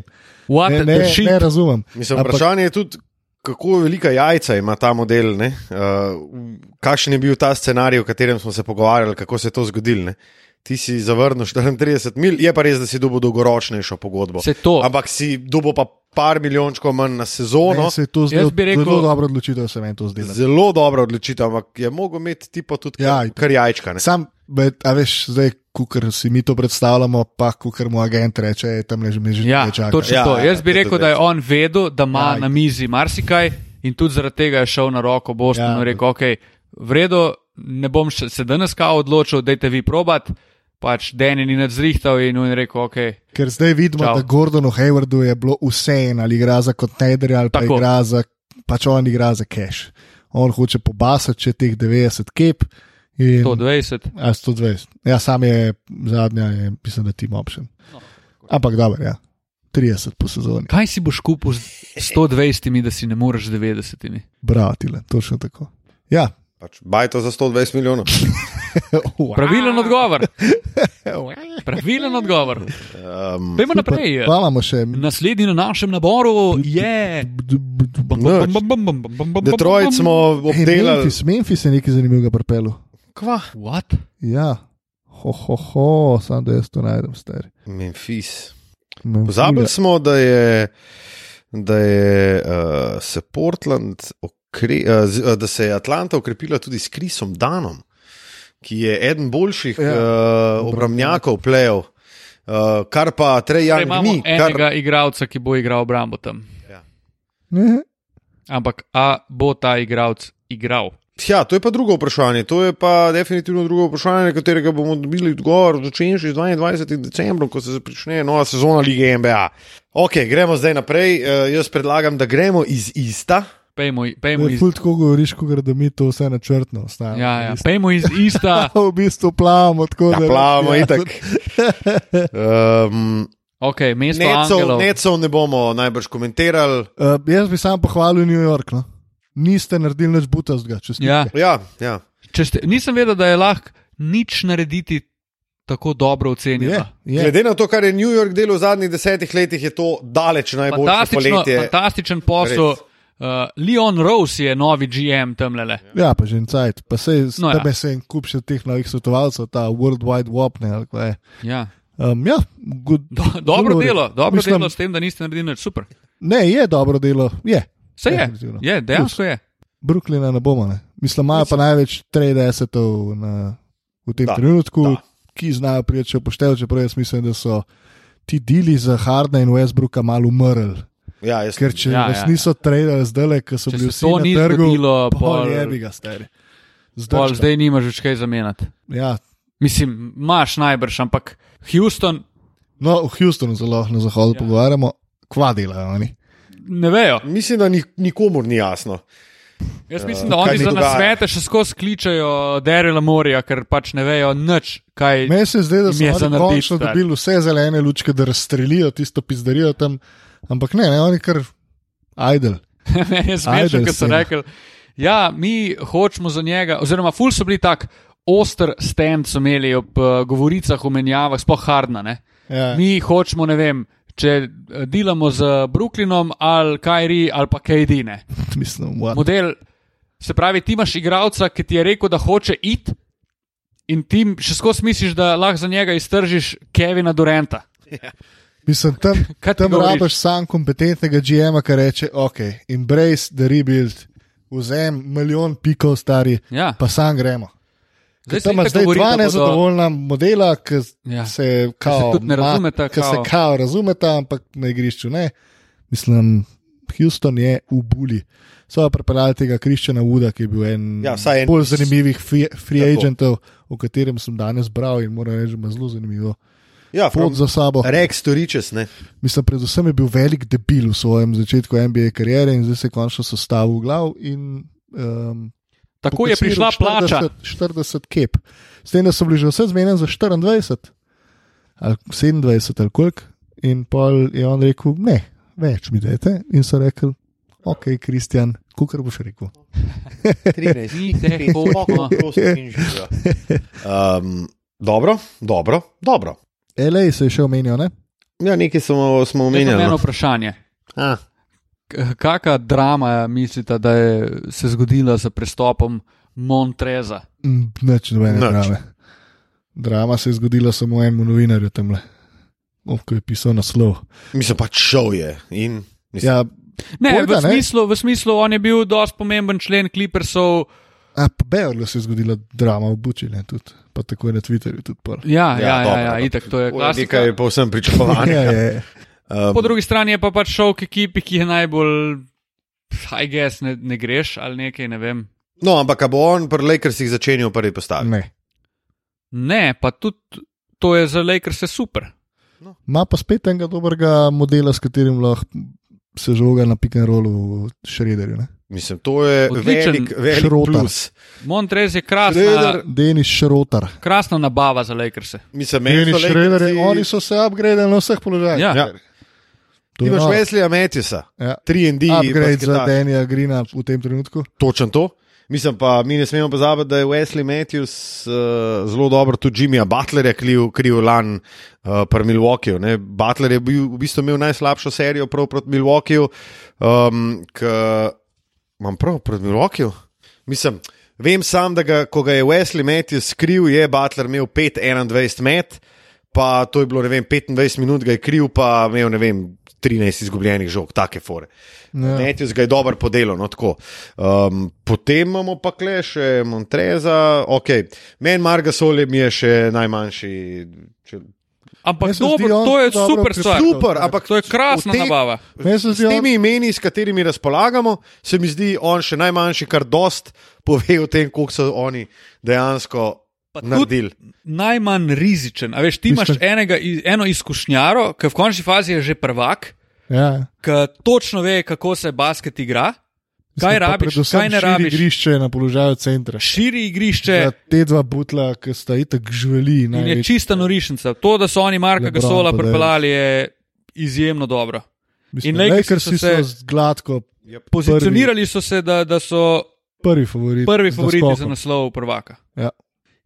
C: What
B: Ne,
C: the
B: ne,
C: shit?
B: ne razumem.
A: mislim
B: Ampak-
A: vprašanje je tudi, kako velika jajca ima ta model, ne? uh, kakšen je bil ta scenarij, o katerem smo se pogovarjali, kako se je to zgodilo. ne. Ti si zavrnil 34 mil, je pa res, da si dobil dolgoročnejšo pogodbo.
C: Vse to.
A: Ampak si dobil pa par milijončkov manj na
B: Ne,
A: sezono.
B: se je to zdelo,
C: bi rekel-
B: zelo dobra odločitev, se meni to zdelo.
A: Zelo dobra odločitev, ampak je mogel imeti ti pa tudi
B: Ja,
A: kar, kar jajčka. Ne?
B: Sam, bet, a veš, zdaj, kar si mi to predstavljamo, pa kar mu agent reče, je tam leži že
C: Ja,
B: nekaj časa.
C: točno
A: Ja,
C: ja, to.
A: ja,
C: Jaz bi
A: to je
C: rekel,
A: tudi
C: da je
A: res.
C: on vedel, da ima
B: Ja.
C: ja, na mizi marsikaj in tudi zaradi tega je šel na roko Bostonu
B: Ja.
C: ja, in rekel: OK, vredno, ne bom še- se danes kao odločil, dajte vi probat. Pač Deni ni nič zrihtal in on je rekel: OK,
B: Ker zdaj vidimo, Čau.
C: Čau.
B: da Gordonu Haywardu je bilo vseeno, ali igra za kontejnerje ali pa
C: Tako.
B: igra za, pač on igra za cash. On hoče pobasati še teh 90 kep. In,
C: 120.
B: a, 120. Ja, sam je zadnja, je, mislim, da team option. No, Ampak dobro, ja. 30 po sezoni.
C: Kaj si boš kupil s 120, da si ne moreš z 90?
B: Bravo, tile, točno tako. Ja,
A: Pač, baj to za 120 milijonov.
C: Pravilen odgovor. Pravilen odgovor.
A: Um,
C: Pejmo naprej.
B: imamo še.
C: Naslednji na našem naboru je.
A: Nič. Detroit smo
B: Hey,
A: obdelali.
B: Memphis, Memphis je nekaj zanimivega pripeljal.
A: Kva?
C: What?
B: Ja, ho, ho, ho, samo da jaz to najdem, stari.
A: Memphis.
B: Me
A: Pozabili
B: fule.
A: smo, da je, da je uh, se Portland, okre, uh, z, uh, da se je Atlanta okrepila tudi s Krisom Danom, ki je eden boljših
B: Ja.
A: ja. uh, obramnjakov plejev, uh, kar pa
C: Torej,
A: Trejani
C: imamo
A: ni. Kar,
C: enega igralca, ki bo igral obrambo tam.
B: Ne,
C: Ampak a bo ta igralec igral?
A: ja, to je pa drugo vprašanje. To je pa definitivno drugo vprašanje, na katerega bomo dobili odgovor začenši z 22. decembrom, ko se začne nova sezona lige NBA. Ok, gremo zdaj naprej. Uh, jaz predlagam, da gremo iz ista.
C: Pejmo, i- pejmo
B: ne,
C: iz,
B: ful tako govoriš, kot da mi to vse načrtno ostaja.
C: ja, ja, pejmo iz ista.
B: V bistvu plavamo tako,
A: Ja,
B: da
A: plavamo
B: ja, Ehm,
A: itak. Um,
C: Okay, mesto
A: Necov,
C: Angelov.
A: necov ne bomo najbrž komentirali.
B: Uh, jaz bi sam pohvalil New York. No. Niste naredili nič butastega, če ste.
C: Ja,
A: Ja, ja.
C: če ste, nisem vedel, da je lahko nič narediti tako dobro
B: je,
C: ocenjeno.
B: je.
A: Glede na to, kar je New York delal v zadnjih desetih letih, je to daleč najboljše
C: Fantastično,
A: poletje.
C: fantastičen posel.
A: Res.
C: Uh, Leon Rose je novi GM tamle.
B: Ja, pa že en cajt, pa se
C: No,
B: no,
C: ja.
B: tebe ja. se en kup še teh novih svetovalcev, ta World Wide Web. Ne, ali kaj je.
C: Ja.
B: um, ja, good,
C: Do, dobro
B: govori.
C: delo, dobro Mislim,
B: Mislim-
C: delo s tem, da niste naredili nič super.
B: Ne, je dobro delo. Je.
C: Vse je,
B: Definitivno.
C: je dejansko je.
B: Brooklyna ne bomo. Ne. Mislim, imajo pa največ 30 na, v tem
A: Da,
B: da, trenutku,
A: da.
B: da. ki znajo priti še poštev, čeprav jaz mislim, da so ti deli za Hardna in Westbrooka malo umrl.
A: Ja, jaz,
B: Ker če
C: Ja,
B: ja,
C: ja,
B: nas
C: ja.
B: ja, niso trajali zdaj, le, ker so
C: Če
B: bili
C: se
B: vsi
C: to
B: na
C: ni
B: trgu,
C: zgodilo, pol-
B: je bi ga stari.
C: Pol, zdaj nimaš več kaj zamenjati.
B: Ja.
C: Mislim, imaš najbrž, ampak Houston
B: No, v Houstonu zelo na zahodu ja. pogovarjamo, kva delajo oni.
C: ne vejo.
A: mislim, da ni, nikomur ni jasno.
B: Ja.
C: Jaz mislim,
A: Kaj
C: da oni
A: se
C: za
A: dogaja?
C: nasvete še skozi kličajo Derela Morja, ker pač ne vejo nič, kaj
B: Meni se zdi, da
C: Jim je
B: so
C: za
B: oni
C: narediti,
B: končno
C: stari.
B: dobili vse zelene lučke, da razstrelijo tisto pizdarijo tam, ampak ne, ne oni kar idle.
C: Meni je smešno,
B: Ajde,
C: ker so
B: sin.
C: rekli, ja, mi hočemo za njega, oziroma ful so bili tak oster stand, so imeli ob uh, govoricah o menjavah, sploh hardna. Ne?
B: Ja.
C: Mi hočemo, ne vem, če eh, delamo z Brooklynom ali Kairi ali pa Kajdine.
B: Mislim, what?
C: Model, se pravi, ti imaš igralca, ki ti je rekel, da hoče iti. In ti še skozi misliš, da lahko za njega iztržiš Kevina Durenta.
B: Mislim, tam,
C: Kaj ti
B: tam
C: govoriš?
B: rabiš sam kompetentnega GM-a, ki reče: OK, embrace the rebuild, vzem milijon pikov stari,
C: Ja.
B: pa sam gremo. Ker
C: se
B: Tam ima
C: itak
B: zdaj
C: govori, da
B: dva
C: bodo-
B: nezadovoljna modela, ki
C: Ja.
B: ja. se, kao,
C: tudi ne
B: ma-
C: razumeta,
B: ki se
C: kao.
B: kao razumeta, ampak na igrišču ne. Mislim, Houston je v buli. So pa prepeljali tega Kriščana Uda, ki je bil en
A: Ja, vsaj en-
B: bolj zanimivih free, free
A: Tako.
B: agentov, o katerem sem danes bral in moram reči, da ima zelo zanimivo
A: Ja,
B: pot za sabo.
A: Rek storičes, ne.
B: Mislim, predvsem je bil velik debil v svojem začetku NBA kariere in zdaj se je končno sestavil v glav. In, um,
C: Tako je prišla plača.
B: 40 kep. S tem, da so bili že vse zmenjeni za 24 ali 27 ali koliko. In pol je on rekel, ne, več mi dajte. In so rekli, ok, Kristjan, kukar boš rekel.
A: 13.
C: Ni teh hodno.
A: Um, dobro, dobro, dobro.
B: L.A. se je še omenil, ne?
A: Ja, nekaj smo, smo
C: Imam
A: omenjali.
C: eno
A: no.
C: vprašanje.
A: A,
C: kakšna drama mislite, da je se zgodila z prestopom Montreza?
B: Mm, Nič nobene
A: Nič.
B: drame. Drama se je zgodila samo enemu novinarju tam le. Ko je pisal naslov.
A: Mislim, pač šel je. In, mislim,
B: Ja,
C: Ne,
B: Pojda,
C: v
B: ne.
C: smislu, v smislu, on je bil dosti pomemben člen Clippersov.
B: a pa Beorlu se je zgodila drama v Bučine, tudi, pa tako je na Twitterju tudi pol.
C: Ja, ja, ja, ja,
A: dobro,
C: ja
A: dobro.
C: itak to je
A: To je
C: klasika.
A: nekaj povsem
B: Ja,
A: pričakovanega. Eh,
B: ja, ja.
C: Po drugi strani je pa pač šel k ekipi, ki je najbolj, haj gess, ne, ne greš ali nekaj, ne vem.
A: No, ampak a bo on pri Lakersih začenil v prvi postavi.
B: Ne.
C: Ne, pa tudi to je za Lakers super.
B: Ima pa spet enega dobrega modela, s katerim lahko se žoga na pick and rollu v Šrederju. ne.
A: Mislim, to je
C: Odličen
A: velik, velik
B: šrotar.
A: plus.
C: Montrez je krasna,
A: Schroeder-
B: Denis Šrotar.
C: krasna nabava za Lakers.
A: Mislim, meni
B: Denis
A: so
B: Šreder,
A: Lakersi-
B: oni so se upgradili na vseh položajih.
C: Ja.
A: Ja.
B: To
A: Ti
B: je
A: imaš
B: noro.
A: Wesleyja Matisa,
B: Ja.
A: 3D,
B: Upgrade za Denija Grina v tem trenutku.
A: Točen to. Mislim pa, mi ne smemo pozabiti, da je Wesley Matthews uh, zelo dobro tudi Jimmyja Butlerja kriv, kriv lani uh, pri Milwaukeeju. ne. Butler je bil, v bistvu imel najslabšo serijo prav proti Milwaukeeju. Um, k, imam prav proti Milwaukeeju? Mislim. Vem sam, da ga, ko ga je Wesley Matthews skril, je Butler imel 5-21 met, pa to je bilo ne vem, 25 minut ga je kriv, pa imel ne vem, 13 izgubljenih žog, take fore.
B: Ja.
A: Matthews ga je dobro podelil. No, tako. um, potem imamo pa kle še Montreza, ok. Meni Marga Solje mi je še najmanjši. Če,
C: Ampak
B: Meni se zdi
C: dobro,
B: on
C: to je
B: dobro
C: super
B: pri-
C: stvar.
A: super, ampak
C: To je krasna
A: v teh-
C: nabava.
B: Meni se
A: S
B: zdi on-
A: temi imeni, s katerimi razpolagamo, se mi zdi on še najmanjši, kar dost pove o tem, koliko so oni dejansko
C: Pa tudi-
A: naredili.
C: Najmanj rizičen. A veš, ti imaš
B: Mislim-
C: enega, iz- eno izkušnjaro, ki v končni fazi je že prvak,
B: Ja.
C: ki točno ve, kako se basket igra, kaj
B: Mislim, pa
C: rabiš,
B: predvsem
C: kaj ne
B: širi
C: rabiš.
B: Igrišče na položaju centra.
C: Širi igrišče,
B: Za te dva butla, ki sta itak žveli.
C: In je
B: največ.
C: čista norišnica. To, da so oni Marka
B: Lebron
C: Gasola
B: pa Davis.
C: pripeljali, je izjemno dobro.
B: Mislim,
C: in Lakersi so
B: Lakersi
C: se-
B: so z gladko
C: Ja. Pozicionirali so se, da, da so
B: prvi favoriti.
C: prvi
B: z
C: favoriti za
B: naskokom.
C: naslov prvaka.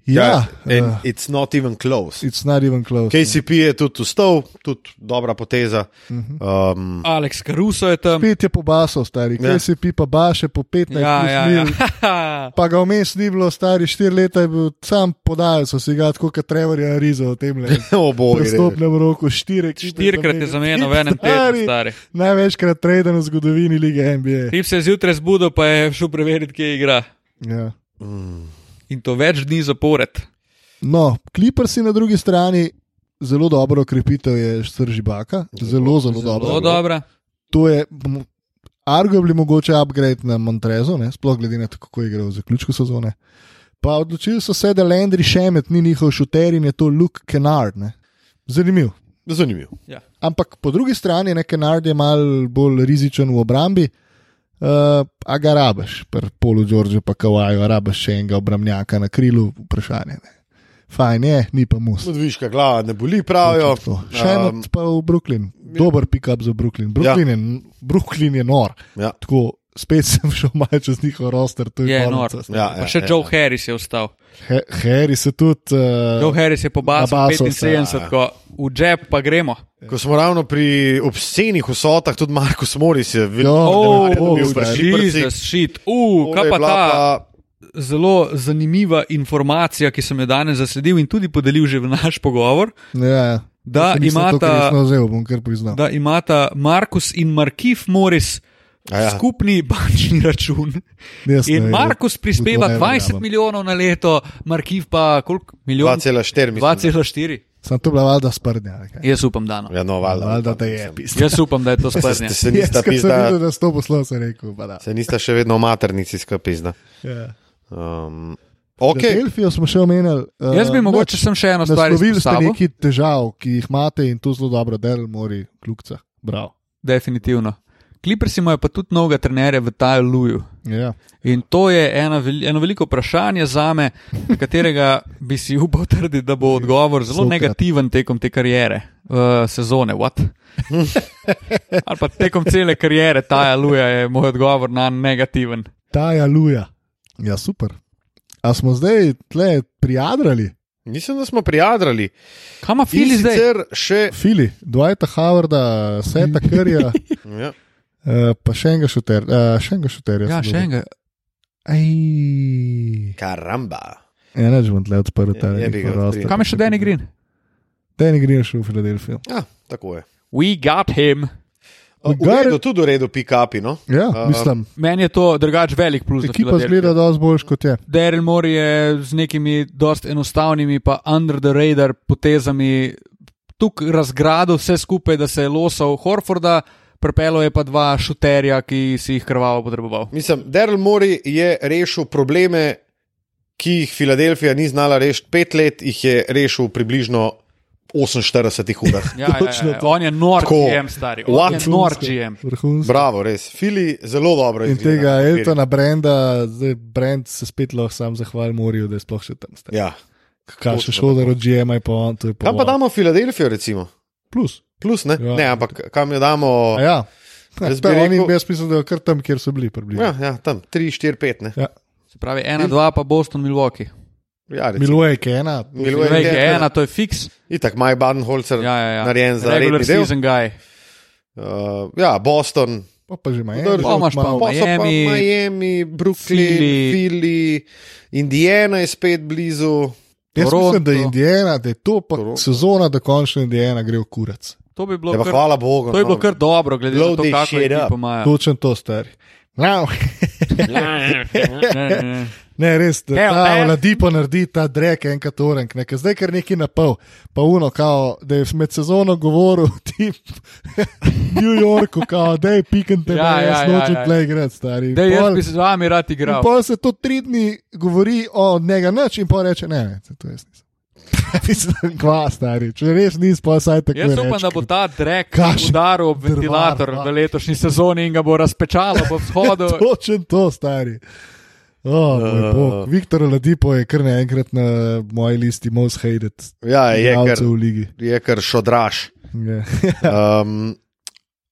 B: Ja,
A: and
B: ja
A: it's not even close.
B: it's not even close.
A: KCP je tudi vstal, tudi dobra poteza.
B: Mhm.
A: Um,
C: Aleks Karuso je tam.
B: Spet je pobasal, stari.
A: Ja.
B: Kaj si pi pa baše po 15
C: Ja, ja,
B: mil.
C: ja.
B: Pa ga vmes ni bilo, stari 4 leta je bil sam podajal, so si ga tako kot Trevor je narizal v tem letu.
A: o boju.
B: V stopnem roku 4 krat.
C: Štirikrat je zamenjal v enem tednu, stari.
B: Največkrat treden v zgodovini lige NBA.
C: Tip se je zjutraj zbudil, pa je šel preveriti, kje igra.
B: Ja.
A: Mm.
C: In to več dni zapored.
B: No, Clippers na drugi strani zelo dobro okrepitev je Sržibaka, zelo,
C: Zelo
B: zelo dobro.
C: dobro.
B: To je m- arguably mogoče upgrade na Montrezu, ne, sploh glede na to, kako je igral v zaključku sezone. Pa odločili so se, da Landry Šemet ni njihov šuter in je to Luke Kennard. Ne. Zanimiv.
A: Zanimivo.
B: Ampak po drugi strani je Kennard je mal bolj rizičen v obrambi, uh, a ga rabaš, pri polu Džordžu pa kavaju, a rabaš še enega obramnjaka na krilu, vprašanje. Ne. Fajn je, ni pa mus.
A: Ludviška glava ne boli, pravijo.
B: To. Še eno
A: ja. Um,
B: pa v Brooklyn, dober pick-up za Brooklyn. Brooklyn, ja. je, Brooklyn je nor.
A: Ja.
B: Tako, spet sem šel malo čez njihov roster, to je,
C: Je
B: je
C: nor.
B: nor.
A: Ja,
C: Pa še Joe Harris je ostal.
B: Harry se tudi.
C: Joe
B: Uh,
C: Harris je pobasal
B: Nabasal se,
C: 75, ko v žep pa gremo.
A: Ko smo ravno pri obscenih vsotah, tudi Marko Moris je
B: Jo,
A: veliko
C: Oh,
B: denarja dobil
A: v
B: zdaj.
A: Brži
C: Jesus, shit. Uh,
A: Torej,
C: kaj pa ta? zelo zanimiva informacija, ki sem jo danes zasledil in tudi podelil že v naš pogovor,
B: ja, ja.
C: Da
B: Se nisem
C: imata-
B: tako resno vzel, bom kar priznal.
C: da imata Markus in Markif Morris
A: A ja.
C: skupni bančni račun.
B: Jaz ne
C: In
B: vem,
C: Markus
B: v to
C: prispeva
B: ne verjamem.
C: 20 milijonov na leto, Markif pa koliko milijonov?
A: 2,4 milijona.
C: 2,4.
B: Sam to bila valjda sprnja. ali kaj?
C: Jaz upam, da no.
A: Ja, no, valjda.
B: Valjda te je pisal.
C: Jaz upam, da je
B: Ja,
C: to
A: Se,
C: sprnja.
A: se,
B: Jaz,
A: nista
B: ko sem videl,
A: pizda,
B: da sto poslov, sem rekel, pa da.
A: se nista še vedno v maternici skupizda.
B: Ja.
A: Um,
B: Okay.
A: okay.
B: Delfijo smo še omenjali. Uh,
C: Jaz bi mogoče sem še eno stvar
B: Naslovili ste
C: izpostavil.
B: nekaj težav, ki jih imate in to zelo dobro, Daryl Mori, kljukca. Bravo.
C: Definitivno. Kliprsi imajo pa tudi novega trenerja v Taju Luju.
B: Ja.
C: In to je ena, vel- eno veliko vprašanje za me, na katerega bi si upal trditi, da bo odgovor zelo
B: Sokrat.
C: negativen tekom te karijere, uh, sezone. what? Ali pa tekom cele karijere, ta aluja je moj odgovor na negativen.
B: Ta je aluja. Ja, super. A smo zdaj tle prijadrali,
A: Mislim, da smo prijadrali.
C: Kaj ima Fili
A: In
C: zdaj?
A: sicer še.
B: Fili, Dwighta Howarda, Seta Curryja,
A: Ja.
B: eh, Uh, pa še enega šuter, uh, še enega šuterja.
C: Ja,
B: sem
C: še
B: dobil.
C: enega.
B: Aj,
A: Karamba.
B: ena Ja, že bom tle odprl ta
A: Ja, Je- je bi ga odprl.
C: Kam je še Danny Green?
B: Danny Green je šel v Filadelfijo.
A: Ja, tako je.
C: We got him.
A: Uh, V
B: Gar-
A: redu, tudi v redu, pikapi. No?
B: Ja,
A: A-
B: mislim,
C: Meni je to drugač velik plus. za
B: ekipa
C: Philadelphia.
B: zgleda dosti boljš kot je.
C: Daryl Moore je z nekimi dosti enostavnimi, pa under the radar potezami tukaj razgradil vse skupaj, da se je losal Horforda, prepelo je pa dva šuterja, ki si jih krvavo potreboval.
A: Mislim, Daryl Mori je rešil probleme, ki jih Filadelfija ni znala rešiti pet let, jih je rešil v približno 48 urah.
C: Ja, ja, ja,
B: Točno
C: ja.
B: to.
C: On je nor
A: Tako.
C: GM, stari. On je
A: What?
C: nor GM.
B: Vrhunsko.
A: Bravo, res. Fili zelo dobro
B: In
A: izgleda
B: tega
A: na papirju.
B: Eltona Brenda, zdaj Brend se spet lahko sam zahvali Morju, da je sploh še tam.
A: Ja.
B: Kaj
A: Točno
B: še šlo, da rođe, maj pa on, to je pa.
A: Kam pa
B: wow.
A: damo Filadelfijo, recimo?
B: plus.
A: Plus, ne? Ja.
B: Ja.
A: ne, ampak kam jo damo?
B: A Ja,
A: Jaz
B: jaz,
A: bi
B: ta, oni,
A: rekel-
B: jaz mislim, da je kar tam, kjer so bili. približno.
A: Ja, ja, tam 3, 4, 5. Ne?
B: Ja.
C: Se pravi, ena, dva, pa Boston, Milwaukee.
A: Ja, recimo.
B: Milwaukee je ena,
A: Milwaukee
C: Milwaukee je
A: ena.
C: ena, to je fiks.
A: Itak, Maj Badenholzer,
C: Ja, ja, ja.
A: narejen za
C: Regular
A: redni del.
C: season guy.
A: uh, ja, Boston,
B: pa, pa že ima
A: Podrži.
B: eno.
C: Pa imaš pa
A: Pa so pa
C: Miami.
A: Miami, Brooklyn,
C: Philly.
A: Philly, Indiana je spet blizu.
B: Jaz mislim, da je
C: Toronto.
B: Indiana, da je to pa
A: Toronto.
B: sezona, da končno Indiana gre v kurac.
C: To bi
A: Ja,
C: bilo,
A: pa,
C: kar,
A: hvala Bogu.
C: to je
A: no.
C: bilo kar dobro, glede na to,
A: Load this
C: kako
A: shit
C: je
A: up.
C: pomagal.
B: Točen to stari. No,
C: Ne,
B: ne, res, da
C: Hell,
B: ta
C: man.
B: vladi pa naredi ta drek enkrat orenk, nekaj zdaj kar neki na pol, pa uno, kao, da je med sezono govoril tip v New Yorku, kao, da je pikan tebe,
C: Ja,
B: ja,
C: ja,
B: jaz
C: ja,
B: nočem
C: ja.
B: tle igrati, stari.
C: ne. Jaz
B: Pol-
C: bi z vami rad igral.
B: In pa se to tri dni govori o njega noč, in pa reče: ne, ne, to jaz nisem. Mislim, kva stari, če res nisem, pa saj tako.
C: Jaz
B: reči,
C: upam, da bo
B: ker-
C: ta drek
B: Kaš-
C: udaril ob
B: drvar,
C: ventilator
B: pa.
C: v letošnji sezoni in ga bo razpečalo po vzhodu.
B: Točen to, stari. Oh,
A: Ja.
B: uh, Viktor Ladipo je kar naenkrat na moji listi most hated.
A: Ja, je kar,
B: igralcev v ligi.
A: je kar šodraž.
B: Ja.
A: Um,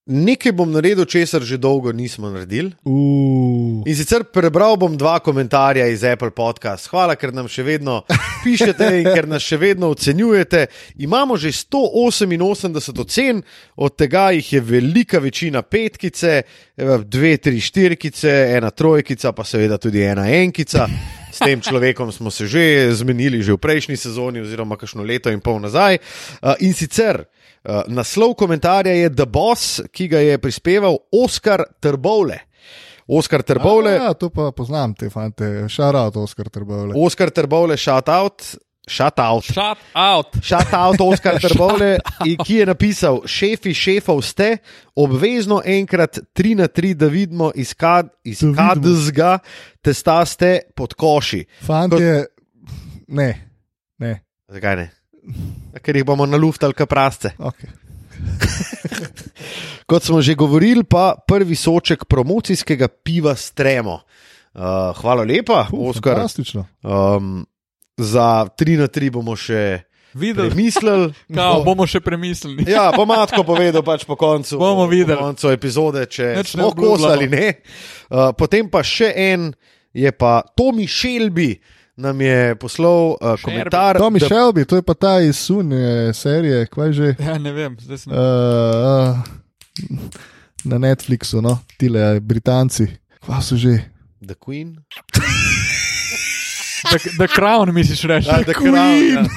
A: nekaj bom naredil, česar že dolgo nismo naredili.
B: Uh,
A: In sicer prebral bom dva komentarja iz Apple podcast. Hvala, ker nam še vedno pišete in ker nas še vedno ocenjujete. Imamo že 188 ocen, od tega jih je velika večina petkice, eh, dve, tri, štirkice, ena trojkica, pa seveda tudi ena enkica. S tem človekom smo se že zmenili že v prejšnji sezoni, oziroma kakšno leto in pol nazaj. Eh, In sicer eh, naslov komentarja je The Boss, ki ga je prispeval Oskar Trbole. Oskar Trbole,
B: Ja, to pa poznam te fante, šarat Oskar Trbole.
A: Oskar Trbole, shout out, shout out.
C: Shut out!
A: Šata avto Oskar Trbole, in ki je napisal: Šefi šefov ste, obvezno enkrat 3 na 3, da vidimo iz kad- iz
B: Da vidimo.
A: kadzga, testa ste pod koši.
B: Fant je, ne, ne,
A: Zakaj ne? Ker jih bomo naluftali, kot prasce.
B: ok.
A: Kot smo že govorili, pa prvi soček promocijskega piva stremo. Uh, hvala lepa,
B: Uh,
A: Oskar.
B: Fantastično.
A: Um, za 3 na 3 bomo še
C: Videli,
A: premislili.
C: kao, bomo še premislili.
A: Ja, bo matko povedal pač po koncu,
C: Bomo videli.
A: po koncu epizode, če
C: Nič ne
A: smo
C: obljubljamo.
A: kos ali ne. Uh, potem pa še en je pa Tomi Šelbi. Nam je poslal uh, komentar,
B: Tommy
A: da,
B: Shelby, to je pa ta iz Sunne serije, kaj že. eh,
C: Ja, ne vem, zdaj sem.
B: Uh, na Netflixu, no, tile Britanci, kva so že.
A: The Queen.
C: The, the Crown misliš reči.
A: Ja, the Queen.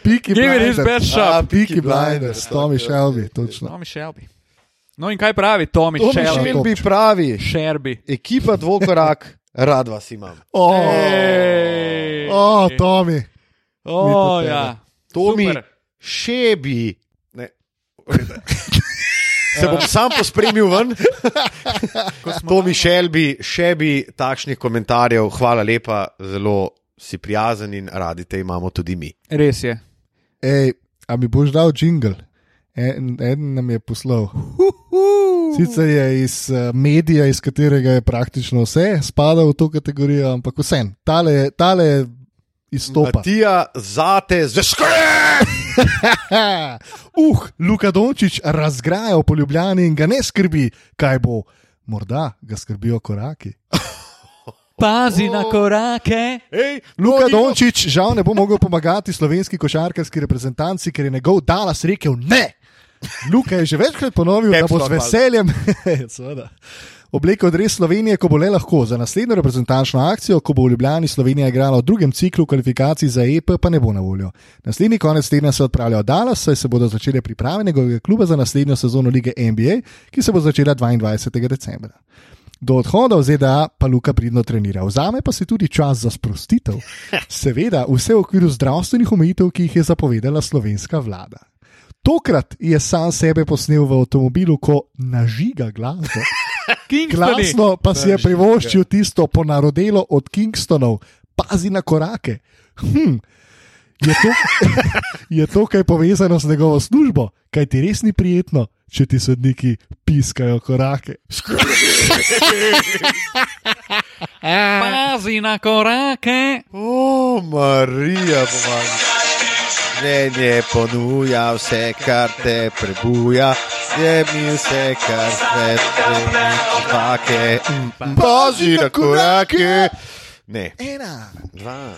B: Piki
C: Give it his best shot.
B: Ah, Piki Blinders, Tommy Shelby, točno.
C: Tommy Shelby. No in kaj pravi Tommy
A: Tomi
C: Shelby?
A: Šelbi pravi,
C: Shelby.
A: ekipa dvokorak, rad vas imam.
B: O,
C: Ej.
B: oh, Tommy,
C: O,
B: Mi pa
C: ja.
A: Tomi
C: Super.
A: Šebi. Ne. Se bom sam pospremil ven. Tomi Šelbi, še bi takšnih komentarjev, hvala lepa, zelo si prijazen in radi te imamo tudi mi.
C: Res je.
B: Ej, a mi boš dal jingle? En, en nam je poslal. Sicer je iz eh, medija, iz katerega je praktično vse, spada v to kategorijo, ampak vsem. Tale, je- tale je izstopa.
A: Matija, zate, zeskore!
B: Ha, uh, Luka Dončić razgraja po Ljubljani in ga ne skrbi, kaj bo. Morda ga skrbijo koraki.
C: Pazi oh. na korake.
A: Ej, no,
B: Luka
A: ni-
B: Dončić žal ne bo mogel pomagati slovenski košarkarski reprezentanci, ker je njegov Dalas rekel ne. Luka je že večkrat ponovil, da bo
A: Pep
B: z
A: talk,
B: veseljem seveda, oblekel dres Slovenije, ko bo le lahko. Za naslednjo reprezentančno akcijo, ko bo v Ljubljani Slovenija igrala v drugem ciklu kvalifikacij za EP, pa ne bo na voljo. Naslednji konec tedna se odpravlja v Dallas, saj se bodo začele priprave njegovega kluba za naslednjo sezono lige NBA, ki se bo začela 22. decembra. Do odhoda v ZDA pa Luka pridno trenira, vzame pa si tudi čas za sprostitev. Seveda, vse v okviru zdravstvenih omejitev, ki jih je zapovedala slovenska vlada. Tokrat je sam sebe posnel v avtomobilu, ko nažiga glasbo.
C: Kingston.
B: Glasno pa si je privoščil tisto ponarodelo od Kingstonov, pazi na korake. Hm. Je to, je to kaj povezano s njegovo službo, kaj ti res ni prijetno, če ti sodniki piskajo korake.
C: Pazi na korake.
A: O, Marija, pomaga. Mnenje ponuja vse, kar te prebuja, je mi vse, kar svet vsake. Pazi na korake. Ne,
B: Ena.
A: dva.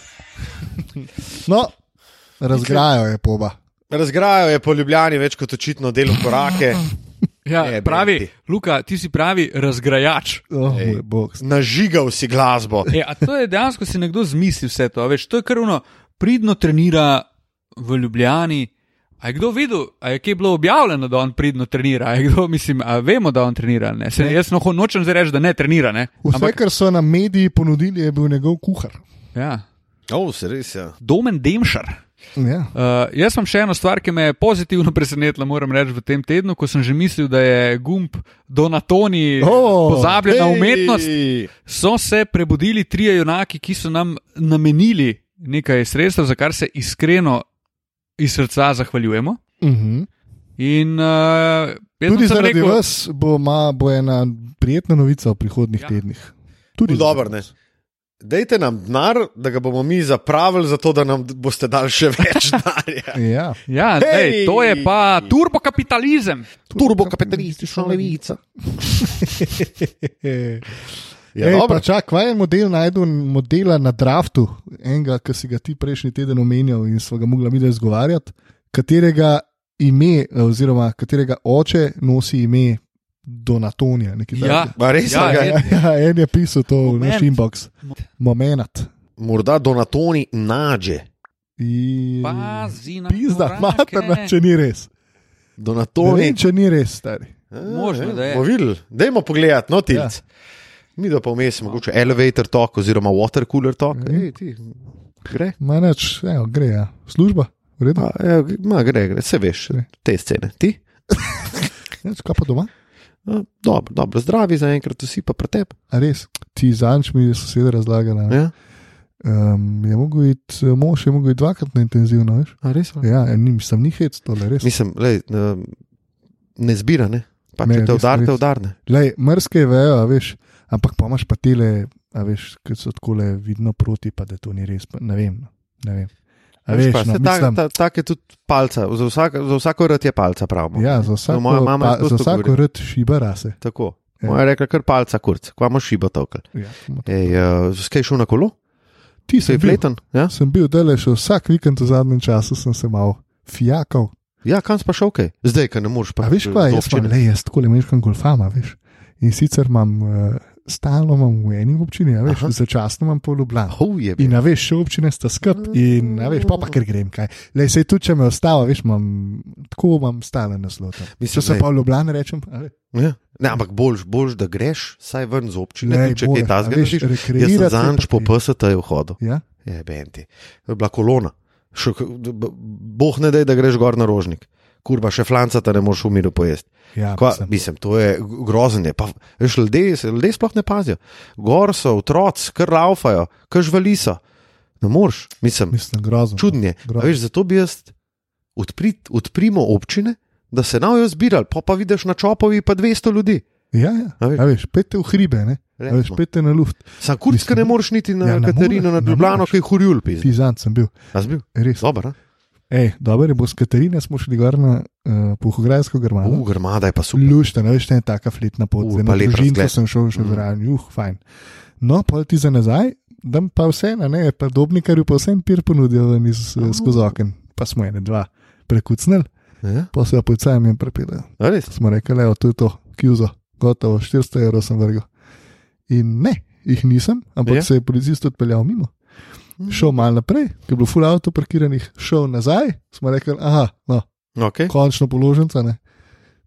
B: No, razgrajo je poba.
A: Razgrajo je po Ljubljani več kot očitno delo korake,
C: Ja,
A: Ne,
C: pravi,
A: Berti.
C: Luka, ti si pravi razgrajač.
B: Oh,
A: Ej.
B: moj bog.
A: nažigal si glasbo.
C: E, a to je dejansko si nekdo zmislil vse to. a Veš, to je krvno, pridno trenira v Ljubljani. A je kdo videl, a je kje bilo objavljeno, da on pridno trenira? A je kdo, mislim, a vemo, da on trenira? ali Ne? Se, jaz no, nočem zdaj reči, da ne trenira. Ne?
B: Vse, Ampak... kar so nam mediji ponudili, je bil njegov kuhar.
C: ja.
A: O, se res ja. je.
C: Domen Demšar.
B: Ja.
C: Uh, jaz imam še eno stvar, ki me je pozitivno presenetila, moram reči, v tem tednu, ko sem že mislil, da je gumb Donatoni
B: O,
C: oh, pozabljen na
A: Ej.
C: umetnost. So se prebudili trije junaki, ki so nam namenili nekaj sredstev, za kar se iskreno iz srca zahvaljujemo.
B: Uh -huh.
C: In uh, jaz sem samo
B: Tudi zaradi rekel...
C: rekel,
B: vas bo, ma, bo ena prijetna novica v prihodnih ja.
C: Ja.
B: tednih. Tudi
A: Ful No, dobro,
B: zaradi
A: ne.
B: vas.
A: Dajte nam denar, da ga bomo mi zapravili, zato da nam boste dali še več denarja.
B: Ja.
C: Ja,
A: Hej!
C: hey! dej, to je pa turbokapitalizem.
A: Turbokapitalistična levica. Ja,
B: Ej,
A: dobro.
B: pa čak, kaj je model najdel modela na draftu, enega, ki si ga ti prejšnji teden omenjal in smo ga mogli mi da izgovarjati, katerega ime eh, oziroma katerega oče nosi ime Donatonija. nekaj
C: Ja,
B: takega.
A: Ma res,
C: Ja,
A: a ga-
C: je-
B: ja, en je pisal to v naš
C: Moment.
B: inbox. Moment.
A: morda Donatoni nađe.
B: I...
C: Pazi na
B: Pizda,
C: korake.
B: materna, če ni res. To
A: Donatoni.
B: ni, če ni res, stari.
A: A,
C: Možno,
A: ja,
C: da je.
A: Bomo videli, dajmo pogledati, no ti.
B: Ja.
A: Ja. Mi da pa vmes, mogoče elevator tok oziroma water cooler tok.
B: Mhm.
A: Ej, ti, gre.
B: Manač, evo, gre, ja. služba, v redu.
A: Ma, evo, ma, gre, gre, se veš,
B: Gre.
A: te scene. Ti?
B: Nič, Kaj pa doma?
A: A, Dobro, dobro, zdravi za enkrat, vsi pa pretep.
B: A res, ti zanč mi je soseda razlagala.
A: Ja,
B: Um, je mogel iti, eh, mož je mogel iti dvakrat na intenzivno, veš?
A: a res? Ja.
B: Ja, ja, ni, sem ni hec, tole res.
A: Mislim, lej, ne, ne zbira, ne. Pa,
B: Ne,
A: če te
B: res,
A: udarite,
B: res.
A: udarne.
B: Lej, mrske vejo, a veš, ampak pa imaš pa tele, a veš, ki so tako le vidno proti, pa da to ni res, pa ne vem. no, Ne vem. A veš,
A: pa, saj
B: no, mislim,
A: tak, ta, tak je tudi palca, za, vsak, za vsako rad je palca, pravimo.
B: ja, za
A: No, moja
B: vsako,
A: mama je
B: pa,
A: skozi
B: za
A: to
B: vsako
A: govorila.
B: rd šiba rase.
A: Tako.
B: Ja.
A: Moja je rekla, kar palca, kurc, kva imaš šibo tokal.
B: Ja,
A: Ej, uh, skaj šel na kolo?
B: ti
A: Se
B: si
A: je pleten? Ja,
B: Sem bil dele še vsak vikend v zadnjem času, sem se mal fijakal.
A: ja kam si pa šel, kaj? Zdaj, ker ne moreš pa.
B: Pa veš kaj,
A: do
B: jaz imam
A: občine.
B: le, jaz tako le meškam golfama, veš. In sicer imam, uh, stalno imam v eni občini, a veš,
A: Aha.
B: začasno imam po Ljubljani.
A: Oh, je
B: In
A: bil.
B: na veš, še občine sta skrb, in na veš, pa, pa ker grem kaj. Le se tudi, če me ostava, veš, imam, tako imam stalen naslov. tam.
A: Mislim,
B: Če se
A: glej.
B: pa v Ljubljani rečem, a veš,
A: Ja. Ne, ampak boljš, boljš, da greš, saj ven z občine,
B: Glej,
A: tudi če
B: bolje,
A: kaj ta
B: a veš,
A: zgodiš. Jaz
B: rekreirati
A: sem
B: je
A: zanč
B: pa
A: po
B: ti.
A: PST-ju hodil.
B: ja,
A: Je, benti. To je bila kolona. Še, k- b- boh ne dej, da greš gor na rožnik. Kurba, še flanca ta ne moreš v miru pojesti.
B: ja,
A: Kva,
B: mislim.
A: mislim, to je grozenje. Pa, veš, ljudje, se- ljudje sploh ne pazijo. Gor so otroci, kar laufajo, kar žvali so. Ne moreš, mislim.
B: mislim, grozno.
A: čudnje.
B: Grozno.
A: Veš, zato bi jaz odprit, odprimo občine, da se najo zbirali, pa pa vidiš na čopovi pa 200 ljudi.
B: Ja, ja,
A: A veš. no.
B: a veš, pete v hribe, ne, a veš,
A: Recimo.
B: pete na luft.
A: Sam kurska
B: Mislim,
A: ne moreš niti na
B: ja,
A: ja,
B: ne
A: Katarino,
B: moreš,
A: na
B: ne
A: Ljubljano,
B: moreš.
A: ki je hurjul pizdi.
B: Ti zanj sem bil,
A: Jaz bil,
B: res.
A: dober,
B: Ej, dobro, je, bo s Katarina smo šli gor na uh, Puhograjsko grmado.
A: uf, grmada je pa super.
B: Luštno, veš, ne taka flitna pot,
A: U,
B: zdaj
A: pa
B: na
A: lep
B: družinko
A: razgled.
B: sem šel še
A: Mm.
B: zraven, juh, fajn. No, pol ti za nazaj, dam pa vse, a ne, pa dobnikarju pa vsem pir ponudijo ven iz, eh, skozi oken. Pa smo ene, dva prekucnili,
A: Ja,
B: pa se pa policajam in prepeljejo.
A: a res.
B: Smo rekli, evo, to je to, kjuzo, gotovo, 400 evrov sem vrgel. In ne, jih nisem, ampak
A: Ja.
B: je? se je policist odpeljal mimo.
A: Mhm.
B: Šel malo naprej, ker je bilo full avto parkiranih, šel nazaj, smo rekli, aha, no,
A: Okay.
B: končno položnica. Ne,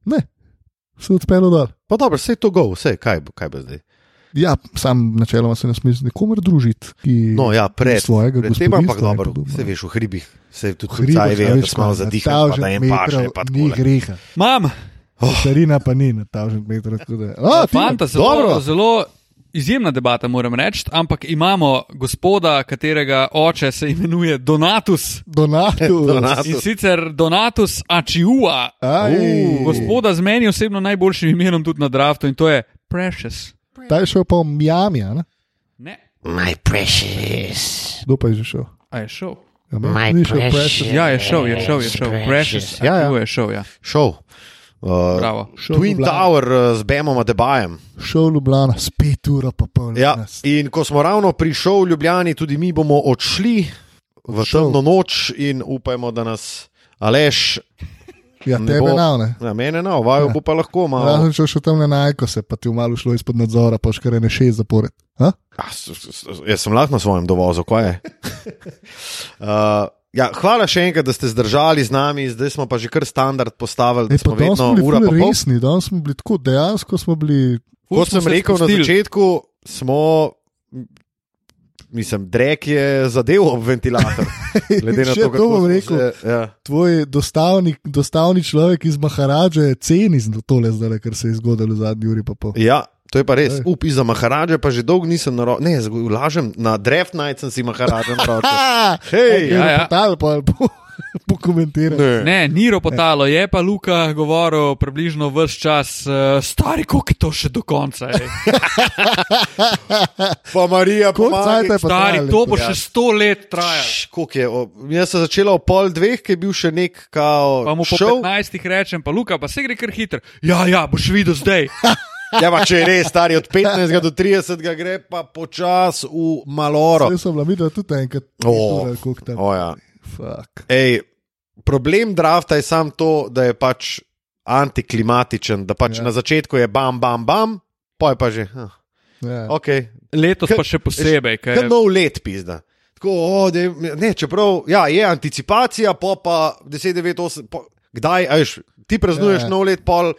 B: ne se je odpeljal dol.
A: Pa dobro, vse je to go, vse kaj, bo- kaj bo zdaj.
B: Ja, sam načeloma se ne smeš z nikomer družiti, ki
A: No, ja, pred.
B: svojega
A: Pred tem ampak
B: gospodinjstva in
A: dobro,
B: podobno.
A: se veš, v hribih se tudi
B: V hribih,
A: hribaj
B: a
A: ve,
B: veš,
A: da smo
B: na
A: zadihali, pa
B: 1000
A: da en
B: metrov
A: paše, pa Oh.
B: Ni
A: tako.
B: greha.
C: Mam,
B: Carina pa ni na 1000 metrov. tako da- A, ti-
C: fanta,
A: No, dobro.
C: zelo, zelo izjemna debata, moram reči, ampak imamo gospoda, katerega oče se imenuje Donatus.
B: Donatu.
A: Donatus.
C: In sicer Donatus Ačiua,
B: Aj,
A: Uh,
C: gospoda z meni osebno najboljšim imenom tudi na draftu in to je Precious.
B: Ta je šel pa v Miami, a ne?
C: Ne,
D: My precious.
B: kdo pa je že šel?
C: a je šel.
B: Ja,
D: My
B: ni šel
D: precious.
B: Precious.
C: Ja, je šel, je šel, je šel. Precious,
A: Ja, ja.
C: Achiua je šel, ja.
A: Šov. Uh,
C: Bravo.
B: Šel v
A: Twin
B: Ljubljano.
A: Tower uh, z Bemom Debajem.
B: Šel v Ljubljana, spet ura pa pol.
A: Ja,
B: danes.
A: in ko smo ravno prišli v Ljubljani, tudi mi bomo odšli v
B: Odšel.
A: temno noč in upajmo, da nas Aleš,
B: ja
A: ne
B: tebe
A: bo-
B: nav, ne.
A: na mene, na ovaju bo pa lahko malo.
B: Ja. Razen če še tam ne najko se, pa ti je malo šlo izpod nadzora, pa škare ne šest zapored.
A: A,
B: A?
A: Ah, s- s- s- Jaz sem lahko na svojem dovozu, kaj je. Uh, ja, hvala še enkrat, da ste zdržali z nami, zdaj smo pa že kar standard postavili, da
B: Ej, pa
A: smo
B: danes
A: vedno
B: smo bili
A: ura
B: ful
A: pa pol.
B: resni, danes smo bili tako, dejansko smo bili
C: Ful
A: Kot
C: smo
A: sem
C: se
A: rekel na
C: spustili.
A: začetku, smo. m, Mislim, drek je zadev ob ventilator. Glede na
B: Še
A: to,
B: to
A: kako
B: bom
A: smo
B: rekel.
A: Se, ja.
B: tvoj dostavni, dostavni človek iz Maharaže ceni za tole zdaj, kar se je zgodilo v zadnji uri pa pol.
A: ja, to je pa res.
B: Ej.
A: Up za Maharaja, pa že dolgo nisem na roki. Ne, zgo- lažem, na Draft Night sem si Maharaja na roki. Hej,
C: ja,
B: Ja,
C: ja.
B: ja. Potal pa po,
A: ne.
B: pokomentiral.
C: Ne, ni ropotalo, je pa Luka govoril približno vse čas, uh, stari, kako je to še do konca. ej.
A: Pa Marija, pa
B: Koliko cajta je pa
C: Stari,
B: trajalo?
C: to bo še sto let trajalo.
A: Kako je? O, jaz sem začela ob pol dveh, ki je bil še nek kao.
C: Pa mu po
A: šov.
C: 15 rečem, pa Luka, pa se gre kar hitro. Ja, ja, boš videl zdaj.
A: Ja, pa če je res stari, od 15 do 30 gre pa počas v maloro.
B: Jaz sem bila videla tudi enkrat,
A: O.
B: kako tam.
A: O, ja.
B: Fuck.
A: Ej, problem drafta je samo to, da je pač antiklimatičen, da pač
B: Ja.
A: ja. na začetku je bam, bam, bam, pa je pa že. Ah,
B: Ja.
A: okay.
C: Letos
A: Kaj-
C: pa še posebej, ker
A: Kot nov let, pizda. Tako, o, da je- ne, čeprav ja, je anticipacija, po pa 10, 9, 8, po, kdaj, a veš, ti praznuješ
B: Ja.
A: ja. nov let, pol.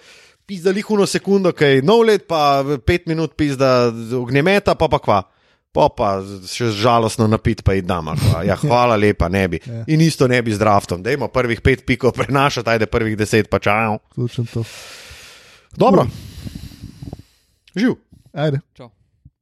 A: Pizda lihuno sekundo, kaj je nov let, pa pet minut pizda z ognjemeta, pa pa kva. Pa pa še žalostno napit, pa idama. Ja, hvala lepa, ne bi.
B: Ja.
A: In isto ne bi z draftom. Dajmo prvih pet pikov prenašati, ajde prvih deset pa čajo.
B: Točno to.
A: Dobro. Živ.
B: Ajde.
C: Čau.